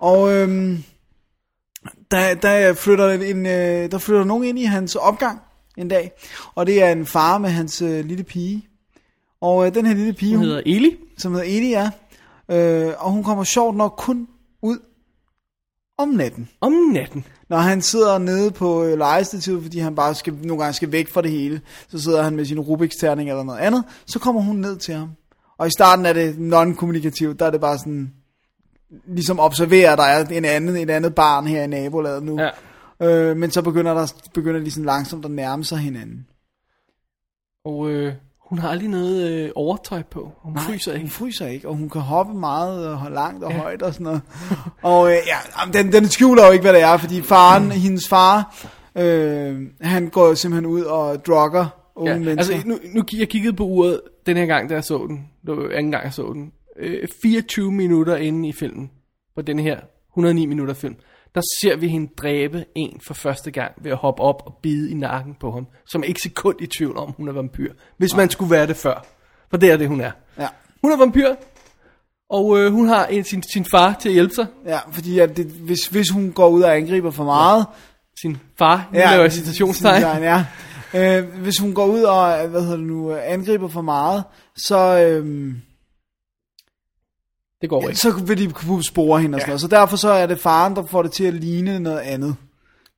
Speaker 2: Og øhm, der, der, flytter en, øh, der flytter nogen ind i hans opgang en dag, og det er en far med hans øh, lille pige. Og øh, den her lille pige,
Speaker 1: Hun
Speaker 2: hun,
Speaker 1: hedder Eli.
Speaker 2: som hedder Eli, er, øh, og hun kommer sjovt nok kun ud om natten.
Speaker 1: Om natten.
Speaker 2: Når han sidder nede på øh, lejestativet, fordi han bare skal, nogle gange skal væk fra det hele, så sidder han med sin Rubiks terning eller noget andet, så kommer hun ned til ham. Og i starten er det non-kommunikativt, der er det bare sådan, ligesom observerer, at der er en anden, et andet barn her i nabolaget nu.
Speaker 1: Ja.
Speaker 2: Øh, men så begynder, der, begynder de sådan langsomt at nærme sig hinanden.
Speaker 1: Og øh, hun har aldrig noget øh, overtøj på. Hun Nej. fryser
Speaker 2: Hun
Speaker 1: ikke.
Speaker 2: fryser ikke, og hun kan hoppe meget øh, langt og ja. højt og sådan noget. og øh, ja, jamen, den, den skjuler jo ikke, hvad det er, fordi
Speaker 1: Mm.
Speaker 2: faren, hendes far, øh, han går jo simpelthen ud og drogger unge ja,
Speaker 1: Ja.
Speaker 2: mennesker.
Speaker 1: Altså, nu, nu, jeg kiggede på uret den her gang, da jeg så den. Det var jo anden gang, jeg så den. Øh, 24 minutter inde i filmen, på den her 109 minutter film, der ser vi hende dræbe en for første gang ved at hoppe op og bide i nakken på ham, som er ikke sekund i tvivl om, hun er vampyr. Hvis man skulle være det før. For det er det, hun er.
Speaker 2: ja.
Speaker 1: Hun er vampyr, og øh, hun har en, sin, sin far til at hjælpe sig.
Speaker 2: ja, fordi at det, hvis, hvis hun går ud og angriber for meget...
Speaker 1: Sin far, nu
Speaker 2: Ja,
Speaker 1: laver jeg citationstegn.
Speaker 2: citationstegn, Ja. Øh, hvis hun går ud og hvad hedder det nu, øh, angriber for meget, så... Øh,
Speaker 1: Det går ikke.
Speaker 2: så vil de kunne spore hende og sådan noget. Så derfor så er det faren, der får det til at ligne noget andet.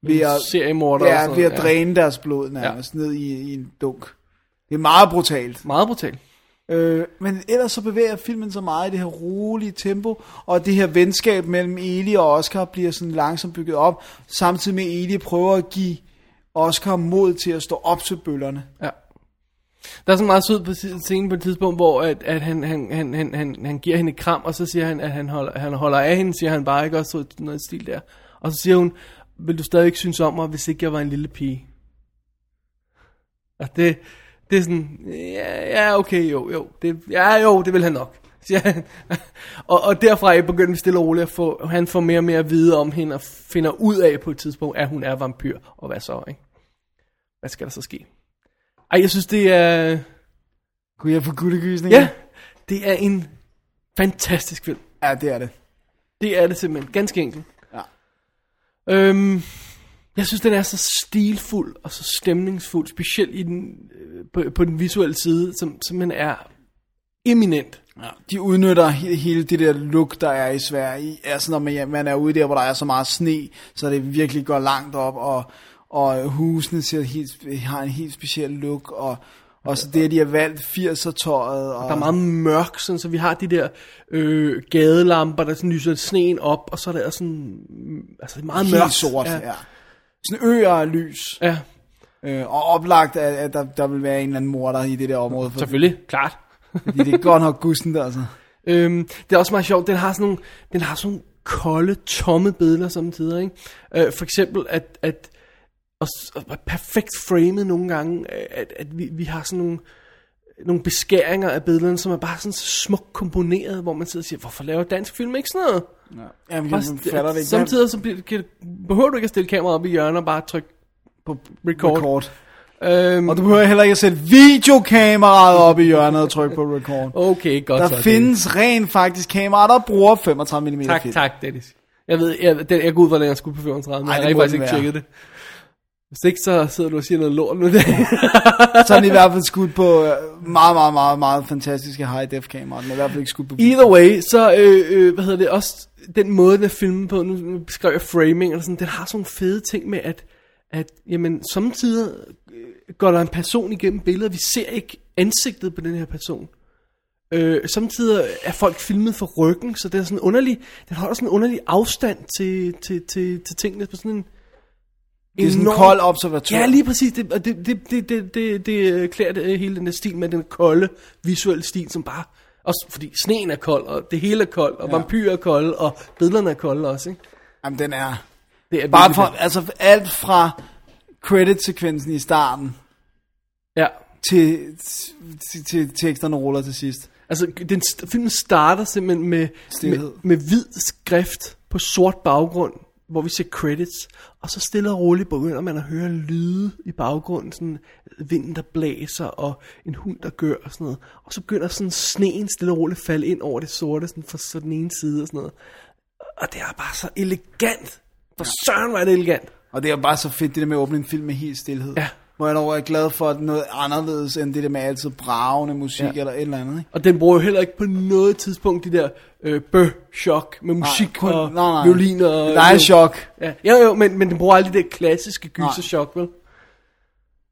Speaker 2: Ved at,
Speaker 1: seriemorder og
Speaker 2: ja,
Speaker 1: sådan
Speaker 2: ved at
Speaker 1: noget, ja.
Speaker 2: dræne deres blod nærmest ja. ned i, i en dunk. Det er meget brutalt.
Speaker 1: Meget brutalt.
Speaker 2: Øh, men ellers så bevæger filmen så meget i det her rolige tempo, og det her venskab mellem Eli og Oscar bliver sådan langsomt bygget op, samtidig med at Eli prøver at give Oscar mod til at stå op til bøllerne.
Speaker 1: Ja. Der er sådan en meget sød præcis- scene på et tidspunkt, hvor at, at han, han, han, han, han, han giver hende et kram, og så siger han, at han holder, han holder af hende, siger han bare ikke også så noget i stil der. Og så siger hun, vil du stadig ikke synes om mig, hvis ikke jeg var en lille pige? Og det, det er sådan, ja, ja okay, jo, jo, det, ja, jo, det vil han nok. Siger han. og, og derfra af begynder vi stille og roligt at få, han får mere og mere at vide om hende, og finder ud af på et tidspunkt, at hun er vampyr, og hvad så, ikke? Hvad skal der så ske? Ej, jeg synes, det er...
Speaker 2: Kunne jeg få guttegysninger?
Speaker 1: Ja, det er en fantastisk film.
Speaker 2: Ja, det er det.
Speaker 1: Det er det simpelthen. Ganske enkelt.
Speaker 2: Ja.
Speaker 1: Øhm, jeg synes, den er så stilfuld og så stemningsfuld, specielt i den, øh, på, på den visuelle side, som simpelthen er eminent.
Speaker 2: Ja, de udnytter he- hele det der look, der er i Sverige. I- Altså når man, man er ude der, hvor der er så meget sne, så det virkelig går langt op, og, og husene ser helt, har en helt speciel look, og, og så det, at de har valgt 80'er-tøjet. Og,
Speaker 1: Der er meget mørk, sådan, så vi har de der øh, gadelamper, der sådan lyser sneen op, og så er der sådan... mm, Altså, meget
Speaker 2: helt
Speaker 1: mørkt.
Speaker 2: sort. Ja.
Speaker 1: Ja.
Speaker 2: ja. Sådan øer af lys,
Speaker 1: ja.
Speaker 2: øh, og oplagt, at, at der, der vil være en eller anden morder i det der område, for,
Speaker 1: Selvfølgelig, klart.
Speaker 2: fordi det er godt nok gussen der, altså.
Speaker 1: Øhm, det er også meget sjovt, den har sådan nogle, den har sådan nogle kolde, tomme billeder samtidig, ikke? Øh, for eksempel, at, at og, s- og er perfekt framet nogle gange, øh, at, at vi, vi har sådan nogle, nogle beskæringer af billederne, som er bare sådan så smukt komponeret, hvor man sidder og siger, hvorfor laver dansk film ikke sådan noget?
Speaker 2: Ja, men
Speaker 1: Også,
Speaker 2: man fatter det ikke.
Speaker 1: samtidig så bliver, kan, behøver du ikke at stille kameraet op i hjørnet og bare trykke på record. record.
Speaker 2: Record.
Speaker 1: Øhm,
Speaker 2: Og du behøver heller ikke at sætte videokameraet op i hjørnet og trykke på record.
Speaker 1: okay, godt så.
Speaker 2: Der
Speaker 1: Dennis.
Speaker 2: findes rent faktisk kameraer, der bruger 35 mm
Speaker 1: Tak,
Speaker 2: film.
Speaker 1: tak, Dennis. Jeg ved, jeg, den, jeg går ud, hvordan jeg skulle på 35, men
Speaker 2: Ej,
Speaker 1: jeg
Speaker 2: det
Speaker 1: har rent
Speaker 2: må
Speaker 1: faktisk
Speaker 2: den
Speaker 1: ikke
Speaker 2: være.
Speaker 1: tjekket det. Hvis ikke, så sidder du og siger noget lort nu.
Speaker 2: Så er den i hvert fald skudt på øh, meget, meget, meget, meget fantastiske high-def kameraer. Den er i hvert fald ikke skudt på...
Speaker 1: Either way, så, øh, øh, hvad hedder det, også den måde, den er filmet på, nu- nu beskrev jeg framing, og sådan, den har sådan nogle fede ting med, at, at jamen, samtidig øh, går der en person igennem billedet, vi ser ikke ansigtet på den her person. Øh, samtidig er folk filmet for ryggen, så det er sådan underlig, den holder sådan en underlig afstand til, til, til, til tingene på sådan en
Speaker 2: Det er sådan en
Speaker 1: enorm-
Speaker 2: kold observatør.
Speaker 1: Ja, lige præcis. Det, og det, det, det, det, det, det øh, klæder det, øh, hele den der stil med den kolde visuelle stil, som bare... Også fordi sneen er kold, og det hele er koldt, og ja. vampyrer er kolde, og billederne er kolde også, ikke?
Speaker 2: Jamen, den er...
Speaker 1: Det er
Speaker 2: Bare
Speaker 1: virkelig
Speaker 2: fra,
Speaker 1: fedt.
Speaker 2: altså alt fra credit-sekvensen i starten
Speaker 1: Ja.
Speaker 2: til, til, til teksterne ruller til sidst.
Speaker 1: Altså, den, st- filmen starter simpelthen med, med,
Speaker 2: Stilhed.
Speaker 1: med hvid skrift på sort baggrund, hvor vi ser credits, og så stille og roligt begynder man at høre lyde i baggrunden, sådan vinden, der blæser, og en hund, der gør, og sådan noget. Og så begynder sådan sneen stille og roligt at falde ind over det sorte, sådan fra sådan den ene side, og sådan noget. Og det er bare så elegant. For søren var det elegant.
Speaker 2: Og det er jo bare så fedt, det der med at åbne en film med helt stillhed.
Speaker 1: Ja.
Speaker 2: Hvor jeg dog er glad for at noget anderledes, end det der med altid bravende musik
Speaker 1: Ja.
Speaker 2: ja. eller et eller andet. Ikke?
Speaker 1: Og den bruger jo heller ikke på noget tidspunkt de der øh, bøh-chok med musik
Speaker 2: kun-
Speaker 1: og
Speaker 2: nej, nej.
Speaker 1: violiner. og-
Speaker 2: Der er chok.
Speaker 1: Ja, jo, jo, men, men den bruger aldrig det der klassiske gyserchok, vel?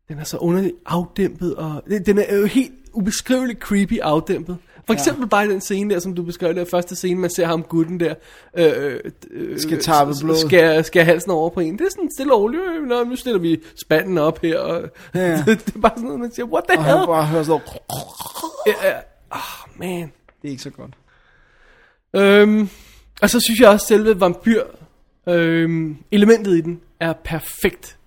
Speaker 1: Den er så underligt afdæmpet, og det- den er jo helt ubeskriveligt creepy afdæmpet. For eksempel ja. bare den scene der, som du beskrev, der første scene, man ser ham gutten der. Øh, øh,
Speaker 2: Skal tappe
Speaker 1: øh,
Speaker 2: blodet.
Speaker 1: Skære, skære halsen over på en. Det er sådan stille og roligt. øh, Nå, nu stiller vi spanden op her. Og
Speaker 2: Ja.
Speaker 1: det, det er bare sådan noget, man siger, what the
Speaker 2: Og
Speaker 1: hell?
Speaker 2: han bare hører sådan noget.
Speaker 1: Ja, ja. Ah, man.
Speaker 2: Det er ikke så godt.
Speaker 1: Øhm, og så synes jeg også, at selve vampyr øhm, elementet i den er perfekt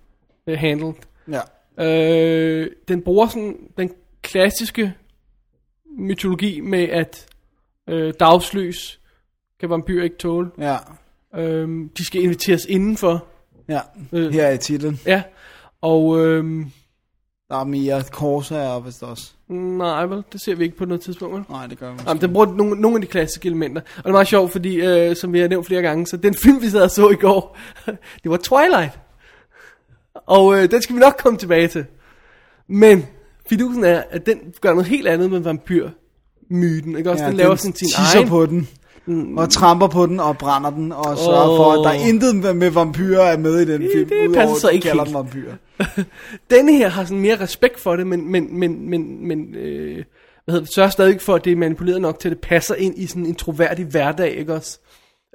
Speaker 1: øh, handled.
Speaker 2: Ja.
Speaker 1: Øh, den bruger sådan den klassiske mytologi med, at øh, dagslys kan vampyrer ikke tåle.
Speaker 2: Ja.
Speaker 1: Øh, de skal inviteres indenfor.
Speaker 2: Ja.
Speaker 1: Øh.
Speaker 2: Her er i titlen.
Speaker 1: Ja, og øh,
Speaker 2: Der er Mia Corsair vist også.
Speaker 1: nej vel, det ser vi ikke på noget tidspunkt. Vel?
Speaker 2: Nej, det gør vi
Speaker 1: Jamen, den bruger nogle, nogle af de klassiske elementer. Og det er meget sjovt, fordi, øh, som vi har nævnt flere gange, så den film, vi sad og så i går, det var Twilight. Og øh, den skal vi nok komme tilbage til. Men fidusen er, at den gør noget helt andet med vampyrmyten. Ikke? Også ja, den laver sådan sin
Speaker 2: tisser
Speaker 1: egen... Mm.
Speaker 2: på den. Og tramper på den og brænder den og sørger oh. for, at der er intet med vampyrer er med i den film.
Speaker 1: det
Speaker 2: udover
Speaker 1: passer så
Speaker 2: at de
Speaker 1: ikke
Speaker 2: kalder
Speaker 1: helt.
Speaker 2: dem vampyrer.
Speaker 1: Denne her har sådan mere respekt for det, men, men, men, men, men øh, hvad hedder det, sørger stadig for, at det er manipuleret nok til, at det passer ind i sådan en troværdig hverdag, ikke også?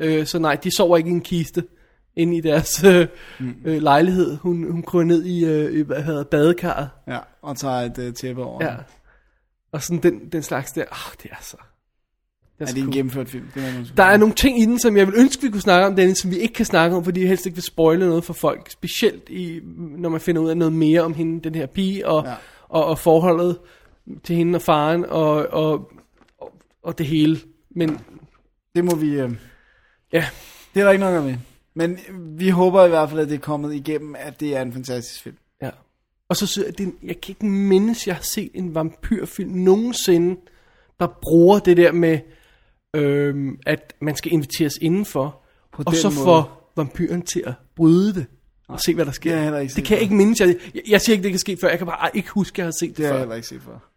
Speaker 1: Øh, så nej, de sover ikke i en kiste inde i deres øh, mm. øh, lejlighed. Hun, hun kryger ned i, øh, i, hvad hedder det, badekarret.
Speaker 2: Ja, og tager et uh, tæppe over.
Speaker 1: Ja.
Speaker 2: Ja,
Speaker 1: Og sådan den, den slags der. Ah, det er så... Det er,
Speaker 2: det
Speaker 1: så
Speaker 2: er en
Speaker 1: cool.
Speaker 2: gennemført film. Det må man sige.
Speaker 1: Der er nogle ting i den, som jeg vil ønske, vi kunne snakke om, Dennis, som vi ikke kan snakke om, fordi jeg helst ikke vil spoile noget for folk. Specielt i, når man finder ud af noget mere om hende, den her pige, og, ja.
Speaker 2: Ja.
Speaker 1: og, og forholdet til hende og faren, og, og, og, og det hele. Men
Speaker 2: Det må vi... Uh,
Speaker 1: ja,
Speaker 2: det er der ikke noget med. Men øh, vi håber i hvert fald, at det er kommet igennem, at det er en fantastisk film.
Speaker 1: ja. Og så synes jeg, det er en- jeg kan ikke mindes, jeg har set en vampyrfilm nogensinde, der bruger det der med, øhm, at man skal inviteres indenfor,
Speaker 2: På
Speaker 1: og
Speaker 2: den
Speaker 1: så
Speaker 2: måde.
Speaker 1: får vampyren til at bryde det. Og se, hvad der sker.
Speaker 2: Det har jeg heller ikke
Speaker 1: Det
Speaker 2: set
Speaker 1: kan jeg
Speaker 2: før.
Speaker 1: ikke mindes. Jeg, jeg, jeg siger ikke, det kan ske før. Jeg kan bare ikke huske, at jeg har set det,
Speaker 2: Det har
Speaker 1: før.
Speaker 2: jeg heller ikke set før.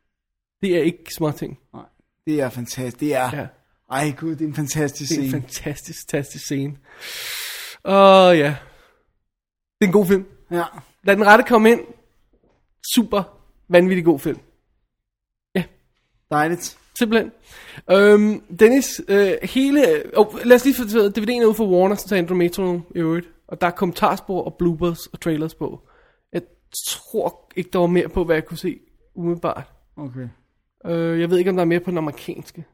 Speaker 1: Det er ikke små ting.
Speaker 2: Nej. Det er fantastisk. Det er...
Speaker 1: Ja.
Speaker 2: Ja. Ej gud, det er en fantastisk
Speaker 1: Det er
Speaker 2: scene.
Speaker 1: en fantastisk, fantastisk scene. Og ja. Det er en god film.
Speaker 2: ja.
Speaker 1: Lad den rette komme ind. Super vanvittig god film.
Speaker 2: Dejligt.
Speaker 1: Simpelthen. Øhm, Dennis, øh, hele... Oh, lad os lige få DVD'en er ude for Warner, så tager Andrometro i øvrigt. Og der er kommentarspor og bloopers og trailers på. Jeg tror ikke, der var mere på, hvad jeg kunne se umiddelbart.
Speaker 2: Okay.
Speaker 1: Øh, jeg ved ikke, om der er mere på den amerikanske.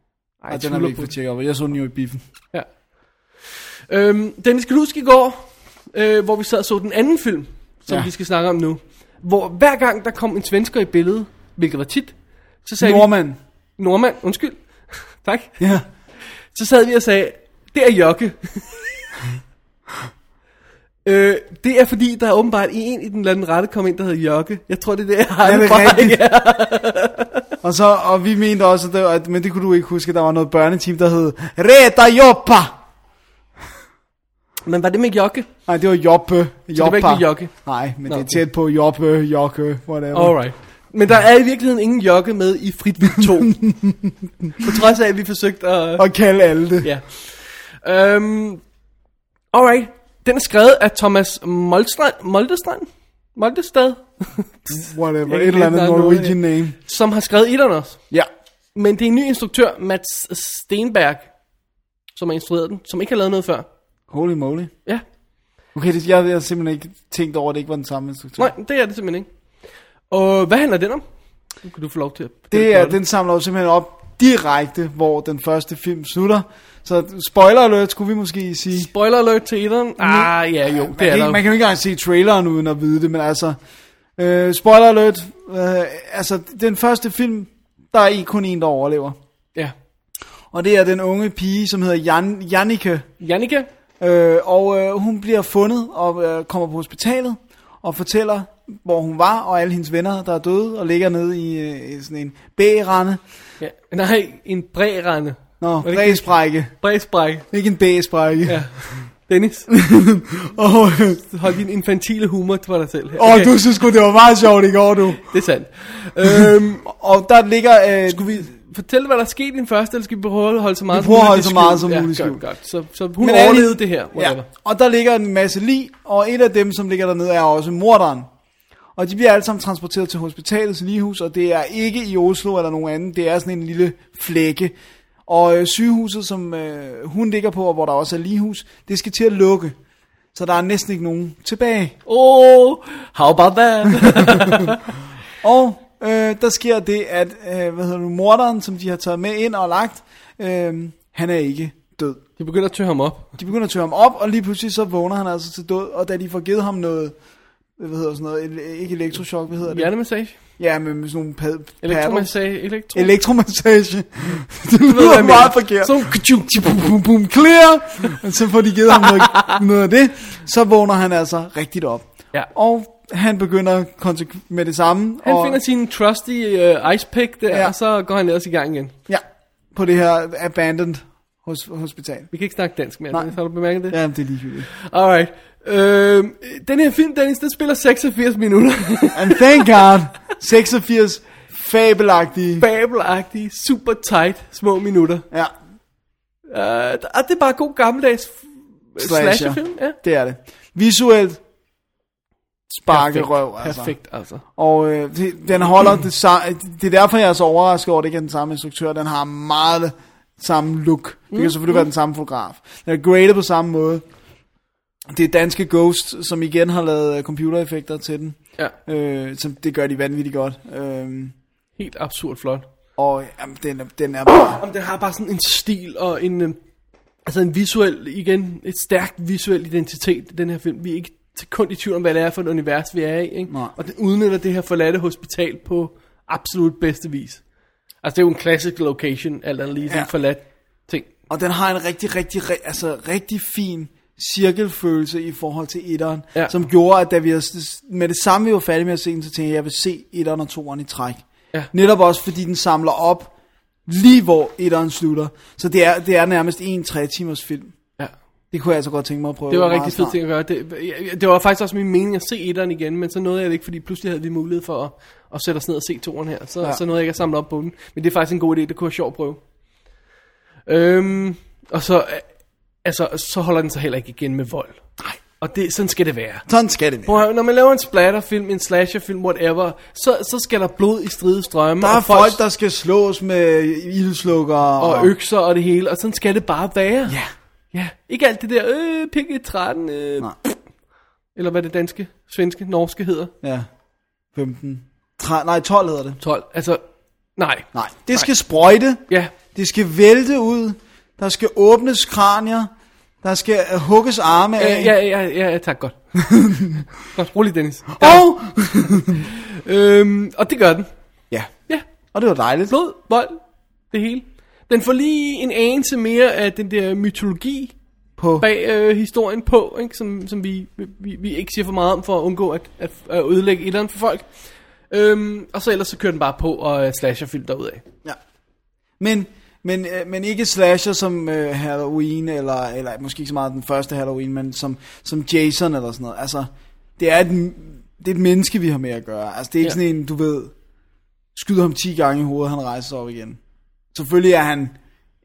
Speaker 1: Ej,
Speaker 2: Ej,
Speaker 1: jeg
Speaker 2: den har vi
Speaker 1: tvivler
Speaker 2: ikke
Speaker 1: på
Speaker 2: fået
Speaker 1: det.
Speaker 2: tjekket op. Jeg så den jo i biffen.
Speaker 1: Ja. Øhm, Dennis, kan du huske i går, øh, hvor vi sad og så den anden film, som ja.
Speaker 2: Ja.
Speaker 1: vi skal snakke om nu? Hvor hver gang der kom en svensker i billedet, hvilket var tit, så sagde
Speaker 2: Nordmand.
Speaker 1: vi... Nordmand, undskyld. tak.
Speaker 2: Ja.
Speaker 1: Så sad vi og sagde, det er Jokke. øh, det er fordi, der er åbenbart en i den eller anden rette kom ind, der hedder Jokke. Jeg tror, det er det, jeg har
Speaker 2: Ja,
Speaker 1: det
Speaker 2: det er
Speaker 1: fra.
Speaker 2: rigtigt. Og, så, og vi mente også, at, det, var- at, men det kunne du ikke huske, at der var noget børneteam, der hed Reta Joppa.
Speaker 1: Men var det med Jokke?
Speaker 2: Nej, det var Joppe. Joppa.
Speaker 1: var ikke med Jokke?
Speaker 2: Nej, men
Speaker 1: Nå,
Speaker 2: Nå, det er
Speaker 1: okay.
Speaker 2: tæt på Joppe, Jokke, whatever.
Speaker 1: Alright. Men der er i virkeligheden ingen jokke med i Frit Vildt 2. på trods af, at vi forsøgte at...
Speaker 2: Og kalde alle det.
Speaker 1: Ja. Øhm, alright. Den er skrevet af Thomas Moldestrand, Moldestrand? Moldestad,
Speaker 2: Whatever.
Speaker 1: Jeg
Speaker 2: Et
Speaker 1: kan
Speaker 2: eller
Speaker 1: ikke
Speaker 2: andet
Speaker 1: lide, der er
Speaker 2: Norwegian name.
Speaker 1: som har skrevet etteren også.
Speaker 2: Ja.
Speaker 1: Men det er en ny instruktør, Mats Stenberg, som har instrueret den, som ikke har lavet noget før.
Speaker 2: Holy moly.
Speaker 1: Ja,
Speaker 2: Okay, det, jeg, jeg har simpelthen ikke tænkt over, at det ikke var den samme instruktør.
Speaker 1: nej, det er det simpelthen ikke. Og hvad handler den om? Nu kan du få lov til at fortælle
Speaker 2: Det er,
Speaker 1: plottet.
Speaker 2: den samler jo simpelthen op direkte, hvor den første film slutter. Så spoiler alert, skulle vi måske sige.
Speaker 1: Spoiler alert til etteren. Ah, ja, jo, det
Speaker 2: man,
Speaker 1: er
Speaker 2: kan
Speaker 1: der.
Speaker 2: ikke,
Speaker 1: jo.
Speaker 2: man kan jo ikke engang se traileren uden at vide det, men altså... Øh, spoiler alert. Øh, altså, den første film, der er en, kun en, der overlever.
Speaker 1: Ja.
Speaker 2: Og det er den unge pige, som hedder Jan, Jannike.
Speaker 1: Jannika?
Speaker 2: Øh, og øh, hun bliver fundet og øh, kommer på hospitalet og fortæller, hvor hun var, og alle hendes venner, der er døde, og ligger nede i, øh, i sådan en bægerende.
Speaker 1: Ja. Nej, en brærende.
Speaker 2: Nå,
Speaker 1: det ikke det?
Speaker 2: bægesprække.
Speaker 1: Bræsbrække.
Speaker 2: Ikke en bægesprække.
Speaker 1: Ja. Dennis,
Speaker 2: Åh, øh,
Speaker 1: hold din infantile humor til dig selv. her.
Speaker 2: åh, du synes sgu, det var meget sjovt i går, du.
Speaker 1: Det er sandt. øhm,
Speaker 2: Og der ligger... Øh, Skulle vi...
Speaker 1: fortæl, hvad der skete i den første, eller skal vi prøve at holde så meget
Speaker 2: Vi prøver at holde
Speaker 1: i
Speaker 2: så
Speaker 1: skjul?
Speaker 2: meget som muligt i
Speaker 1: ja,
Speaker 2: skjul.
Speaker 1: godt, godt. Så, så hun
Speaker 2: Men alle-
Speaker 1: overlevede det her, whatever. Ja.
Speaker 2: Og der ligger en masse lig, og et af dem, som ligger dernede, er også morderen. Og de bliver alle sammen transporteret til hospitalets ligehus, og det er ikke i Oslo eller nogen anden, det er sådan en lille flække. Og øh, sygehuset, som øh, hun ligger på, og hvor der også er ligehus, det skal til at lukke. Så der er næsten ikke nogen tilbage.
Speaker 1: Oh, how about that?
Speaker 2: Og øh, der sker det, at øh, hvad hedder du, morderen, som de har taget med ind og lagt, øh, han er ikke død.
Speaker 1: De begynder at tø ham op.
Speaker 2: De begynder at tørre ham op, og lige pludselig så vågner han altså til død, og da de får givet ham noget, hvad hedder sådan noget, ele- ikke elektrochok, hvad hedder det?
Speaker 1: Hjernemassage?
Speaker 2: Ja, men med sådan nogle pad, paddles.
Speaker 1: Elektromassage? Elektro?
Speaker 2: Elektromassage. det
Speaker 1: Ved du, hvad
Speaker 2: lyder
Speaker 1: jeg
Speaker 2: meget
Speaker 1: mener?
Speaker 2: forkert.
Speaker 1: Så,
Speaker 2: Bum, bum, bum, clear. Og så får de givet ham noget, noget af det. Så vågner han altså rigtigt op.
Speaker 1: Ja.
Speaker 2: Og han begynder konsekv- med det samme.
Speaker 1: han
Speaker 2: og,
Speaker 1: finder sin trusty uh, ice pick der, ja.
Speaker 2: Ja.
Speaker 1: og så går han ellers i gang igen.
Speaker 2: Ja, på det her abandoned hos, hospital.
Speaker 1: Vi kan ikke snakke dansk mere,
Speaker 2: Nej.
Speaker 1: Dennis, har du bemærket det?
Speaker 2: Ja, det er ligegyldigt.
Speaker 1: Alright. Øhm, den her film, Dennis, den spiller 86 minutter.
Speaker 2: And thank God, 86 fabelagtige.
Speaker 1: Babelagtige, super tight, små minutter.
Speaker 2: Ja,
Speaker 1: Øh, og det er bare god gammeldags f-
Speaker 2: Slasher.
Speaker 1: slasherfilm. Ja.
Speaker 2: det er det. Visuelt sparke
Speaker 1: Perfekt.
Speaker 2: røv, altså.
Speaker 1: Perfekt, altså.
Speaker 2: Og øh, det, den holder det samme. Det er derfor, jeg er så overrasket over, at det ikke er den samme instruktør. Den har meget samme look. Det kan
Speaker 1: Mm.
Speaker 2: selvfølgelig være den samme fotograf. Den er graded på samme måde. Det er danske Ghost, som igen har lavet øh, computereffekter til den.
Speaker 1: Ja,
Speaker 2: Øh, som det gør de vanvittigt godt. Øh,
Speaker 1: helt absurd flot.
Speaker 2: og jamen, den, er, den er bare...
Speaker 1: Om den har bare sådan en stil og en, øh, altså en visuel, igen, et stærkt visuel identitet, den her film. Vi er ikke et sekund i tvivl om, hvad det er for et univers, vi er i. Ikke?
Speaker 2: Nej.
Speaker 1: Og den udnytter det her forladte hospital på absolut bedste vis. Altså, det er jo en classic location, alt andet lige, sådan
Speaker 2: Ja.
Speaker 1: en forladt ting.
Speaker 2: Og den har en rigtig, rigtig, ri- altså, rigtig fin cirkelfølelse i forhold til etteren,
Speaker 1: Ja.
Speaker 2: ja. som gjorde, at da vi havde, s- med det samme vi var færdige med at se den, så tænkte jeg, at jeg vil se etteren og toeren i træk.
Speaker 1: Ja.
Speaker 2: Netop også fordi den samler op lige hvor etteren slutter. Så det er, det er nærmest en tre timers film.
Speaker 1: Ja.
Speaker 2: Det kunne jeg altså godt tænke mig at prøve.
Speaker 1: Det var
Speaker 2: meget
Speaker 1: rigtig fedt
Speaker 2: snart.
Speaker 1: ting at gøre. Det, jeg- jeg- det var faktisk også min mening at se etteren igen, men så nåede jeg det ikke, fordi pludselig havde vi mulighed for at, at sætte os ned og se toeren her. Så, ja.
Speaker 2: Ja.
Speaker 1: så nåede jeg ikke at samle op på den. Men det er faktisk en god idé, det kunne være sjovt at prøve. Øhm, og så, øh, altså, så holder den sig heller ikke igen med vold. Nej. Og det, sådan skal det være.
Speaker 2: Sådan skal det være.
Speaker 1: Prøv at høre, når man laver en splatterfilm, en slasherfilm, whatever, så, så skal der blod i stride strømme.
Speaker 2: Der er
Speaker 1: og
Speaker 2: folk, der skal slås med ildslukker
Speaker 1: Og økser og det hele, og sådan skal det bare være.
Speaker 2: Ja.
Speaker 1: Ja, ikke alt det der, øh, pikke 13, øh,
Speaker 2: Nej.
Speaker 1: eller hvad det danske, svenske, norske hedder.
Speaker 2: Ja. 15. Tre, nej, 12 hedder det.
Speaker 1: 12, altså, nej.
Speaker 2: Nej, det skal sprøjte.
Speaker 1: Ja,
Speaker 2: Det skal vælte ud. Der skal åbnes kranier. Der skal øh, hugges arme af.
Speaker 1: ja, ja, ja, ja, ja tak, godt. godt, rolig Dennis.
Speaker 2: Og...
Speaker 1: Øhm, og det gør den.
Speaker 2: ja.
Speaker 1: Ja,
Speaker 2: Og det var dejligt.
Speaker 1: blod, vold, det hele. Den får lige en anelse mere af den der mytologi
Speaker 2: På.
Speaker 1: bag øh, historien på, ikke? Som, som vi, vi, vi ikke siger for meget om, for at undgå at, at, at ødelægge et eller andet for folk. Øhm, og så ellers så kører den bare på og øh, slasher film derudad.
Speaker 2: Ja. Men, men, øh, men ikke slasher som øh, Halloween, eller, eller måske ikke så meget den første Halloween, men som, som Jason eller sådan noget. Altså, det er, et, det er et menneske, vi har med at gøre. Altså, det er ikke
Speaker 1: Ja.
Speaker 2: ja. sådan en, du ved, skyder ham 10 gange i hovedet, han rejser sig op igen. Selvfølgelig er han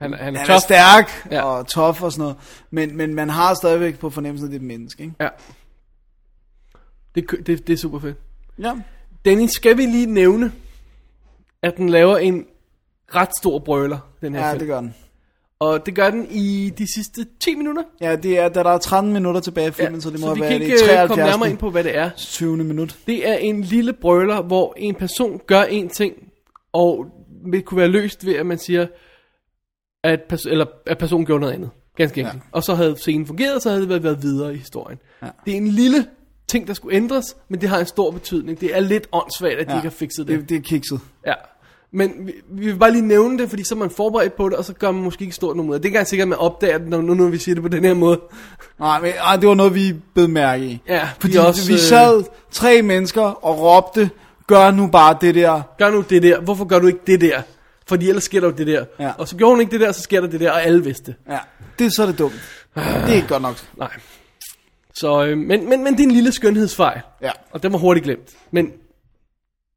Speaker 1: Han, han er
Speaker 2: Han er
Speaker 1: tough.
Speaker 2: stærk
Speaker 1: Ja.
Speaker 2: ja. og tough og sådan noget, men, men man har stadigvæk på fornemmelsen, at det er et menneske, ikke?
Speaker 1: Ja. Det, kø- det, det er super fedt.
Speaker 2: Ja.
Speaker 1: Dennis, skal vi lige nævne, at den laver en ret stor brøler, den her
Speaker 2: Ja,
Speaker 1: film.
Speaker 2: det gør den.
Speaker 1: Og det gør den i de sidste 10 minutter.
Speaker 2: Ja, det er, da der er 13 minutter tilbage i filmen, ja, så det må
Speaker 1: så vi
Speaker 2: være
Speaker 1: kan
Speaker 2: det
Speaker 1: ikke øh, komme
Speaker 2: 73.
Speaker 1: nærmere ind på, hvad det er.
Speaker 2: 20. minut.
Speaker 1: Det er en lille brøler, hvor en person gør en ting, og det kunne være løst ved, at man siger, at, pers- eller, at personen gjorde noget andet. Ganske enkelt. Ja. Og så havde scenen fungeret, og så havde det været, været videre i historien. Ja. Det er en lille ting, der skulle ændres, men det har en stor betydning. Det er lidt åndssvagt, at de
Speaker 2: Ja.
Speaker 1: ikke har fikset det.
Speaker 2: Det, det er kikset.
Speaker 1: Ja. Men vi, vi vil bare lige nævne det, fordi så er man forberedt på det, og så gør man måske ikke stort nummer ud af det. Det er ikke engang sikkert, at man opdager det, når, nu, når vi siger det på den her måde.
Speaker 2: Nej, men ej, det var noget, vi blev mærke i.
Speaker 1: Ja,
Speaker 2: Fordi
Speaker 1: de er også,
Speaker 2: også, vi
Speaker 1: øh,
Speaker 2: sad tre mennesker og råbte, gør nu bare det der.
Speaker 1: Gør nu det der. Hvorfor gør du ikke det der? Fordi ellers sker der jo det der.
Speaker 2: Ja.
Speaker 1: Og så gjorde hun ikke det der, så sker der det der, og alle vidste det.
Speaker 2: Ja, det, så er det dumt. Det er ikke godt nok.
Speaker 1: Nej. Så, øh, men, men, men det er en lille skønhedsfejl.
Speaker 2: Ja.
Speaker 1: Og den var hurtigt glemt. Men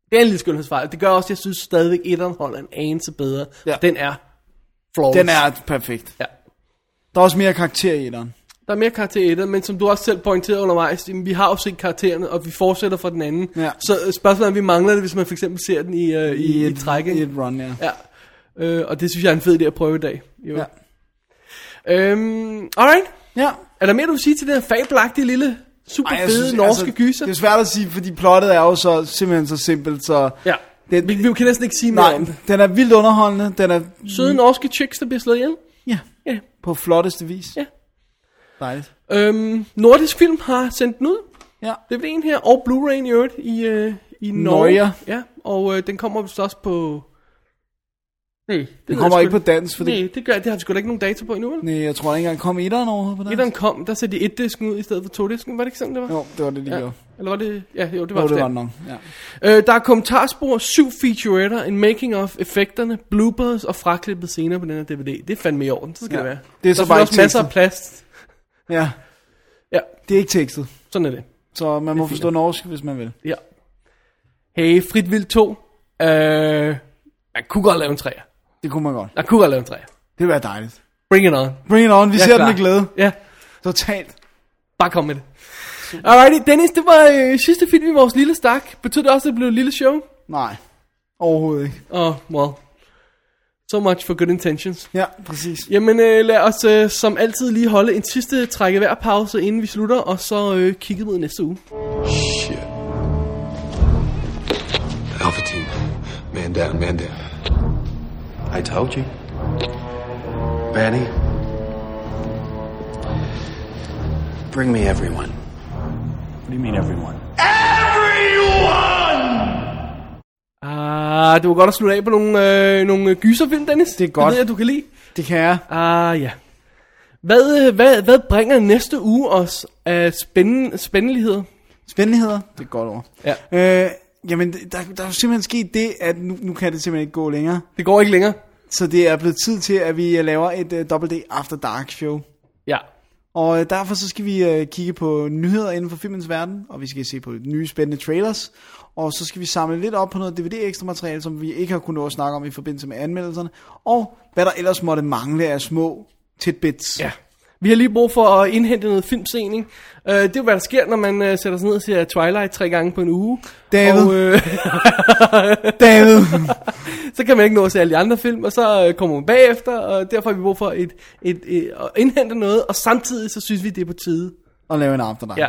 Speaker 1: det er en lille skønhedsfejl. Det gør også, at jeg synes stadigvæk, etteren holder en anelse bedre.
Speaker 2: Ja.
Speaker 1: Den er flawless.
Speaker 2: Den er perfekt.
Speaker 1: Ja.
Speaker 2: Der er også mere karakter i den.
Speaker 1: Der er mere karakter i den, men som du også selv pointerede undervejs, jamen, vi har jo set karaktererne, og vi fortsætter fra den anden.
Speaker 2: Ja.
Speaker 1: Så øh, spørgsmålet er, om vi mangler det, hvis man for eksempel ser den i, øh, i, i, i træk.
Speaker 2: I
Speaker 1: ikke?
Speaker 2: et run, ja.
Speaker 1: Ja. Øh, og det synes jeg er en fed idé at prøve i dag. Jo.
Speaker 2: Ja.
Speaker 1: Øhm, alright.
Speaker 2: ja.
Speaker 1: Er der mere, du vil sige til den her fabelagtige lille, super
Speaker 2: jeg
Speaker 1: fede norske altså, gyser?
Speaker 2: Det er svært at sige, fordi plottet er jo så simpelthen så simpelt, så...
Speaker 1: ja.
Speaker 2: Det-
Speaker 1: Det, vi, vi kan næsten ikke sige mere
Speaker 2: Nej,
Speaker 1: om det.
Speaker 2: den er vildt underholdende, den er
Speaker 1: Søde norske chicks, der bliver slået ihjel.
Speaker 2: ja,
Speaker 1: Ja.
Speaker 2: på flotteste vis.
Speaker 1: Ja.
Speaker 2: Dejligt.
Speaker 1: Øhm, nordisk Film har sendt den ud.
Speaker 2: Ja.
Speaker 1: Det er en her, og Blu-ray i øvrigt, i, øh, i Norge.
Speaker 2: Nøjer.
Speaker 1: Ja, og øh, den kommer vist også på... Nej, det ved
Speaker 2: Den
Speaker 1: jeg
Speaker 2: kommer
Speaker 1: sgu
Speaker 2: ikke på dansk, fordi...
Speaker 1: Nej, det, gør, det har vi sgu da ikke nogen data på endnu, vel?
Speaker 2: Nej, jeg tror ikke engang, kom etteren overhovedet på dansk.
Speaker 1: Etteren kom, der satte de et disken ud i stedet for to disken. Var det ikke sådan, det var?
Speaker 2: Jo, det var det, de
Speaker 1: Ja.
Speaker 2: gjorde.
Speaker 1: Eller var det... Ja, jo, det var
Speaker 2: Jo,
Speaker 1: også
Speaker 2: det var det nok. Ja.
Speaker 1: Øh, der er kommentarspor, syv featuretter, en making of, effekterne, bloopers og fraklippet scener på den her DVD. Det er fandme i orden, så skal
Speaker 2: Ja.
Speaker 1: det være.
Speaker 2: Det er så
Speaker 1: der
Speaker 2: bare
Speaker 1: selvfølgelig også masser
Speaker 2: ikke
Speaker 1: af plads.
Speaker 2: ja.
Speaker 1: Ja,
Speaker 2: Det er ikke tekstet,
Speaker 1: sådan er det.
Speaker 2: så man må forstå norsk, hvis man vil.
Speaker 1: Ja. Hey, Frit Vild 2. Øh, jeg kunne godt lave en træer.
Speaker 2: Det kunne man godt.
Speaker 1: Jeg kunne godt lave en træer.
Speaker 2: Det ville være dejligt.
Speaker 1: Bring it on.
Speaker 2: Bring it on, vi
Speaker 1: Jeg er
Speaker 2: ser den
Speaker 1: klar.
Speaker 2: med glæde.
Speaker 1: Ja,
Speaker 2: Totalt.
Speaker 1: bare kom med det. Alrighty, Dennis, det var øh, sidste film i vores lille stak. Betød det også, at det blev et lille show?
Speaker 2: Nej, overhovedet ikke.
Speaker 1: Oh, well. So much for good intentions.
Speaker 2: Ja, præcis.
Speaker 1: Jamen øh, lad os øh, som altid lige holde en sidste trække hver pause, inden vi slutter, og så øh, kigge mod næste uge.
Speaker 4: Shit. Alpha team. Man down, man down.
Speaker 3: I told you. Benny. Bring me everyone.
Speaker 7: What do you mean, everyone?
Speaker 1: Ah, det var godt at slutte af på nogle, øh, nogle øh, gyserfilm, Dennis. Det
Speaker 2: er godt.
Speaker 1: Det ved jeg, du kan lide.
Speaker 2: Det kan jeg.
Speaker 1: Ah, ja. Hvad, øh, hvad, hvad bringer næste uge os af spændende, spændeligheder?
Speaker 2: Spændigheder, det er et godt ord.
Speaker 1: Ja.
Speaker 2: Øh, jamen, der, der er jo simpelthen sket det, at nu, nu kan det simpelthen ikke gå længere.
Speaker 1: Det går ikke længere.
Speaker 2: Så det er blevet tid til, at vi øh, laver et uh, Double D After Dark show.
Speaker 1: Ja.
Speaker 2: Og øh, derfor så skal vi øh, kigge på nyheder inden for filmens verden, og vi skal se på nye spændende trailers, og så skal vi samle lidt op på noget DVD ekstra materiale, som vi ikke har kunnet nå at snakke om i forbindelse med anmeldelserne, og hvad der ellers måtte mangle af små tidbits.
Speaker 1: ja. Vi har lige brug for at indhente noget filmscening. Øh, det er jo, hvad der sker, når man øh, sætter sig ned og ser Twilight tre gange på en uge.
Speaker 2: David.
Speaker 1: Og, øh,
Speaker 2: David!
Speaker 1: så kan man ikke nå at se alle de andre film, og så øh, kommer man bagefter, og derfor har vi brug for et, et, et, at indhente noget, og samtidig så synes vi, det er på tide.
Speaker 2: og lave en After Dark.
Speaker 1: Ja.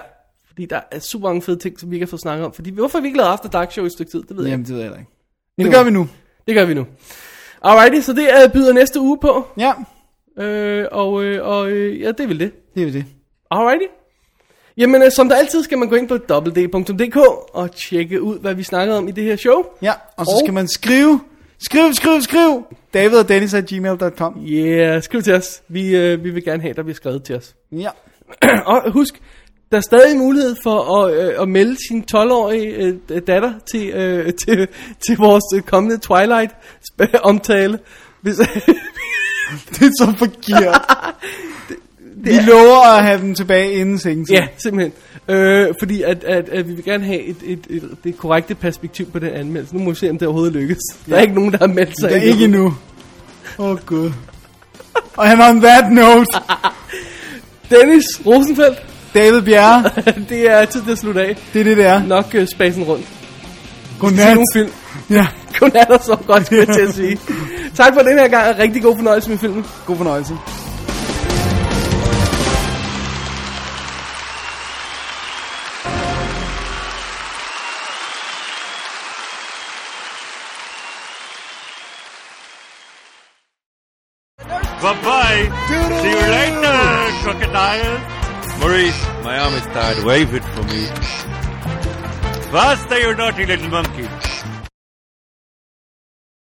Speaker 1: Fordi der er super mange fede ting, som vi ikke har fået snakket om. Fordi hvorfor har vi ikke lavet After Dark Show i et stykke tid, det ved jeg
Speaker 2: Jamen,
Speaker 1: ikke.
Speaker 2: det ved jeg heller ikke. Det gør vi nu.
Speaker 1: Det gør vi nu. Alrighty, så det øh, byder næste uge på.
Speaker 2: Ja,
Speaker 1: Øh, og øh, og øh, ja, det er vel det.
Speaker 2: det er jo det.
Speaker 1: Alrighty. Jamen, øh, som der altid skal man gå ind på www.dk og tjekke ud, hvad vi snakkede om i det her show.
Speaker 2: Ja, og så
Speaker 1: Og-
Speaker 2: skal man skrive, skriv, skriv, skriv, David og Dennis at gmail.com.
Speaker 1: Yeah, skriv til os. Vi, øh, vi vil gerne have, at der bliver skrevet til os.
Speaker 2: Ja,
Speaker 1: og husk, der er stadig mulighed for at, øh, at melde sin 12-årige øh, datter til, øh, til, til vores øh, kommende Twilight-omtale. Hvis,
Speaker 2: det er så forkert. Vi lover at have dem tilbage inden sengetid.
Speaker 1: ja, simpelthen. Øh, fordi at, at, at vi vil gerne have et, et, et, det korrekte perspektiv på den anmeldelse. Nu må vi se, om det overhovedet lykkes. Der er ikke nogen, der har meldt sig
Speaker 2: Det er
Speaker 1: endnu.
Speaker 2: ikke endnu. Åh oh, gud. And on that note,
Speaker 1: Dennis Rosenfeldt,
Speaker 2: David Bjerre,
Speaker 1: det er tid til at slutte af.
Speaker 2: det er det, det er.
Speaker 1: Nok øh, spacen rundt.
Speaker 2: Godnat.
Speaker 1: Nogle film.
Speaker 2: Ja.
Speaker 1: kun er der så godt, skulle jeg til at sige. tak for den her gang, og rigtig god fornøjelse med filmen.
Speaker 2: God fornøjelse.
Speaker 8: Bye-bye. See you later, crocodiles. Maurice, my arm is tired. Wave it for me. Faster, you naughty little monkey.